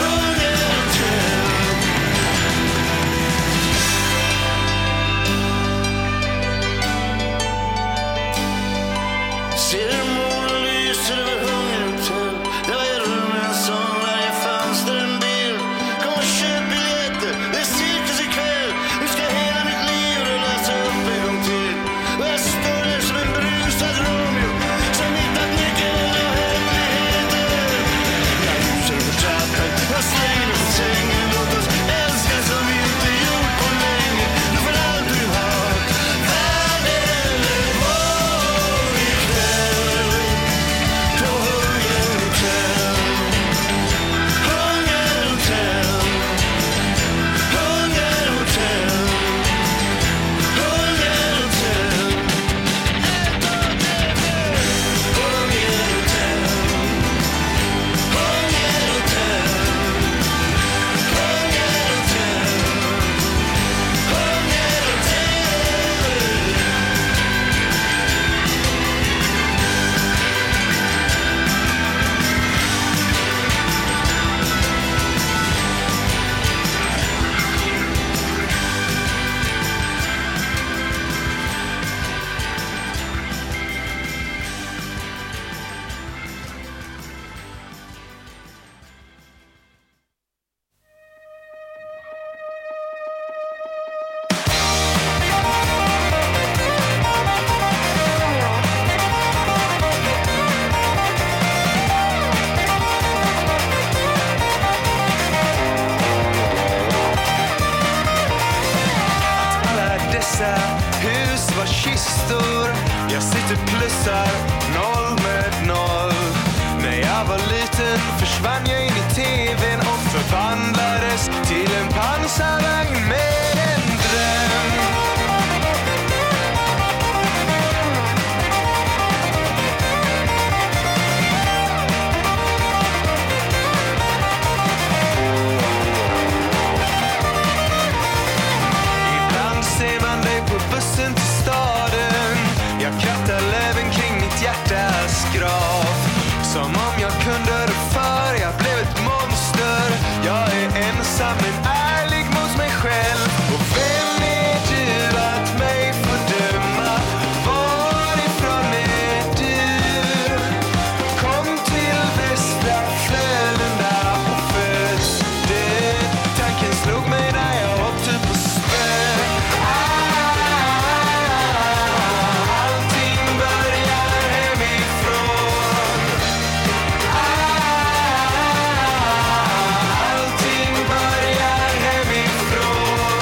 Hungerhotell. Ser hur månen lyser över hungerhotell. Där är rummen som varje fönster en bild. Kom och köp biljetter, det är cirkus ikväll. Nu ska hela mitt liv rullas upp en gång till. Och jag står där som en brusad Romeo som hittat nyckeln och hemligheter. Jag rusar över trappan, jag slänger mig på sängen. Låt oss älska som vi inte gjort på länge. Du får allt du har, världen är vår ikväll.
tur. Jag sitter plussar noll med noll. När jag var liten försvann jag in i tvn och förvandlades till en pansarvagn med en dröm. Ibland ser man dig på bussen till staden Jag krattar löven kring mitt hjärtas grav Som om jag kunde rå för jag blev ett monster Jag är ensam men ärlig mot mig själv Och vem är du att mig fördöma? Varifrån är du? Kom till västra Frölunda och föds död Tanken slog mig när jag åkte på spö Allting börjar hemifrån Allting börjar hemifrån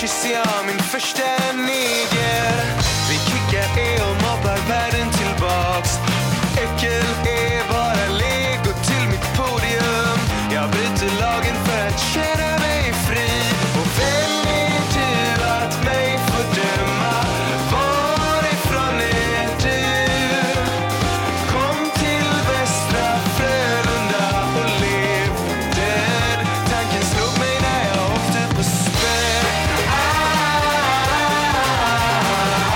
kysser jag min första neger Vi kickar er och mobbar världen tillbaks Äckel är bara lego till mitt podium Jag bryter lagen för att känna mig fri Och vem är du att mig fördöma? Varifrån är du? Kom till Västra Frölunda och lev den Tanken slog mig när jag åkte på spö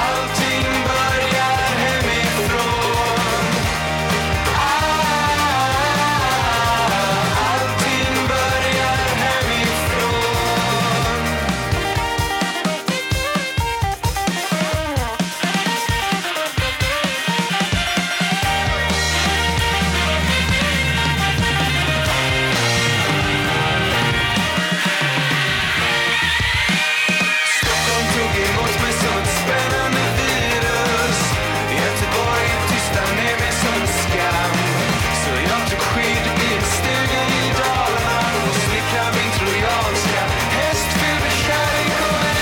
Allting börjar hemifrån Allting börjar hemifrån Stockholm tog emot mig som ett spännande virus. Göteborg tystade ner mig som en skam. Så jag tog skydd i en stuga i Dalarna och slickade min trojanska häst fylld med kärlek och en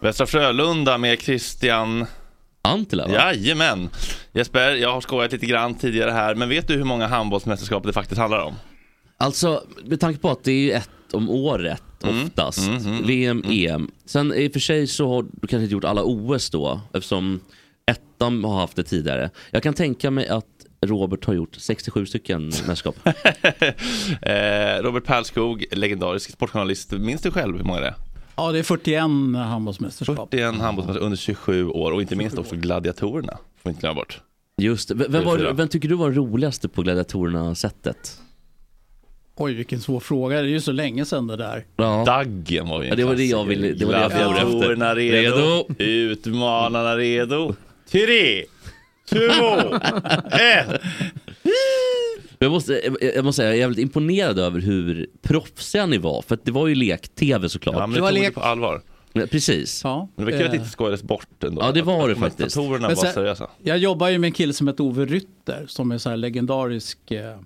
Västra Frölunda med Christian
Antila va?
Jajamän! Jesper, jag har skojat lite grann tidigare här, men vet du hur många handbollsmästerskap det faktiskt handlar om?
Alltså, med tanke på att det är ju ett om året
Mm,
oftast. VM, EM. Sen i och för sig så har du kanske inte gjort alla OS då, eftersom ettan har haft det tidigare. Jag kan tänka mig att Robert har gjort 67 stycken mästerskap.
Eh, Robert Pärlskog, legendarisk sportjournalist, minns du själv hur många det är?
Ja, det är eh, 41 handbollsmästerskap.
41 handbollsmästerskap under 27 år och inte minst också gladiatorerna, får vi inte glömma bort.
Just det. V- Vem, var,
Fyra.
vem tycker du var roligaste på gladiatorerna-sättet?
Oj, vilken svår fråga. Det är ju så länge sedan det där.
Ja.
Daggen var ju en
Ja, det var det jag
klassiker.
ville- det var det jag for efter.
Gladiatorerna redo.
Redo.
Utmanarna redo. Tre, två, ett.
Jag måste, eh, jag- jag måste säga, jag är jävligt imponerad över hur proffsiga ni var. För att det var ju lek-tv såklart.
Ja, men det var lek. eh. på allvar.
Precis.
Ja,
Men det var kul att det inte skojades bort ändå.
Ja, det var det
Att
faktiskt.
Kommentatorerna
Men
var
sen-
seriösa.
Jag jobbar ju med en kille som heter Ove Rytter som är så här legendarisk eh,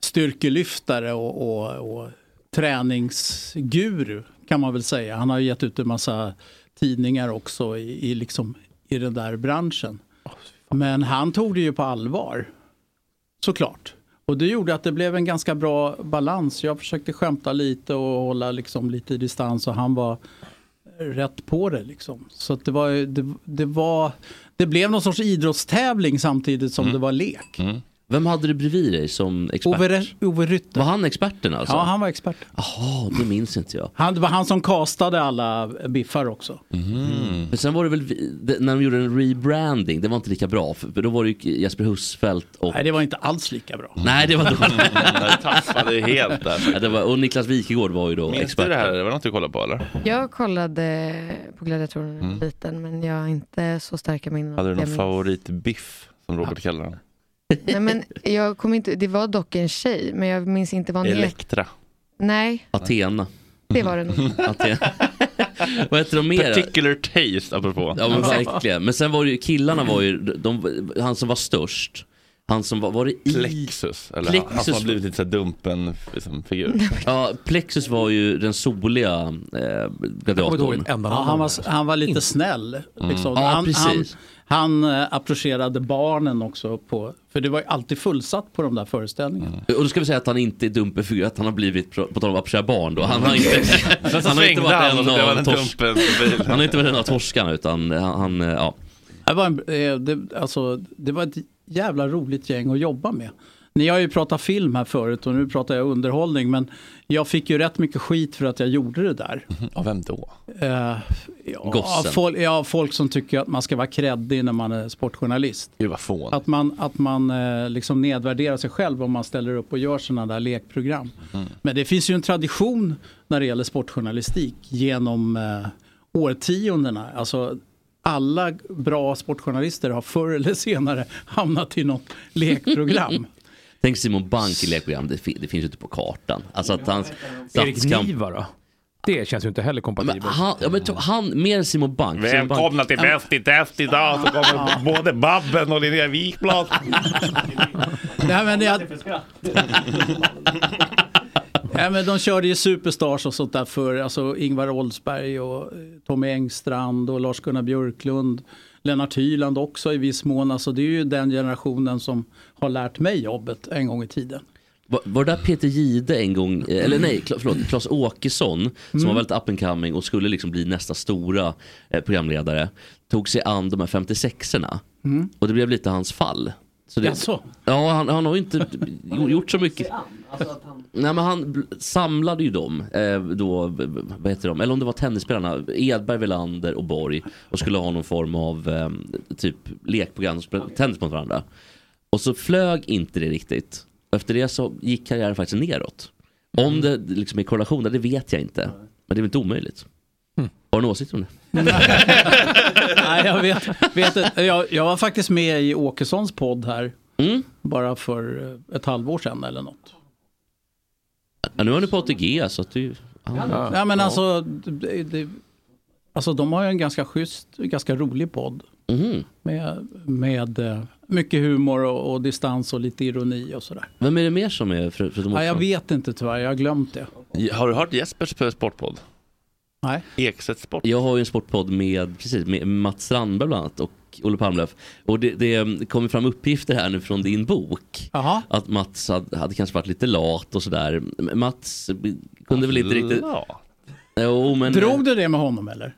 styrkelyftare och, och, och träningsguru kan man väl säga. Han har ju gett ut en massa tidningar också i, i, liksom, i den där branschen. Men han tog det ju på allvar, såklart. Och det gjorde att det blev en ganska bra balans. Jag försökte skämta lite och hålla liksom lite distans och han var rätt på det. Liksom. Så att det, var,
Mm.
ju- det, det, var, det blev någon sorts idrottstävling samtidigt som det var lek.
Vem hade du bredvid dig som expert?
Ove Re- Ove Rytter.
Var han experten alltså?
Ja, han var expert.
Jaha, det minns inte jag.
Han, det var han som castade alla biffar också.
Mm.
Men sen var det väl, vi- det- när de gjorde en rebranding, det var inte lika bra. För för då var det ju Jesper Husfeldt och...
Nej, det var inte alls lika bra.
Nej, det var dåligt.
Jag tappade helt där.
Ja, det var, och Niklas Wikegård var ju då
Minns
expert.
du det här? Det var något du kollade på eller?
Jag kollade på gladiatorerna när jag var
Mm.
liten men jag har inte så starka minnen.
Hade du
Jag
någon
minns-
favoritbiff som Robert kallar den?
Nej, men jag kommer inte, det var dock en tjej men jag minns inte vad hon hette.
Elektra.
Nej,
Athena.
det var det nog.
Athena. Vad heter de mer?
Particular taste apropå.
Ja men verkligen. Men sen var det ju, killarna var ju, de, han som var störst, han som var, var det i...
Plexus, eller han- han som har blivit lite så här dumpen liksom, figur.
Ja, Plexus var ju den soliga eh, gladiatorn.
Ja, han, var, han var lite snäll. Liksom.
Mm. Ja,
han, han,
precis.
han eh, approcherade barnen också, på, för det var ju alltid fullsatt på de där föreställningarna.
Och då ska vi säga att han inte är dumpen för att han har blivit, på på tal om att approchera barn då, han har inte,
Men så
han har inte
svängde han och så
varit
blev han en
en av torsk,
dumpen.
han har inte varit en av torskarna utan han, han eh, ja.
Det var, en, eh, det, alltså, det var ett jävla roligt gäng att jobba med. Ni har ju pratat film här förut och nu pratar jag underhållning men jag fick ju rätt mycket skit för att jag gjorde det där.
Av vem då?
Eh, ja,
Gossen.
folk, ja, folk som tycker att man ska vara kreddig när man är sportjournalist.
Gud vad fån.
Att man, att man eh, liksom nedvärderar sig själv om man ställer upp och gör sådana där lekprogram. Men det finns ju en tradition när det gäller sportjournalistik genom eh, årtiondena. Alltså, alla bra sportjournalister har förr eller senare hamnat i något lekprogram.
Tänk Simon Bank i lekprogram, det, fi- det finns ju inte på kartan. Alltså att hans statskamp...
Niva då? Det känns ju inte heller kompatibelt.
Han, ja, men to- han, mer än Simon Bank. Simon Bank.
Välkomna till Bäst i test idag så kommer både Babben och Linnea Wikblad.
Nej, men jag, Nej, men de körde ju Superstars och sånt där för alltså Ingvar Oldsberg och eh, Tommy Engstrand och Lars-Gunnar Björklund. Lennart Hyland också i viss mån. Alltså det är ju den generationen som har lärt mig jobbet en gång i tiden.
Var, var det där Peter Gide en gång, eh, eller nej, Kla- förlåt, Claes Åkesson som
Mm.
var väldigt up and coming och skulle liksom bli nästa stora eh, programledare, tog sig an de här 56orna
Mm.
och det blev lite hans fall. Så det,
Jaså?
Ja, han, han har ju inte gjo- gjort så mycket. Nej, men han bl- samlade ju dem, eh, då, v- v- vad heter de, eller om det var tennisspelarna, Edberg, Welander och Borg och skulle ha någon form av eh, typ lekprogram, och spela tennis mot varandra. Och så flög inte det riktigt. Och Efter det så gick karriären faktiskt neråt.
Mm.
Om det liksom är korrelation där, det vet jag inte. Men det är väl inte omöjligt.
Mm.
Har du en åsikt om det?
Nej, jag, vet, vet, inte. jag, jag var faktiskt med i Åkessons podd här.
Mm.
Bara för eh, ett halvår sedan eller något.
Ja, nu har du på ATG så att du...
Ja, men alltså, det, det, alltså, de har ju en ganska schysst, ganska rolig podd.
Mhm.
Med, med eh, mycket humor och, och distans och lite ironi och sådär.
Vem är det mer som är för, förutom
Ja, jag
Åkesson?
vet inte tyvärr, jag har glömt det.
Har du hört Jespers sportpodd?
Nej.
Ekstedt Sport.
Jag har ju en sportpodd med, precis, med Mats Strandberg bland annat och Olle Palmlöf. Och det, mm, det kommer fram uppgifter här nu från din bok. Att Mats hade, hade kanske varit lite lat och sådär. Men Mats kunde väl inte riktigt...
Lat?
Jo, men...
Drog du det med honom eller?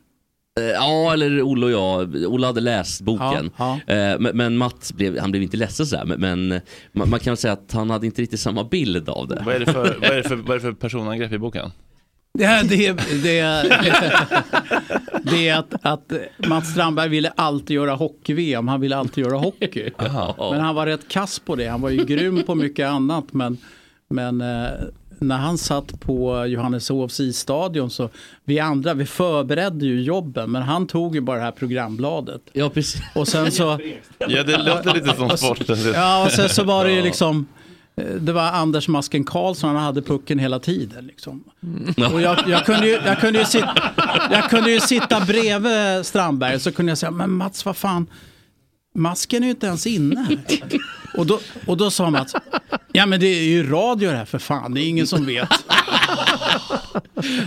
Eh, Ja, eller Olle och jag. Olle hade läst boken.
Ja,
Eh, Men, men Mats blev, han blev inte ledsen sådär. Men, men man, man kan väl säga att han hade inte riktigt samma bild av det.
Vad är det för, vad är det för, vad är det för personangrepp i boken?
Det, här- det, det, det är att, att Mats Strandberg ville alltid göra hockey-VM, han ville alltid göra hockey. Men han var rätt kass på det, han var ju grym på mycket annat. Men, men eh, när han satt på Johanneshovs isstadion så, vi andra vi förberedde ju jobben, men han tog ju bara det här programbladet.
Ja, precis.
Och sen så...
Ja, det låter lite som sporten.
Ja, och sen så var det ju
Ja.
liksom, eh, det var Anders Masken Karlsson, han hade pucken hela tiden. Liksom. Och jag, jag, kunde ju, jag, kunde ju sitta, jag kunde ju sitta bredvid Strandberg så kunde jag säga, men Mats vad fan, masken är ju inte ens inne här. Och då, och då sa Mats, ja men det är ju radio det här för fan, det är ingen som vet.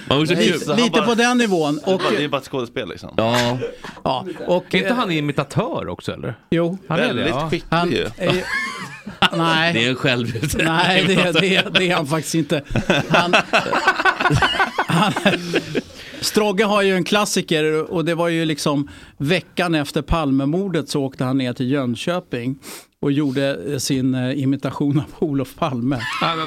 Man var
så kul.
Lite, lite på den nivån. Och,
Det är bara ett skådespel liksom.
Ja.
ja, och,
är inte han imitatör också eller?
Jo.
Han är det,
Väldigt
ja.
skicklig
Han-
ju.
eh, nej.
Det är en självutnämning.
Nej, alltså- det, det, det är han faktiskt inte. Han, han, Strogge har ju en klassiker och det var ju liksom veckan efter Palmemordet så åkte han ner till Jönköping och gjorde sin eh, imitation av Olof Palme.
Han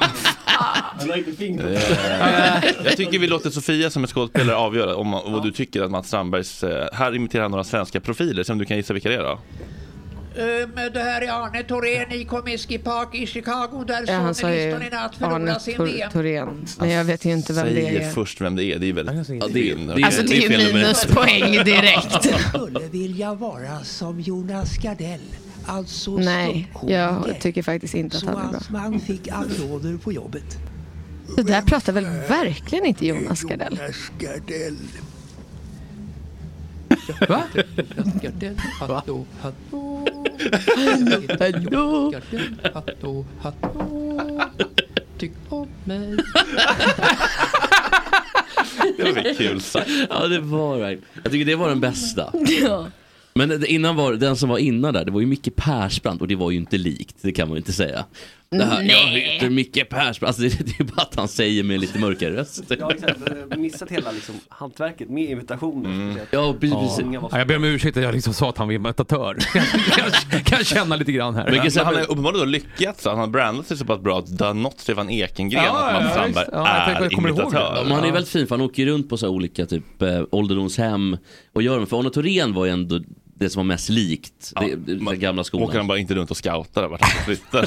la inte fingret. Eh, Jag tycker vi låter Sofia som är skådespelare avgöra om vad du tycker att Mats Strandbergs... eh, Här imiterar han några svenska profiler, som du kan gissa vilka det är då.
Um, det här är Arne Thorén i Comiskey Park i Chicago där
Ja, Eh, han sa
Sonny
ju
Liston i natt
Arne
förlorade sin
Thor-
VM.
Thorén. Men jag vet ju inte
Alltså,
vem det
Säger
är.
först vem det är, det är väldigt... Ja, det,
det är- Alltså, det är ju
fel nummer ett.
minuspoäng direkt.
Skulle vilja vara som Jonas Gardell. Alltså
Nej, jag tycker faktiskt inte att
Så
han är bra.
hans man fick applåder på jobbet.
Det där pratar väl verkligen inte Jonas Gardell?
Jonas Gardell.
Va?
Jonas Gardell. Hallå, hallå.
Hallå.
Hallå, hallå. Tyck om mig.
Det var kul sagt. Ja, det var det. Jag tycker det var den bästa.
Ja.
Men det- innan var, den som var innan där, det var ju Micke Persbrandt och det var ju inte likt, det kan man ju inte säga. Det här, jag
Nej.
heter Micke Persbrandt, alltså det, det är bara att han säger med lite mörkare röst.
Jag har missat hela liksom, hantverket med imitationer.
Ja, precis.
Ja, jag ber om ursäkt att jag liksom sa att han var imitatör. kan, kan känna lite grann här.
Men han har ju uppenbarligen då lyckats, han har brandat sig så pass bra att det har nått Stefan Ekengren
Ja,
att
ja,
Mats
ja,
Strandberg
visst. Ja, jag tänker att
är
jag kommer ihåg
imitatör.
det. Men han är väldigt fin för han åker ju runt på så här olika typ eh, ålderdomshem och gör dem. För Arne Thorén var ju ändå det som var mest likt det, det, den gamla skolan.
åker han
bara
inte runt och scoutar vart han flyttar?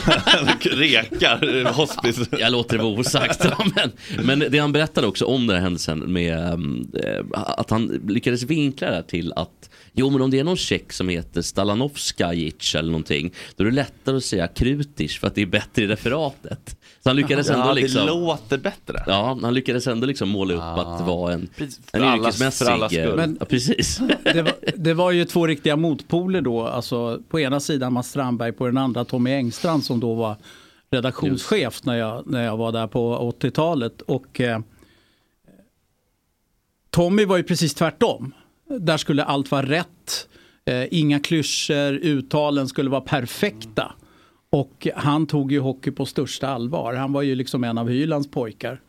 Rekar, hospice.
Jag låter det vara osagt. ja, Men, men det han berättade också om den här händelsen med ehm, eh, att han lyckades vinkla det här till att jo men om det är någon tjeck som heter Stalanovskajic eller någonting då är det lättare att säga Krutisch för att det är bättre i referatet. Så han lyckades ändå
Ja, det
liksom.
låter bättre. Ah.
Ja, han lyckades ändå liksom måla upp att det var en, en
För allas-
yrkesmässig...
för allas
eh,
skull.
ja, precis.
Det var, det var ju två riktiga motpoler då. Alltså, på ena sidan Mats Strandberg, på den andra Tommy Engstrand som då var redaktionschef när jag, när jag var där på 80-talet. Och eh, Tommy var ju precis tvärtom. Där skulle allt vara rätt. Eh, inga klyschor, uttalen skulle vara perfekta. Och han tog ju hockey på största allvar. Han var ju liksom en av Hylands pojkar.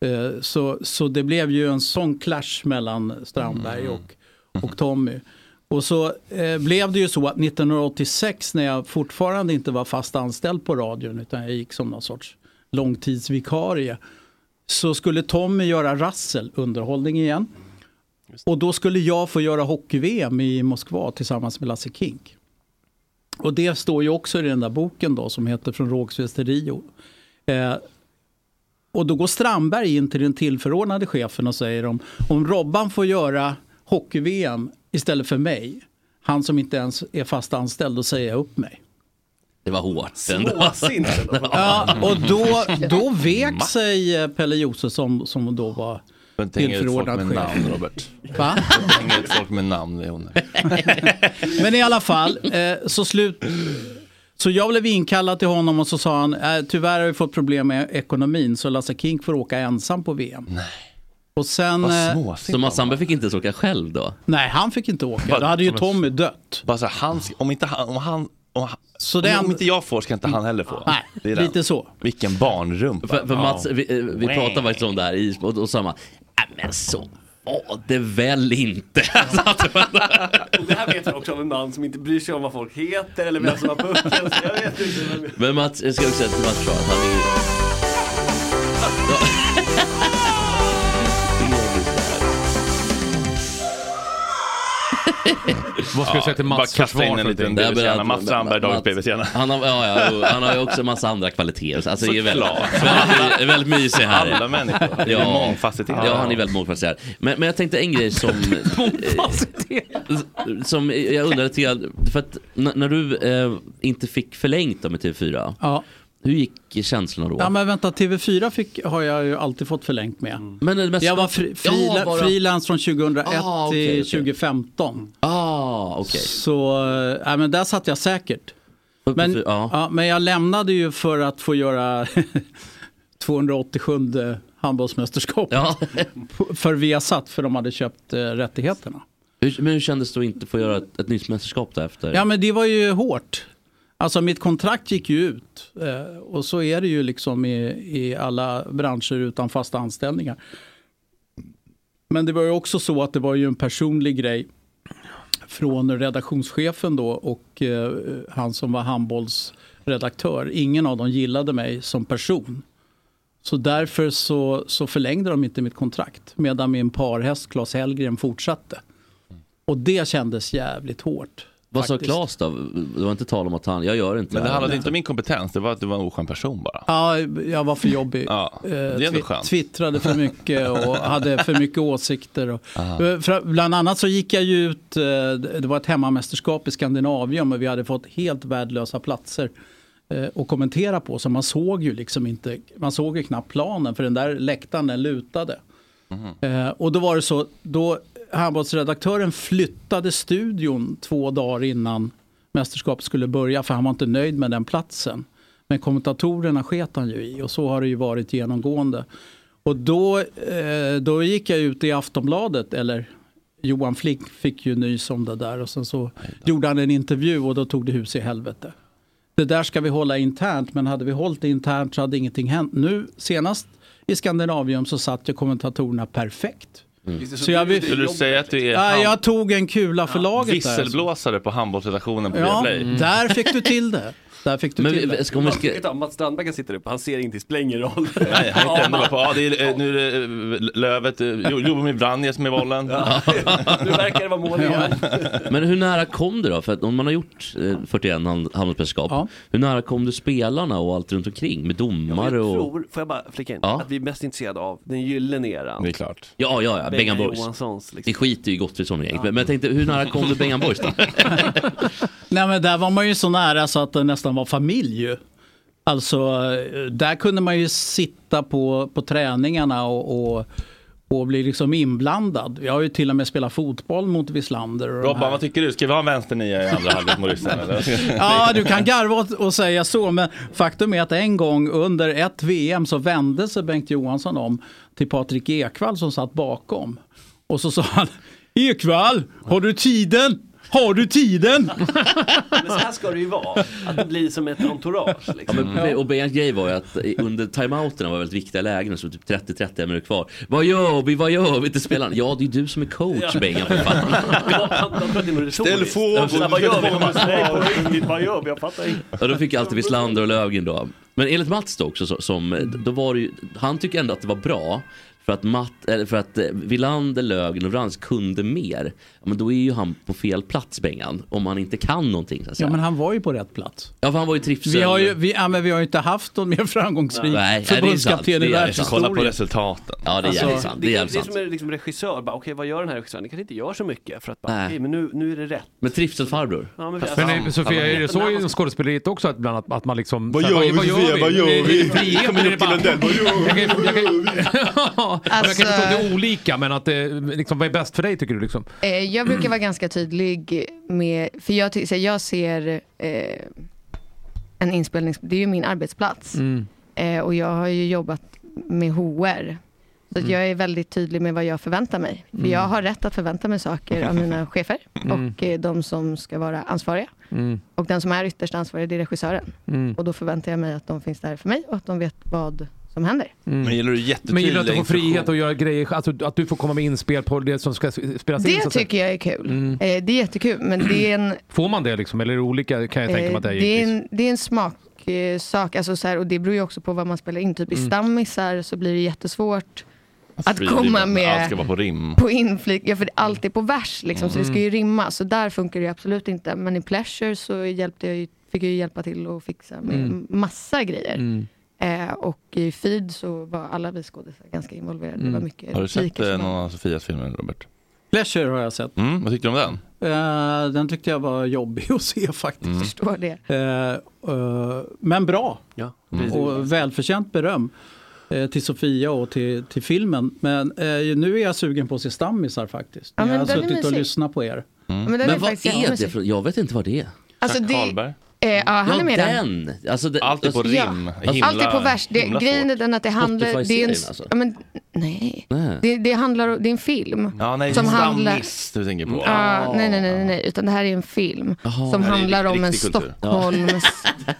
Eh, Så, så det blev ju en sån clash mellan Strandberg och, och Tommy. Och så eh, blev det ju så att 1986 när jag fortfarande inte var fast anställd på radion utan jag gick som någon sorts långtidsvikarie så skulle Tommy göra rassel, underhållning igen. Och då skulle jag få göra hockey-VM i Moskva tillsammans med Lasse Kink. Och det står ju också i den där boken då som heter Från Rågsved till Rio. Eh, och då går Strandberg in till den tillförordnade chefen och säger om, om Robban får göra hockey-VM istället för mig, han som inte ens är fast anställd, då säger jag upp mig.
Det var hårt ändå.
Småsint
ändå.
Mm.
Ja, och då, då vek sig eh, Pelle Josefsson som då var
Men tänk ut folk med
tillförordnad chef.
namn, Robert.
Va?
Tänk ut folk med namn, det är hon.
Men i alla fall, eh, så slut... Så jag blev inkallad till honom och så sa han, eh, tyvärr har vi fått problem med ekonomin så Lasse Kink får åka ensam på VM. Nej. Och sen... eh,
Så Mats Sandberg fick inte ens åka själv då?
Nej, han fick inte åka. Då hade ju Tommy dött.
Bara så här, han, om inte han, om han, om, han,
så
om, om inte jag får ska inte han heller få.
Nej,
Det är den.
lite så.
Vilken barnrumpa.
För, för Mats,
Ja.
vi, eh, vi pratade faktiskt om det här i och, och samma. "Nej, "Äh, men så var det väl inte.
Och det här vet jag också av en man som inte bryr sig om vad folk heter eller vem som har pucken. så Jag vet inte. vem-
Men Mats, jag ska också säga till Mats Schwarz, han är ju...
Vad ska jag säga till Mats
Bara kasta in
försvar
en
för
liten
någonting?
bebistjärna.
Nej, men att-
Mats Strandberg, dagens bebistjärna.
Han har, ja, ja, jo, han har ju också en massa andra kvaliteter. Alltså, det är väldigt,
Såklart.
väldigt, my- väldigt mysig här.
Alla människor. Det är mångfacetterad.
Ja, han är väldigt mångfacetterad. Men, men jag tänkte en grej som... eh, som jag undrar lite grann, för att n- när du eh, inte fick förlängt då med TV4,
Ja.
hur gick känslorna då?
Ja men vänta, TV4 fick, har jag ju alltid fått förlängt med.
Mm. Men det mesta-
jag var fri,
Ja,
frila,
bara-
frilans från 2001
Ah, okej,
till
okej.
2015.
Ah, okay.
Så äh, men där satt jag säkert. Men,
ja.
men jag lämnade ju för att få göra 287 handbollsmästerskap på- för Viasat, för de hade köpt eh, rättigheterna.
Hur, men hur kändes det att inte få göra ett, ett nytt mästerskap där efter?
Ja men det var ju hårt. Alltså mitt kontrakt gick ju ut eh, och så är det ju liksom i, i alla branscher utan fasta anställningar. Men det var ju också så att det var ju en personlig grej från redaktionschefen då och eh, han som var handbollsredaktör. Ingen av dem gillade mig som person. Så därför så, så förlängde de inte mitt kontrakt medan min parhäst Claes Hellgren fortsatte. Och det kändes jävligt hårt.
Vad sa
faktiskt.
Claes då? Det var inte tal om att han, jag gör inte
Men det
här.
handlade inte om min kompetens, det var att du var en oskön person bara.
Ja, jag var för jobbig.
Ja, det är
Eh,
ändå
twi-
skönt.
twittrade för mycket och hade för mycket åsikter. Och,
Aha.
Eh, för, bland annat så gick jag ju ut, eh, det var ett hemmamästerskap i Skandinavien och vi hade fått helt värdelösa platser eh, att kommentera på. Så man såg ju liksom inte, man såg ju knappt planen för den där läktaren den lutade. Eh, och då var det så, då handbollsredaktören flyttade studion två dagar innan mästerskapet skulle börja för han var inte nöjd med den platsen. Men kommentatorerna sket han ju i och så har det ju varit genomgående. Och då, eh, då gick jag ut i Aftonbladet, eller Johan Flick fick ju nys om det där och sen så gjorde han en intervju och då tog det hus i helvete. Det där ska vi hålla internt, men hade vi hållit det internt så hade ingenting hänt. Nu senast i Skandinavium så satt ju kommentatorerna perfekt.
Mm.
Så jag vill-
Skulle du säga att du är
Nej,
hand-
jag tog en kula för laget där.
visselblåsare på handbollsredaktionen på
Ja,
Viaplay?
där fick du till det. Där fick du
Men vi-
till det.
vi- ska- om vi ska-
Titta, Mats Strandbergen sitter uppe, han ser ingenting, spelar ingen roll.
Nej, han gick ändå bara på, ja, det är, eh, nu är det eh, Lövet, eh, Jo- Jobomir Vranjes med bollen.
Nu verkar det vara mål igen.
Men hur nära kom du då? För att om man har gjort eh, 41 hand- handbollsmästerskap, hur nära kom du spelarna och allt runt omkring med
Jag
domare och...
tror, får jag bara flika in,
Ja.
att vi är mest intresserade av den gyllene eran.
Det är klart. Ja, ja, ja.
Bengan
Bengan Boys.
Johanssons, liksom.
Det skiter ju Gottfridsson i ja. men, men jag tänkte, hur nära kom du Bengan Boys då?
Nej, men där var man ju så nära så att det nästan var familj ju. Alltså, eh, där kunde man ju sitta på, på träningarna och, och, och bli liksom inblandad. Jag har ju till och med spelat fotboll mot Wislander. och de
Robban,
här.
vad tycker du? Ska vi ha en vänsternia i andra halvlek mot ryssen eller?
Ja, du kan garva åt- och säga så, men faktum är att en gång under ett VM så vände sig Bengt Johansson om till Patrik Ekwall som satt bakom. Och så sa han, Ekwall, har du tiden? Har du tiden?
Men så här ska det ju vara, att det blir som ett entourage.
Ja,
Mm.
Liksom.
men, och Bengans grej var ju att i- under timeouterna var väldigt viktiga lägen, så typ 30-30 minuter kvar. Vad gör vi, vad gör vi till spelarna? Ja, det är du som är coach
Ja.
Bengan för fan.
Ställ
frågor.
Vad gör vi? Nej, på riktigt, vad gör vi? Jag fattar inte.
Ja, då fick jag alltid Wislander och Löfgren då. Men enligt Mats då också, så, som, då var det ju, han tycker ändå att det var bra. För att, Matt, eller för att eh, Wilander, Löfgren och Vrans kunde mer. Ja, men då är ju han på fel plats Bengan. Om han inte kan någonting. Så att säga.
Ja, men han var ju på rätt plats.
Ja, för han var ju trivsel.
Vi har ju, vi, ja, men vi har ju inte haft någon mer framgångsrik förbundskapten i
Kolla på
världshistorien. Alltså,
resultaten.
Ja, det är jävligt sant. Det är
det,
jävligt sant.
som är liksom regissör, bara, okej vad gör den här regissören? Den kanske inte gör så mycket för att bara,
Nej.
okej men nu, nu är det rätt.
Men trivselfarbror.
Ja, men
Men nej, Sofia, är det så inom skådespeleriet också att, bland annat, att man liksom...
Vad
så här,
gör vi, Sofia? Vad gör
Det är-
vi?
det är frihet,
Kommer
men
upp
det är bara-
till Lundell, vad gör
Jag kan- jag kan- Ja, men Jag
Alltså-
kan förstå att det är olika, men att det, liksom, vad är bäst för dig tycker du liksom?
Eh, jag brukar vara ganska tydlig med, för jag, ty- så här, jag ser eh, en inspelning, det är ju min arbetsplats.
Mm.
Eh, och jag har ju jobbat med HR. Så att
Mm.
jag är väldigt tydlig med vad jag förväntar mig. För
Mm.
jag har rätt att förvänta mig saker av mina chefer
Mm.
och eh, de som ska vara ansvariga.
Mm.
Och den som är ytterst ansvarig, det är regissören.
Mm.
Och då förväntar jag mig att de finns där för mig och att de vet vad som händer.
Men gillar du jättetydliga
Men gillar du att du får
instruktioner?
frihet att göra grejer, alltså, att du får komma med inspel på det som ska s- spelas in? så
Det
att säga?
tycker jag är kul.
Mm.
Eh, det är jättekul, men det är en
Får man det liksom, eller är det olika kan jag tänka mig att det är
Eh, det, är
givetvis.
en, det är en smaksak eh, sak, alltså så här, och det beror ju också på vad man spelar in. Typ i
Mm.
stammisar så blir det jättesvårt att
Fri-
komma
Allt ska
med
vara på rim.
på inflik, ja, för allt är på vers liksom, så det ska ju
Mm.
rimma. Så där funkar det ju absolut inte. Men i Pleasure så hjälpte jag ju, fick jag ju hjälpa till och fixa med
Mm.
massa grejer.
Mm.
Eh, och i Feed så var alla vi skådisar ganska involverade.
Mm.
Det var mycket
Mm. Har du sett
repliker
eh,
som var-
någon av Sofias filmer, Robert?
Pleasure har jag sett.
Mm, vad tyckte du om den?
Eh, den tyckte jag var jobbig att se faktiskt.
Mm.
Förstår det.
Eh, eh, men bra.
Mm.
Och välförtjänt beröm eh, till Sofia och till, till filmen. Men eh, nu är jag sugen på att se stammisar faktiskt.
Ja, men
jag har
den är
suttit och
mysig.
lyssnat på er.
Ja, men den är
vad
faktiskt
är Mm. det
jättemysig.
för, Jag vet inte vad det är.
Alltså, Jack det- Karlberg? Eh, ja, han är med i den.
den. Alltså, det, Allt är
på rim. Allt är på vers. Det, grejen är den att det handlar... Det är en,
Spotify-serien, alltså.
ja, men, nej. Det, det handlar om... Det är en film.
Ja, nej,
som
det är
handlar...
Stammis du tänker på.
Ja, nej, nej, nej, nej, nej, utan det här är en film
Jaha.
som
Det här är
handlar om en
riktig kultur.
Stockholms...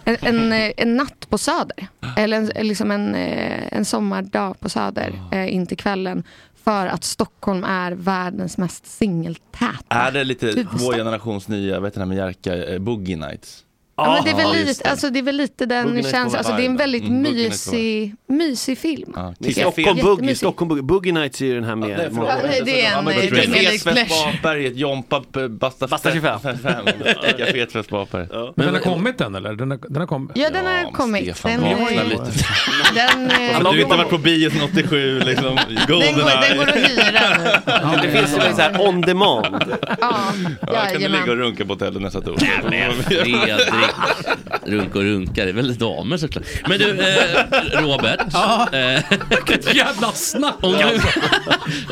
En, en, eh, en natt på
Ah.
Söder. Eller en, liksom en, eh, en sommardag på Söder, eh, in till kvällen. för att Stockholm är världens mest singeltäta.
Är det lite
Typ
vår generations nya, vet du den här med Jerka, eh, Boogie Nights?
Ja, men det, är
Ah,
väl
just
lite, alltså, det är väl lite den
Boogie Nights
känslan,
var
alltså, det är en
varje
väldigt
dag. Mm, Boogie Nights var
mysig, mysig film.
Ja,
Det är
Stockholm Boogie,
jättemysig.
Stockholm Boogie. Boogie Nights är ju den här med...
Nej, förlåt.
Ja, nej, det är en, eh,
Café
guilty
Svett
pleasure.
Barberget, Jompa, P- Basta
Basta 25.
Café Svett Barberget.
Men den har kommit den eller? Den har, den har kommit?
Ja, den har kommit. den,
vakna
är-
lite.
den, eh,
Att Alltså, du inte har varit på bio sedan 87, liksom.
den, går, den går att
Goldeneye.
hyra nu.
Det finns ju en sån här on demand.
Ja, kan du
Jajamän.
ligga och runka på hotellet nästa torsdag?
Fredrik. Runk och runkar, det är väl damer såklart. Men du, eh, Robert. eh,
Vilket jävla snack!
om, du,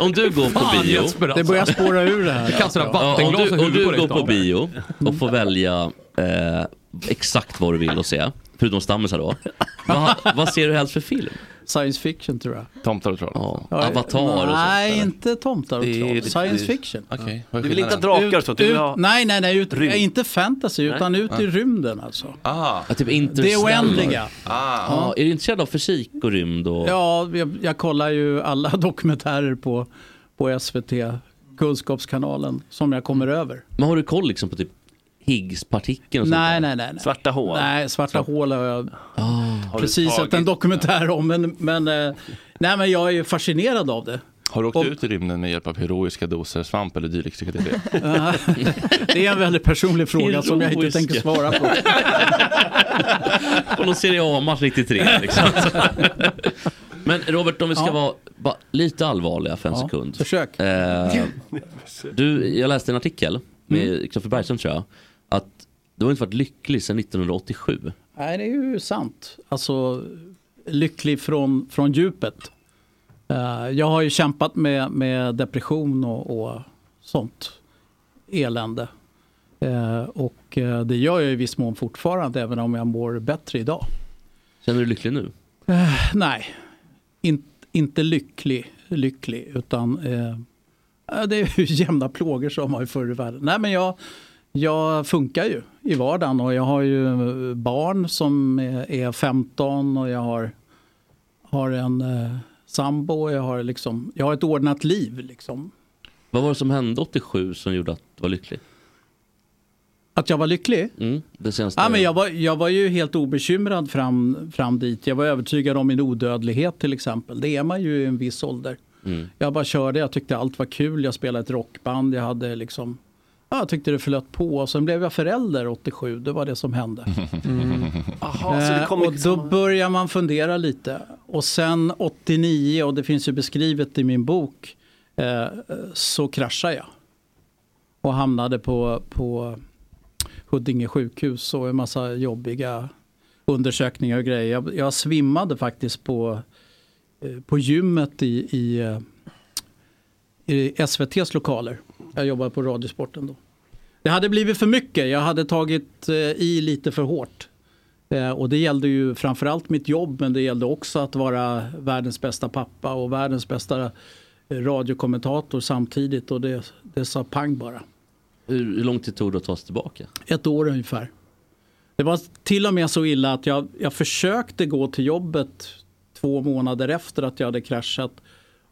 om du går på
Fan,
bio.
Jesper, alltså. Det börjar spåra ur det här. Det kastar en
om
vattenglas
du,
i
om du
huvudet
går
på dig,
på
Tage.
bio och får välja eh, exakt vad du vill att se, förutom stammisar då. Vad, vad ser du helst för film?
Science fiction tror jag.
Tomtar och troll?
Ja.
Ja,
Avatar och sånt.
Nej,
eller?
inte tomtar och
Det är
troll.
lite-
Science fiction.
Okej,
vad är
Du vill inte ha
skillnaden?
drakar och sånt, du vill
Ut,
ha...
nej, nej, nej. Ut,
Rymd.
nej, inte fantasy,
Nej.
utan ut
Ja.
i rymden alltså.
Ah.
Ja, typ
Det oändliga.
Ah.
Ja, är du intresserad av fysik och rymd? Och...
Ja, jag, jag kollar ju alla dokumentärer på, på SVT, Kunskapskanalen, som jag kommer över.
Men har du koll liksom på typ Higgspartikeln? och sånt
Nej,
där?
nej, nej, nej.
Svarta hål?
Nej, Svarta hål har jag
Har du
precis sett en
tagit-
dokumentär om. Men, men, eh, nej, men jag är ju fascinerad av det.
Har du åkt
Och-
ut i rymden med hjälp av heroiska doser svamp eller dylikt psykedelic?
det är en väldigt personlig fråga som jag inte
Heroiska.
tänker svara på.
på någon Serie A-match 93 liksom. Men Robert, om vi ska vara bara lite allvarliga för en sekund.
Försök.
Eh, du, jag läste en artikel med
Mm.
Kristoffer Bergström tror jag. Att du har inte varit lycklig sedan 1987.
Nej, det är ju sant. Alltså, lycklig från, från djupet. Eh, jag har ju kämpat med, med depression och, och sånt elände. Eh, och eh, det gör jag i viss mån fortfarande, även om jag mår bättre idag.
Känner du dig lycklig nu?
Eh, nej, In, inte lycklig, lycklig, utan eh, eh, det är ju jämna plågor som man ju förr i världen. Nej, men jag, jag funkar ju i vardagen och jag har ju eh, barn som är- är 15 och jag har, har en eh, sambo och jag har, liksom, jag har ett ordnat liv. Liksom.
Vad var det som hände 87 som gjorde att du var lycklig?
Att jag var lycklig?
Mm, det senaste...
Ja, men jag, var, jag var ju helt obekymrad fram, fram dit. Jag var övertygad om min odödlighet till exempel. Det är man ju i en viss ålder.
Mm.
Jag bara körde, jag tyckte allt var kul, jag spelade ett rockband, jag hade liksom Ja, jag tyckte det flöt på och sen blev jag förälder 87, det var det som hände.
Jaha, så det
Eh,
kom
och
liksom...
då börjar man fundera lite. Och sen 89, och det finns ju beskrivet i min bok, eh, så kraschade jag. Och hamnade på, på Huddinge sjukhus och en massa jobbiga undersökningar och grejer. Jag, jag svimmade faktiskt på, eh, på gymmet i, i, eh, i SVTs lokaler. Jag jobbade på Radiosporten då. Det hade blivit för mycket. Jag hade tagit eh, i lite för hårt. Eh, Och det gällde ju framförallt mitt jobb men det gällde också att vara världens bästa pappa och världens bästa eh, radiokommentator samtidigt och det, det sa pang bara.
Hur, hur lång tid tog det att ta sig tillbaka?
Ett år ungefär. Det var till och med så illa att jag, jag försökte gå till jobbet två månader efter att jag hade kraschat.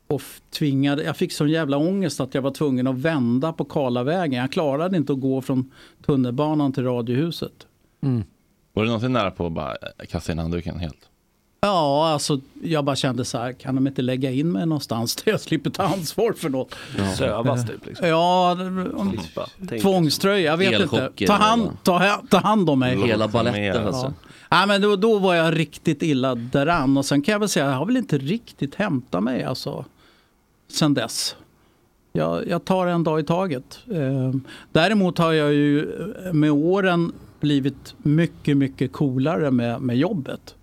Och f- tvingade, jag fick sån jävla ångest att jag var tvungen att vända på Karlavägen. Jag klarade inte att gå från tunnelbanan till Radiohuset. Mm.
Var du någonsin nära på att bara eh, kasta in handduken helt?
Ja, alltså jag bara kände så här, kan de inte lägga in mig någonstans där jag slipper ta ansvar för något?
Sövas typ liksom.
Ja, om,
Slippa, tänk.
tvångströja, jag vet
Elchocker
inte. Ta hand,
eller-
ta, ta hand om mig.
Hela baletten alltså.
Ja. Nej, men då, då var jag riktigt illa däran och sen kan jag väl säga, jag har väl inte riktigt hämtat mig alltså sen dess. Jag, jag tar en dag i taget. Eh, Däremot har jag ju eh, med åren blivit mycket, mycket coolare med, med jobbet.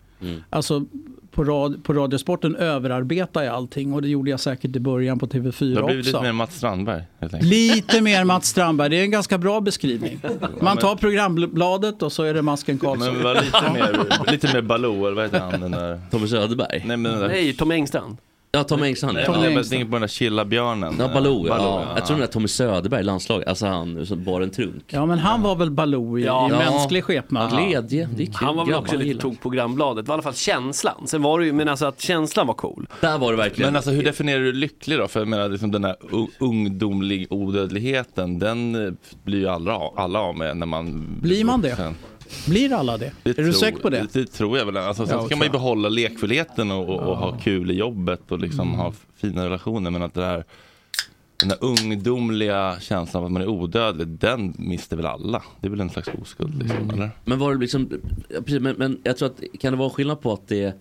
Alltså på, rad, på Radiosporten överarbetar jag allting och det gjorde jag säkert i början på
Du
TV4
har blivit lite
också.
mer Mats Strandberg helt enkelt.
Lite mer Mats Strandberg, det är en ganska bra beskrivning. Man tar programbladet och så är det masken Karlsson.
Men var lite mer, lite mer Baloo, eller vad heter han den där?
Tommy Söderberg?
Nej, men den där.
Nej, Tom Engstrand.
Ja, Tom Engstrand.
Nej, jag bara tänker på den där Killa-björnen.
Ja, Baloo. Ja.
Baloo, ja.
Jag tror den där Tommy Söderberg, landslaget, alltså han som bar en trunk.
Ja, men han var väl Baloo i, i mänsklig skepnad?
Glädje, det är kul.
Han var väl
grabbar,
också lite
gillar.
tog på grannbladet. Det var i alla fall känslan. Sen var det ju, men alltså att känslan var cool.
Där var det verkligen.
Men alltså hur definierar du lycklig då? För jag menar liksom den här u- ungdomlig odödligheten, den eh, blir ju alla, av- alla av med när man
Blir man det?
vuxen.
Blir alla det? är du säker på det?
Det tror jag väl. Alltså, sen
Ja,
kan
tror
man ju
jag.
behålla lekfullheten och, och, och ha kul i jobbet och liksom
Mm.
ha f- fina relationer. Men att det där, den där ungdomliga känslan av att man är odödlig, den mister väl alla? Det är väl en slags oskuld liksom, eller?
Mm. Men var det liksom, ja, precis, men, men jag tror att, kan det vara skillnad på att det,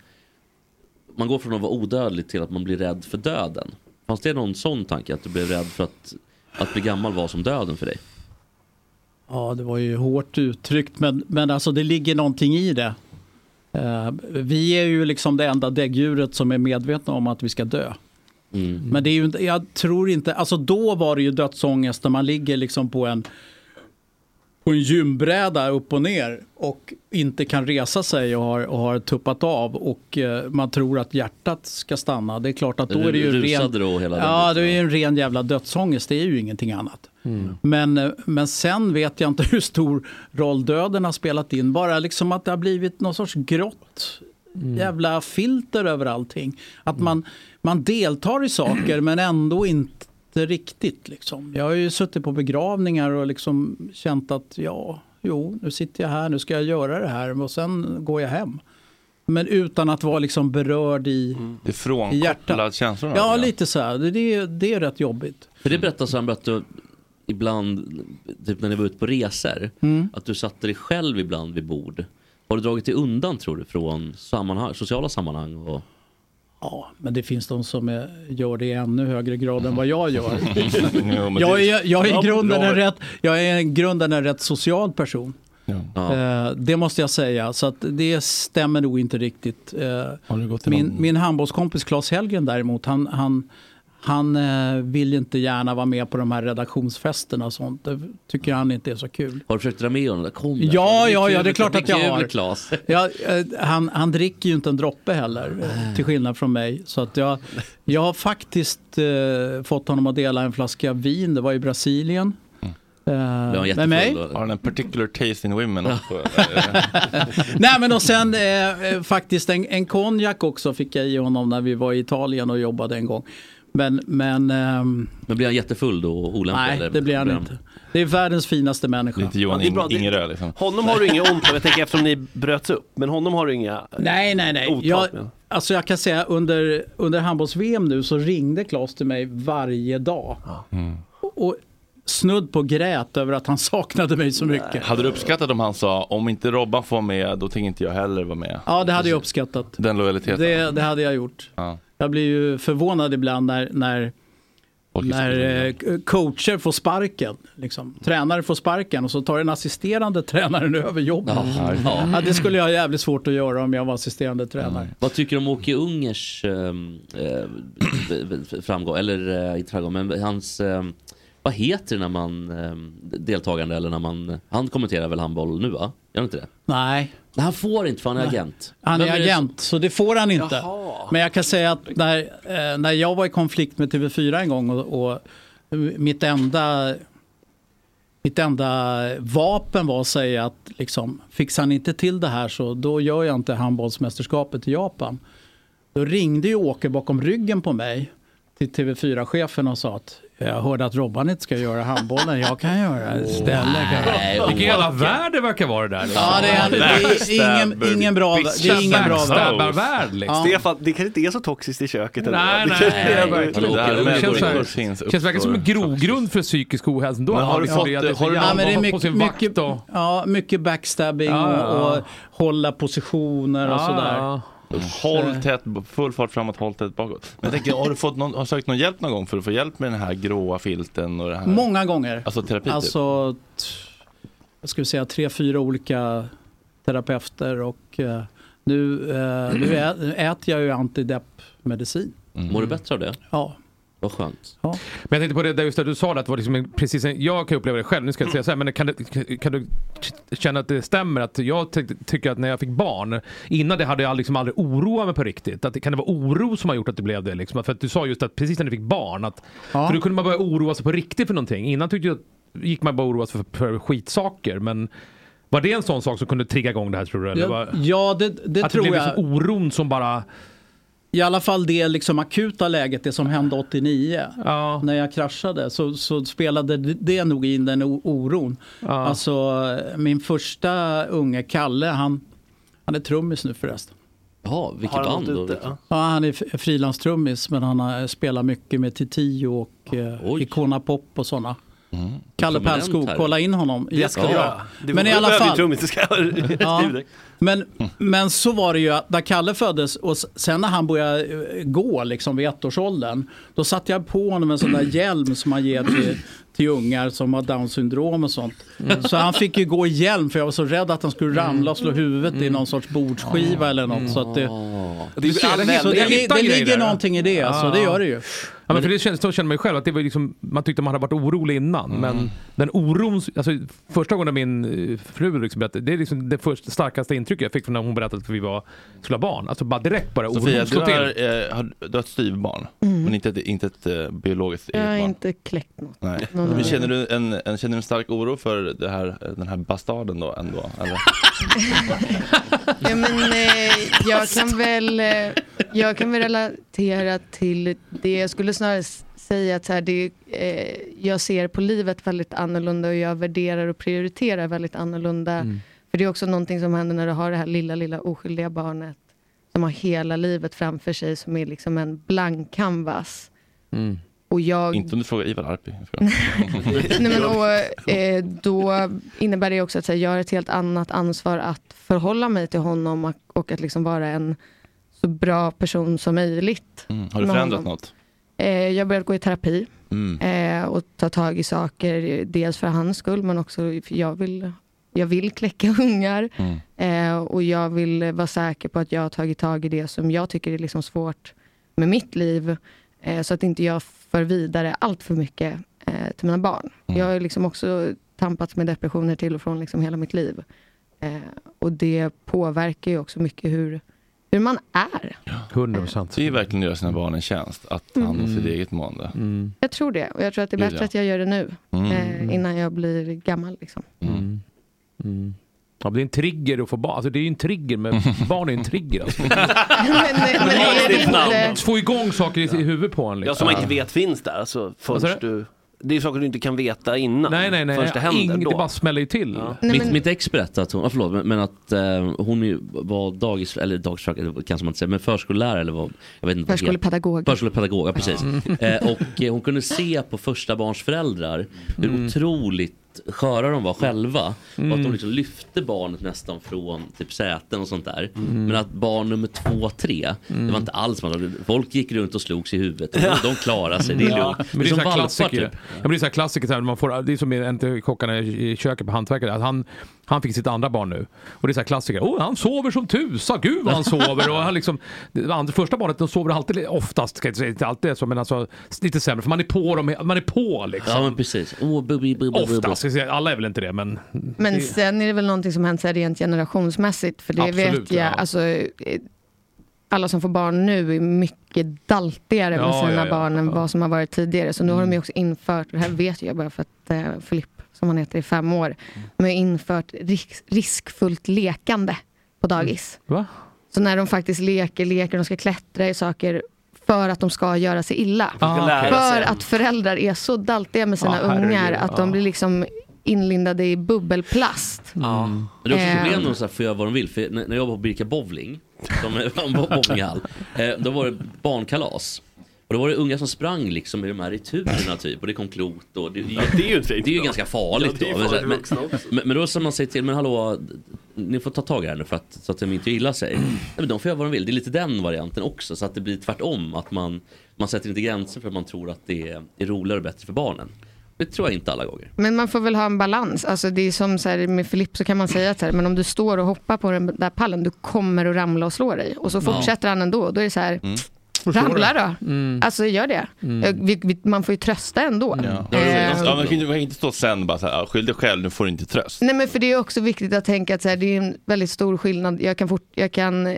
man går från att vara odödlig till att man blir rädd för döden? Fanns det någon sån tanke, att du blev rädd för att, att bli gammal var som döden för dig?
Ja, det var ju hårt uttryckt, men, men alltså det ligger någonting i det. Eh, vi är ju liksom det enda däggdjuret som är medvetna om att vi ska dö.
Mm.
Mm. Men det är ju inte, jag tror inte, alltså då var det ju dödsångest när man ligger liksom på en, på en gymbräda upp och ner och inte kan resa sig och har, och har tuppat av och eh, man tror att hjärtat ska stanna. Det är klart att då är det ju ren...
Rusade då hela den
Ja, det är ju en ren jävla dödsångest, det är ju ingenting annat.
Mm.
Men, eh, men sen vet jag inte hur stor roll döden har spelat in. Bara liksom att det har blivit någon sorts grått
Mm.
Mm.
jävla filter över allting. Att man, man deltar i saker men ändå inte riktigt. Liksom. Jag har ju suttit på begravningar och liksom känt att ja, jo, nu sitter jag här, nu ska jag göra det här och sen går jag hem. Men utan att vara liksom berörd i...
Det är
Hjärta.
frånkopplad känslorna.
Ja, lite så här. Det, det, är- det är rätt jobbigt.
För det berättas han att du ibland, typ när ni var ute på resor,
Mm.
att du satte dig själv ibland vid bord. Har du dragit dig undan tror du från sammanhang, sociala sammanhang? Och...
Ja, men det finns de som är, gör det i ännu högre grad än vad jag gör.
Mm. men det-
jag, är, jag, är i
Ja,
grunden
bra.
en rätt, jag är i grunden en rätt social person. Eh, det måste jag säga, så att det stämmer nog inte riktigt. Eh, min, min handbollskompis Claes Hellgren däremot, han, han, han eh, vill ju inte gärna vara med på de här redaktionsfesterna och sånt. Det tycker han inte är så kul.
Har du försökt dra med honom? Där? Kom där.
Ja,
är
ja, ja,
kul,
det är klart
blir
att jag
kul,
har.
Claes.
Ja, eh, han, han dricker ju inte en droppe heller, eh, till skillnad från mig. Så att jag, jag har faktiskt eh, fått honom att dela en flaska vin, det var i Brasilien.
Mm.
Eh, med mig.
Har han en particular taste in women också?
eh,
Nej men och sen eh, eh, faktiskt en, en konjak också fick jag i honom när vi var i Italien och jobbade en gång. Men, men ehm,
Men blir han jättefull då och olämplig?
nej,
eller?
det blir han
Blir
inte. Det är världens finaste människa.
Lite Johan Ingerö liksom.
Honom har du inget ont av, jag tänker eftersom ni bröts upp. Men honom har du inga
Nej, nej, nej.
Otalt
Jag,
med.
alltså jag kan säga under, under handbolls-VM nu så ringde Claes till mig varje dag.
Mm.
Och, och snudd på grät över att han saknade mig så mycket.
Hade du uppskattat om han sa om inte Robban får vara med då tänker inte jag heller vara med?
Ja, det hade jag uppskattat.
Den lojaliteten?
Det, det hade jag gjort.
Ja.
Jag blir ju förvånad ibland när, när, när eh, co- coacher får sparken. Liksom. Tränare får sparken och så tar den assisterande tränaren över jobbet.
Ja, ja.
Ja, det skulle jag ha jävligt svårt att göra om jag var assisterande tränare.
Vad tycker du om Åke Ungers ehm, eh, framgång? Eller eh, inte framgång, men hans... ehm, vad heter det när man... ehm, deltagande eller när man... Han kommenterar väl handboll nu va? Gör han inte det?
Nej.
Nej, han får inte för han är agent.
Han är
Vem det
agent, så det får han inte. Men jag kan säga att när, eh, när jag var i konflikt med TV4 en gång och, och mitt, enda, mitt enda vapen var att säga att liksom, fixar han inte till det här så då gör jag inte handbollsmästerskapet i Japan. Då ringde ju Åke bakom ryggen på mig till TV4-chefen och sa att jag hörde att Robban inte ska göra handbollen, jag kan göra det istället.
Nej, Vilken jävla värld det verkar vara det där. liksom.
Ja, det är- det är ingen- ingen bra- det är ingen bra värld.
Backstabbarvärld, liksom.
Stefan, det kanske inte är så toxiskt i köket ändå.
Nej,
Det
nej,
kanske är-
nej, verkligen.
Det här
Det
med-
känns, så
det
här,
finns
känns verkligen som en grogrund för psykisk ohälsa. Då
Men har
har
du
du
fått- har du- Ja, men det är
på
mycket-
sin vakt
mycket-
då.
Ja, mycket backstabbing
Ja, ja,
och,
ja.
och hålla positioner och
Ja,
sådär.
ja.
Eh.
Håll tätt, full fart framåt, håll tätt bakåt. Men jag tänker, har du fått någon, har du sökt någon hjälp någon gång för att få hjälp med den här gråa filten och det här?
Många gånger.
Alltså terapi typ?
Alltså, t- jag skulle säga tre, fyra olika terapeuter och eh, nu, eh, nu ä- nu äter jag ju antideppmedicin.
Mår du bättre av det?
Ja.
Vad skönt.
Men jag tänkte på det där just det du sa, det, att det var liksom en, precis en, jag kan uppleva det själv, nu ska jag inte säga så här, men kan, det, kan du känna att det stämmer att jag ty tycker att när jag fick barn, innan det hade jag liksom aldrig oroat mig på riktigt. Att, det- kan det vara oro som har gjort att det blev det? Liksom? För att du sa just att precis när du fick barn, att, för då kunde man börja oroa sig på riktigt för någonting. Innan tyckte jag, gick man bara oroa sig för, för skitsaker. Men var det en sån sak som kunde trigga igång det här tror du? Eller
Ja,
var,
ja det, det
att
tror
det blev
jag.
Liksom oron som bara...
I alla fall det liksom akuta läget, det som hände 89. När jag kraschade så, så spelade det nog in den o- oron. Alltså min första unge, Kalle, han, han är trummis nu förresten.
Ja, vilket
Har han
band
gått
då? liksom?
ut
Vilket-
Ja, han är fri- frilanstrummis men han har spelat mycket med Titio
Ah,
och eh, Icona Pop och sådana.
Mm.
Kalle
Prominent
Pärlskog,
här.
kolla in honom.
Det ska jag göra.
Jättebra.
Det
Men i
var-
alla
Jag är
fall.
trummis, det ska jag-
ja. men, men så var det ju att när Kalle föddes och s- sen när han började eh, gå liksom vid ettårsåldern. Då satte jag på honom en sån där hjälm som man ger till, till ungar som har down syndrom och sånt.
Mm.
Så han fick ju gå i hjälm för jag var så rädd att han skulle ramla och slå huvudet i någon sorts bordsskiva eller något. Så att det,
Mm. Det är ju
Så det-
användning.
så det,
Jag hittar
det
grejer
ligger
där. Ah.
någonting i det, alltså, det gör det ju.
Ja, men för det känns, så känner man ju själv att det var ju liksom, man tyckte man hade varit orolig innan. Men den oron, alltså, första gången min eh, fru liksom berättade, det är liksom det första, starkaste intrycket jag fick från när hon berättade att vi var, skulle ha barn. Alltså bara direkt bara
Sofia,
oron
du
slog
har,
till.
eh, har, du har ett styvbarn,
Mm.
men inte ett, inte ett eh, biologiskt
Jag har
eget barn.
inte kläckt något.
Nej.
Nej,
Men
nej.
känner du en, en, känner du en stark oro för det här, eh, den här bastarden då ändå? Eller?
Ja, men, eh, jag, kan väl, eh, jag kan väl relatera till det. Jag skulle snarare s- säga att så här, det, eh, jag ser på livet väldigt annorlunda och jag värderar och prioriterar väldigt annorlunda.
Mm.
För det är också någonting som händer när du har det här lilla, lilla oskyldiga barnet som har hela livet framför sig som är liksom en blank canvas.
Mm.
Och jag
Inte om du frågar Ivar Arpi. jag skojar.
Nej, men, och, eh, då innebär det också att så här, jag har ett helt annat ansvar att förhålla mig till honom och, och att liksom vara en så bra person som möjligt.
Mm. Har du
med
förändrat
honom.
något?
Eh, jag började gå i terapi
Mm.
eh, och ta tag i saker, eh, dels för hans skull men också för jag vill, jag vill kläcka ungar.
Mm.
Eh, och jag vill eh, vara säker på att jag har tagit tag i det som jag tycker är liksom svårt med mitt liv. Eh, så att inte jag för vidare allt för mycket eh, till mina barn. Jag har ju liksom också tampats med depressioner till och från liksom hela mitt liv. Eh, och det påverkar ju också mycket hur, hur man är.
100 procent.
Det är ju verkligen att göra sina barn en tjänst, att ta hand om sitt eget mående.
Jag tror det. Och jag tror att det är
Gud,
bättre
ja.
att jag gör det nu.
Mm.
Eh, innan jag blir gammal. Liksom.
Mm. Mm. Ja, men det är en trigger att få barn. Alltså, det är ju en trigger, men barn är ju en trigger. Alltså.
men är det inte-
Få igång saker i, i huvudet på en. liksom.
Ja, som man inte vet finns där. Alltså, förrän du... Det är saker du inte kan veta innan.
Nej, nej, nej.
Förrän det händer
Ing-
då.
det bara smäller ju till.
Nej,
mitt,
men-
mitt ex berättade att hon, ah, förlåt, men, men att eh, hon ju var dagis, eller dagisfröken det kanske man inte säger, men förskollärare eller vad, jag vet inte. vad det heter.
Förskolepedagog.
Förskolepedagog, ja precis.
Ja.
Eh, och eh, hon kunde se på första barns föräldrar hur
Mm.
otroligt sköra de var själva. Och att de
Mm.
liksom lyfte barnet nästan från typ säten och sånt där.
Mm.
Men att barn nummer två, tre, det
Mm.
var inte alls man, folk gick runt och slogs i huvudet. De klarade sig, det är
Ja.
lugnt.
Men det är
som
så här
valpar,
klassiker.
typ.
Ja, men det är så här klassiker, så här, man får, det är som en till kockarna i i köket på hantverkare. Att han, han fick sitt andra barn nu. Och det är så här klassiker. Oh, han sover som tusan, gud vad han sover. Och han liksom, det andra, första barnet de sover alltid, oftast, ska jag inte säga, inte alltid är så, men alltså, lite sämre. För man är på dem, man är på liksom.
Ja men precis. Oh, bubi, bubi, bubi.
Oftast, ska jag säga. alla är väl inte det men...
Men
det-
sen är det väl någonting som hänt så här rent generationsmässigt. För det
Absolut,
vet jag,
ja.
alltså, eh, alla som får barn nu är mycket daltigare med
Ja,
sina
ja, Mm. ja,
barn än vad som har varit tidigare. Så nu har de ju också infört, och det här vet jag bara för att eh, Filipp, som han heter, i fem år,
Mm.
de har infört risk, riskfullt lekande på dagis.
Va?
Så när de faktiskt leker, leker, de ska klättra i saker för att de ska göra sig illa.
De ska lära
för
sig.
att föräldrar är så daltiga med sina
Ja, herregud,
ungar att de
ja.
blir liksom inlindade i bubbelplast.
Ja. Men det är också
Ehm.
ett problem när de så här får göra vad de vill. För när när jag var på Birka Bowling, som är en bo- bowlinghall, eh, då var det barnkalas. Och då var det unga som sprang liksom i de här returerna typ och det kom klot och det,
det är ju,
det är ju ganska farligt
Ja, det är ju
då. Men så här,
farligt
Men,
vuxna också.
men, men då sa man sig till, men hallå, ni får ta tag i det här nu för att, så att de inte gillar sig. Nej, men de får göra vad de vill, det är lite den varianten också så att det blir tvärtom att man, man sätter inte gränser för att man tror att det är, är roligare och bättre för barnen. Det tror jag inte alla gånger.
Men man får väl ha en balans. Alltså det är som så här, med Filipp så kan man säga att så här, men om du står och hoppar på den där pallen, du kommer att ramla och slå dig. Och så
Ja.
Mm.
fortsätter han ändå. Då är det så här, Ramla
det.
då. Alltså gör det.
Mm.
Eh, Vi, vi, man får ju trösta ändå.
Ja,
Eh,
ja, man kan ju inte stå sen bara så här, "Ah, skyll dig själv, nu får du inte tröst.
Nej men för det är också viktigt att tänka att så här, det är en väldigt stor skillnad. Jag kan, fort, jag kan eh,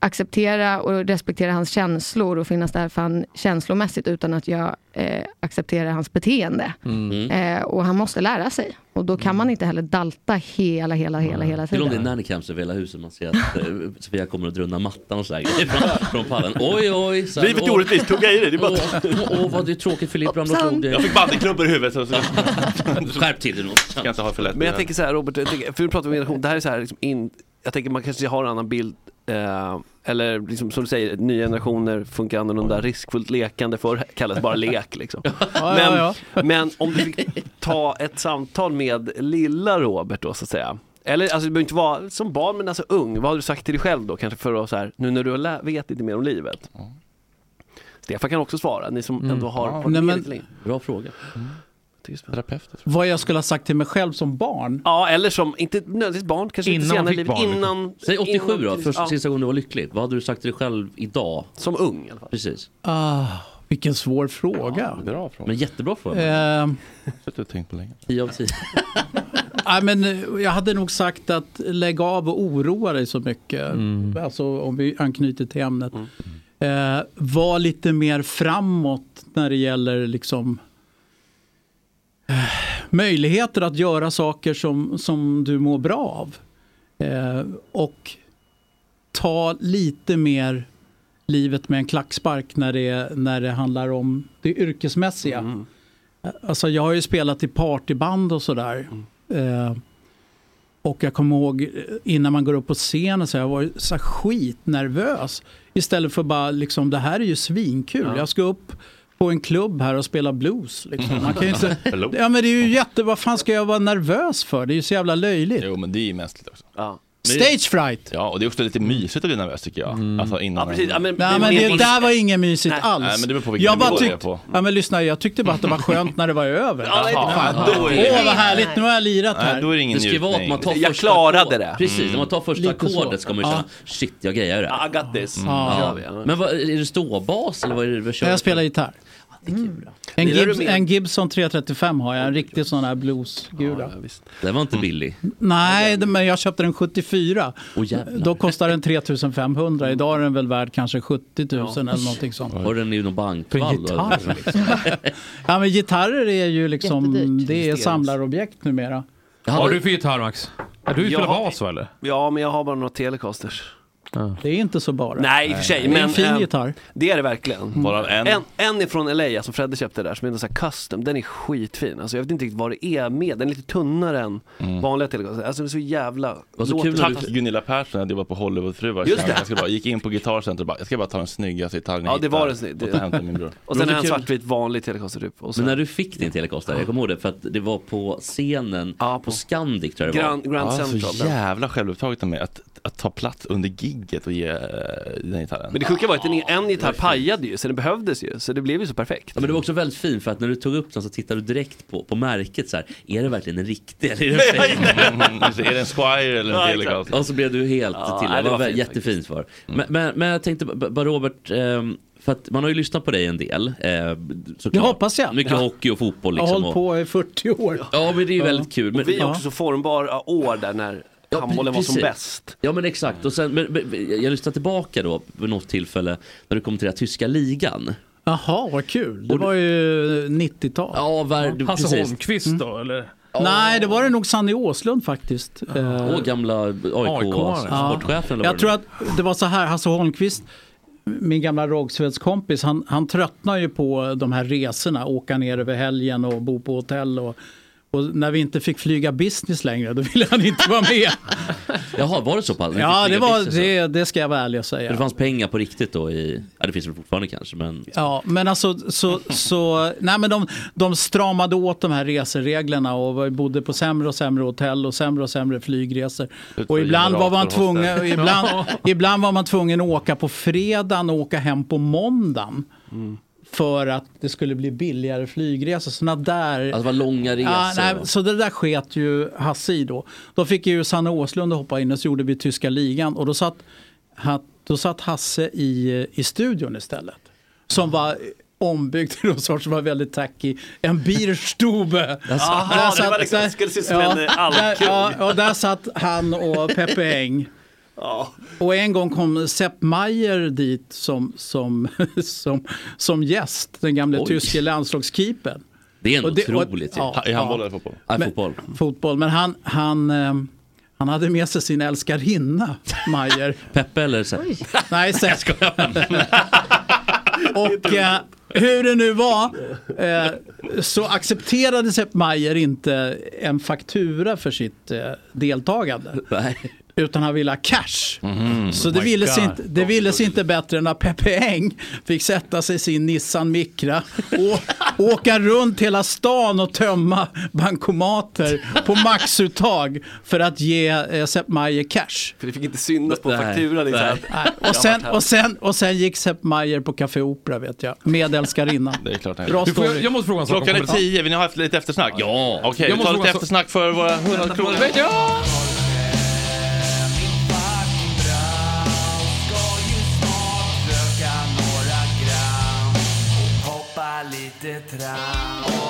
acceptera och respektera hans känslor och finnas där för han känslomässigt utan att jag eh, accepterar hans beteende.
Mm.
Eh, och han måste lära sig. Och då kan man inte heller dalta hela, hela, hela, hela
Till om det är
tiden.
nannycams över hela huset man ser att eh, Sofia kommer att drunna mattan och sådär grejer från, från pallen. Oj oj! så här,
Livet är
åh,
orättvist, tugga i dig. Det är bara...
Åh, åh, åh, vad det är tråkigt Filip ramlade och tog det.
Jag fick bandyklubbor i huvudet. Så, så.
Skärp till dig nu. Ska
inte ha för lätt.
Men jag tänker så här Robert, jag tänker, för vi pratar om generation, det här är så här, liksom in, jag tänker man kanske har en annan bild, eh, eller liksom, som du säger, nya generationer funkar annorlunda, riskfullt lekande förr kallades bara lek liksom. men,
ja,
men om du fick ta ett samtal med lilla Robert då så att säga, eller alltså du behöver inte vara som barn men alltså ung, vad hade du sagt till dig själv då kanske för att så här, nu när du har lä- vet lite mer om livet? Stefan kan också svara, ni som ändå har varit
Nej,
med
men-
lite längre.
Mm. Bra fråga.
Terapeut.
Vad jag skulle ha sagt till mig själv som barn?
Ja, eller som, inte nödvändigtvis barn, kanske lite senare i livet, innan...
Säg 87
innan-
då, först,
ja.
sista gången du var lycklig. Vad hade du sagt till dig själv idag?
Som ung i alla fall.
Precis.
Ah, vilken svår fråga.
bra fråga.
Men jättebra fråga.
Ehm,
Det har jag tänkt på länge.
10 av 10.
Nej, men eh, jag hade nog sagt att lägg av och oroa dig så mycket. Alltså, om vi anknyter till ämnet. Eh, var lite mer framåt när det gäller liksom, eh, möjligheter att göra saker som, som du mår bra av. Eh, och ta lite mer livet med en klackspark när det, när det handlar om det yrkesmässiga. Alltså jag har ju spelat i partyband och sådär. Eh, och jag kommer ihåg eh, innan man går upp på scenen så har jag varit så här skitnervös. Istället för bara liksom, det här är ju svinkul. Jag ska upp på en klubb här och spela blues. Liksom. Man kan ju inte...
Förlåt.
Ja men det är ju jätte, vad fan ska jag vara nervös för? Det är ju så jävla löjligt.
Jo, men det är ju mänskligt också.
Stage fright!
Ja, och det är också lite mysigt att bli nervös tycker jag. Alltså innan...
Ja, precis. Ja, men-
Nej men det där var inget mysigt
Nej.
alls.
Nej, men det beror på vilken
jag bara
nivå det är
tyckte,
på.
ja men lyssna jag tyckte bara att det var skönt när det var över.
Ja, nej,
Fan.
nej, då är det-
Åh vad härligt, nu har jag lirat här.
Nej, då är det ingen
Det ska ju vara att man tar
Jag
första
klarade
ackord.
det.
Precis,
Mm.
när man tar första
Lite så.
ackordet ska man ju
Ja.
känna shit jag grejar det.
I got this.
Ja.
Ja. Men vad, är det ståbas eller vad är det vad
Nej,
kör
jag
du?
spelar gitarr. En,
Lirar du
Gibs,
med-
en Gibson 335 har jag, en riktig sån här bluesgula.
Det var inte billig.
Nej, det- men jag köpte den 74.
Åh, jävlar.
Då kostade den 3500. Idag är den väl värd kanske 70 000 eller någonting sånt.
Har den i någon
För
bankvalv?
gitarr, liksom, Ja, men gitarrer är ju liksom,
Jättedyrt.
det är samlarobjekt numera.
Vad
har du för gitarr Max? Ja, du spelar
Jag har-
bas va eller?
Ja, men jag har bara några telecasters.
Det är inte så bara.
Nej, i och för sig.
Det är en
Men,
fin
eh,
gitarr.
Det är det verkligen.
Varav Mm. en-
en, en är från LA, alltså Fredde köpte där, som är en sån här custom. Den är skitfin. Alltså, jag vet inte riktigt vad det är med. Den är lite tunnare än vanliga telecasters. Alltså den är så jävla...
Mm. Vad så
låter-
kul Tack Gunilla Persson, jag jobbade på Hollywoodfruar.
Just det.
Jag ska bara, gick in på Guitarcenter och bara, jag ska bara ta den snyggaste gitarren jag
Ja, det
hittar
var den snygg.
Och ta hem till min bror.
Och sen är en svartvit vanlig telecaster typ. Och sen,
Men när du fick din telecaster, jag kommer ihåg det, för att det var på scenen på Scandic tror jag det var.
Grand, Grand
ja,
Central.
så jävla självupptaget av mig att, att ta plats under gigget och ge eh, den gitarren.
Men det sjuka var att en, en gitarr pajade ju, så den behövdes ju. Så det blev ju så perfekt.
Ja, men det var också väldigt fint för att när du tog upp den så tittade du direkt på, på märket så här. Är det verkligen en riktig eller är det en fake?
Mm, alltså, är det en Squire eller en
Ja,
Telecaster?
Och så blev du helt
Ja,
till.
nej,
Det
det
var
var
vä-
fint
jättefint svar.
Mm.
Men, men, men jag tänkte b- b- bara Robert, ehm, för att man har ju lyssnat på dig en del. Eh, såklart.
Det hoppas jag.
Mycket
Ja.
hockey och fotboll
Jag har
liksom.
hållit
och-
på i 40 år.
Ja men det är ju väldigt kul. Men,
Och vi är också så formbara år där när handbollen var som
Precis.
bäst.
Ja men exakt. Och sen, men, men, jag lyssnade tillbaka då vid något tillfälle när du kom till den här tyska ligan.
Jaha, vad kul. Det var ju eh, 90-tal.
Ja,
Hasse Holmqvist då eller?
Nej, det var det nog Sanny Åslund faktiskt. Eh,
Och gamla alltså, AIK-sportchefen.
Jag tror att det var så här, Hasse Holmqvist, min gamla Rågsveds kompis, han, han tröttnar ju på de här resorna, åka ner över helgen och bo på hotell. Och, och när vi inte fick flyga business längre, då ville han inte vara med.
Jaha, var det så pass?
ja, det, var,
Det...
det, det ska jag vara ärlig och säga.
Det fanns pengar på riktigt då i... Ja, det finns väl fortfarande kanske men...
Ja, men alltså så, så nej men de, de stramade åt de här resereglerna och vi bodde på sämre och sämre hotell och sämre och sämre flygresor. Och ibland var man tvungen,
generatorhostel.
ibland, ibland var man tvungen att åka på fredagen och åka hem på måndagen.
Mm.
För att det skulle bli billigare flygresor. Såna där...
Alltså det var långa resor.
Ja, nej, så det där sket ju Hasse i då. Då fick ju Sanne Åslund hoppa in och så gjorde vi tyska ligan och då satt, hat, Då satt Hasse i, i studion istället. Som var ombyggd till någon sorts, som var väldigt tacky. En Bierstube.
Jaha,
Där
det
satt-
var liksom-
där-
det skulle se ut som en, eh,
där,
alkkrog.
ja, och där satt han och Peppe Eng. Och en gång kom Sepp Maier dit som, som, som, som gäst, den gamle
Oj.
tyske landslagskeepern.
Det är ändå
Och det- och-
otroligt. ju.
ja, I handboll ja. eller
fotboll?
Nej,
Men-
fotboll.
Fotboll, men han, han, ehm, han hade med sig sin älskarinna, Maier.
Peppe eller Sepp?
Nej, Sepp. Och eh, hur det nu var eh, så accepterade Sepp Maier inte en faktura för sitt eh, deltagande. Utan han ville ha cash.
Mm.
Mm.
Så det ville, sig inte, det ville sig inte bättre än när Peppe Eng fick sätta sig i sin Nissan Micra och åka runt hela stan och tömma bankomater på maxuttag för att ge eh, Sepp Maier cash.
För det fick inte synas på fakturan. liksom.
Och sen, och, sen, och sen gick Sepp Maier på Café Opera vet jag, med älskarinnan.
Det är klart.
Bra
Du får-
story.
jag måste fråga en sak. Klockan är tio, vill ni ha haft lite eftersnack? Ja! Okej,
Jag
vi
måste
tar
fråga
lite
så-
eftersnack för våra 100 kronor. Ja!
Hoppa lite tram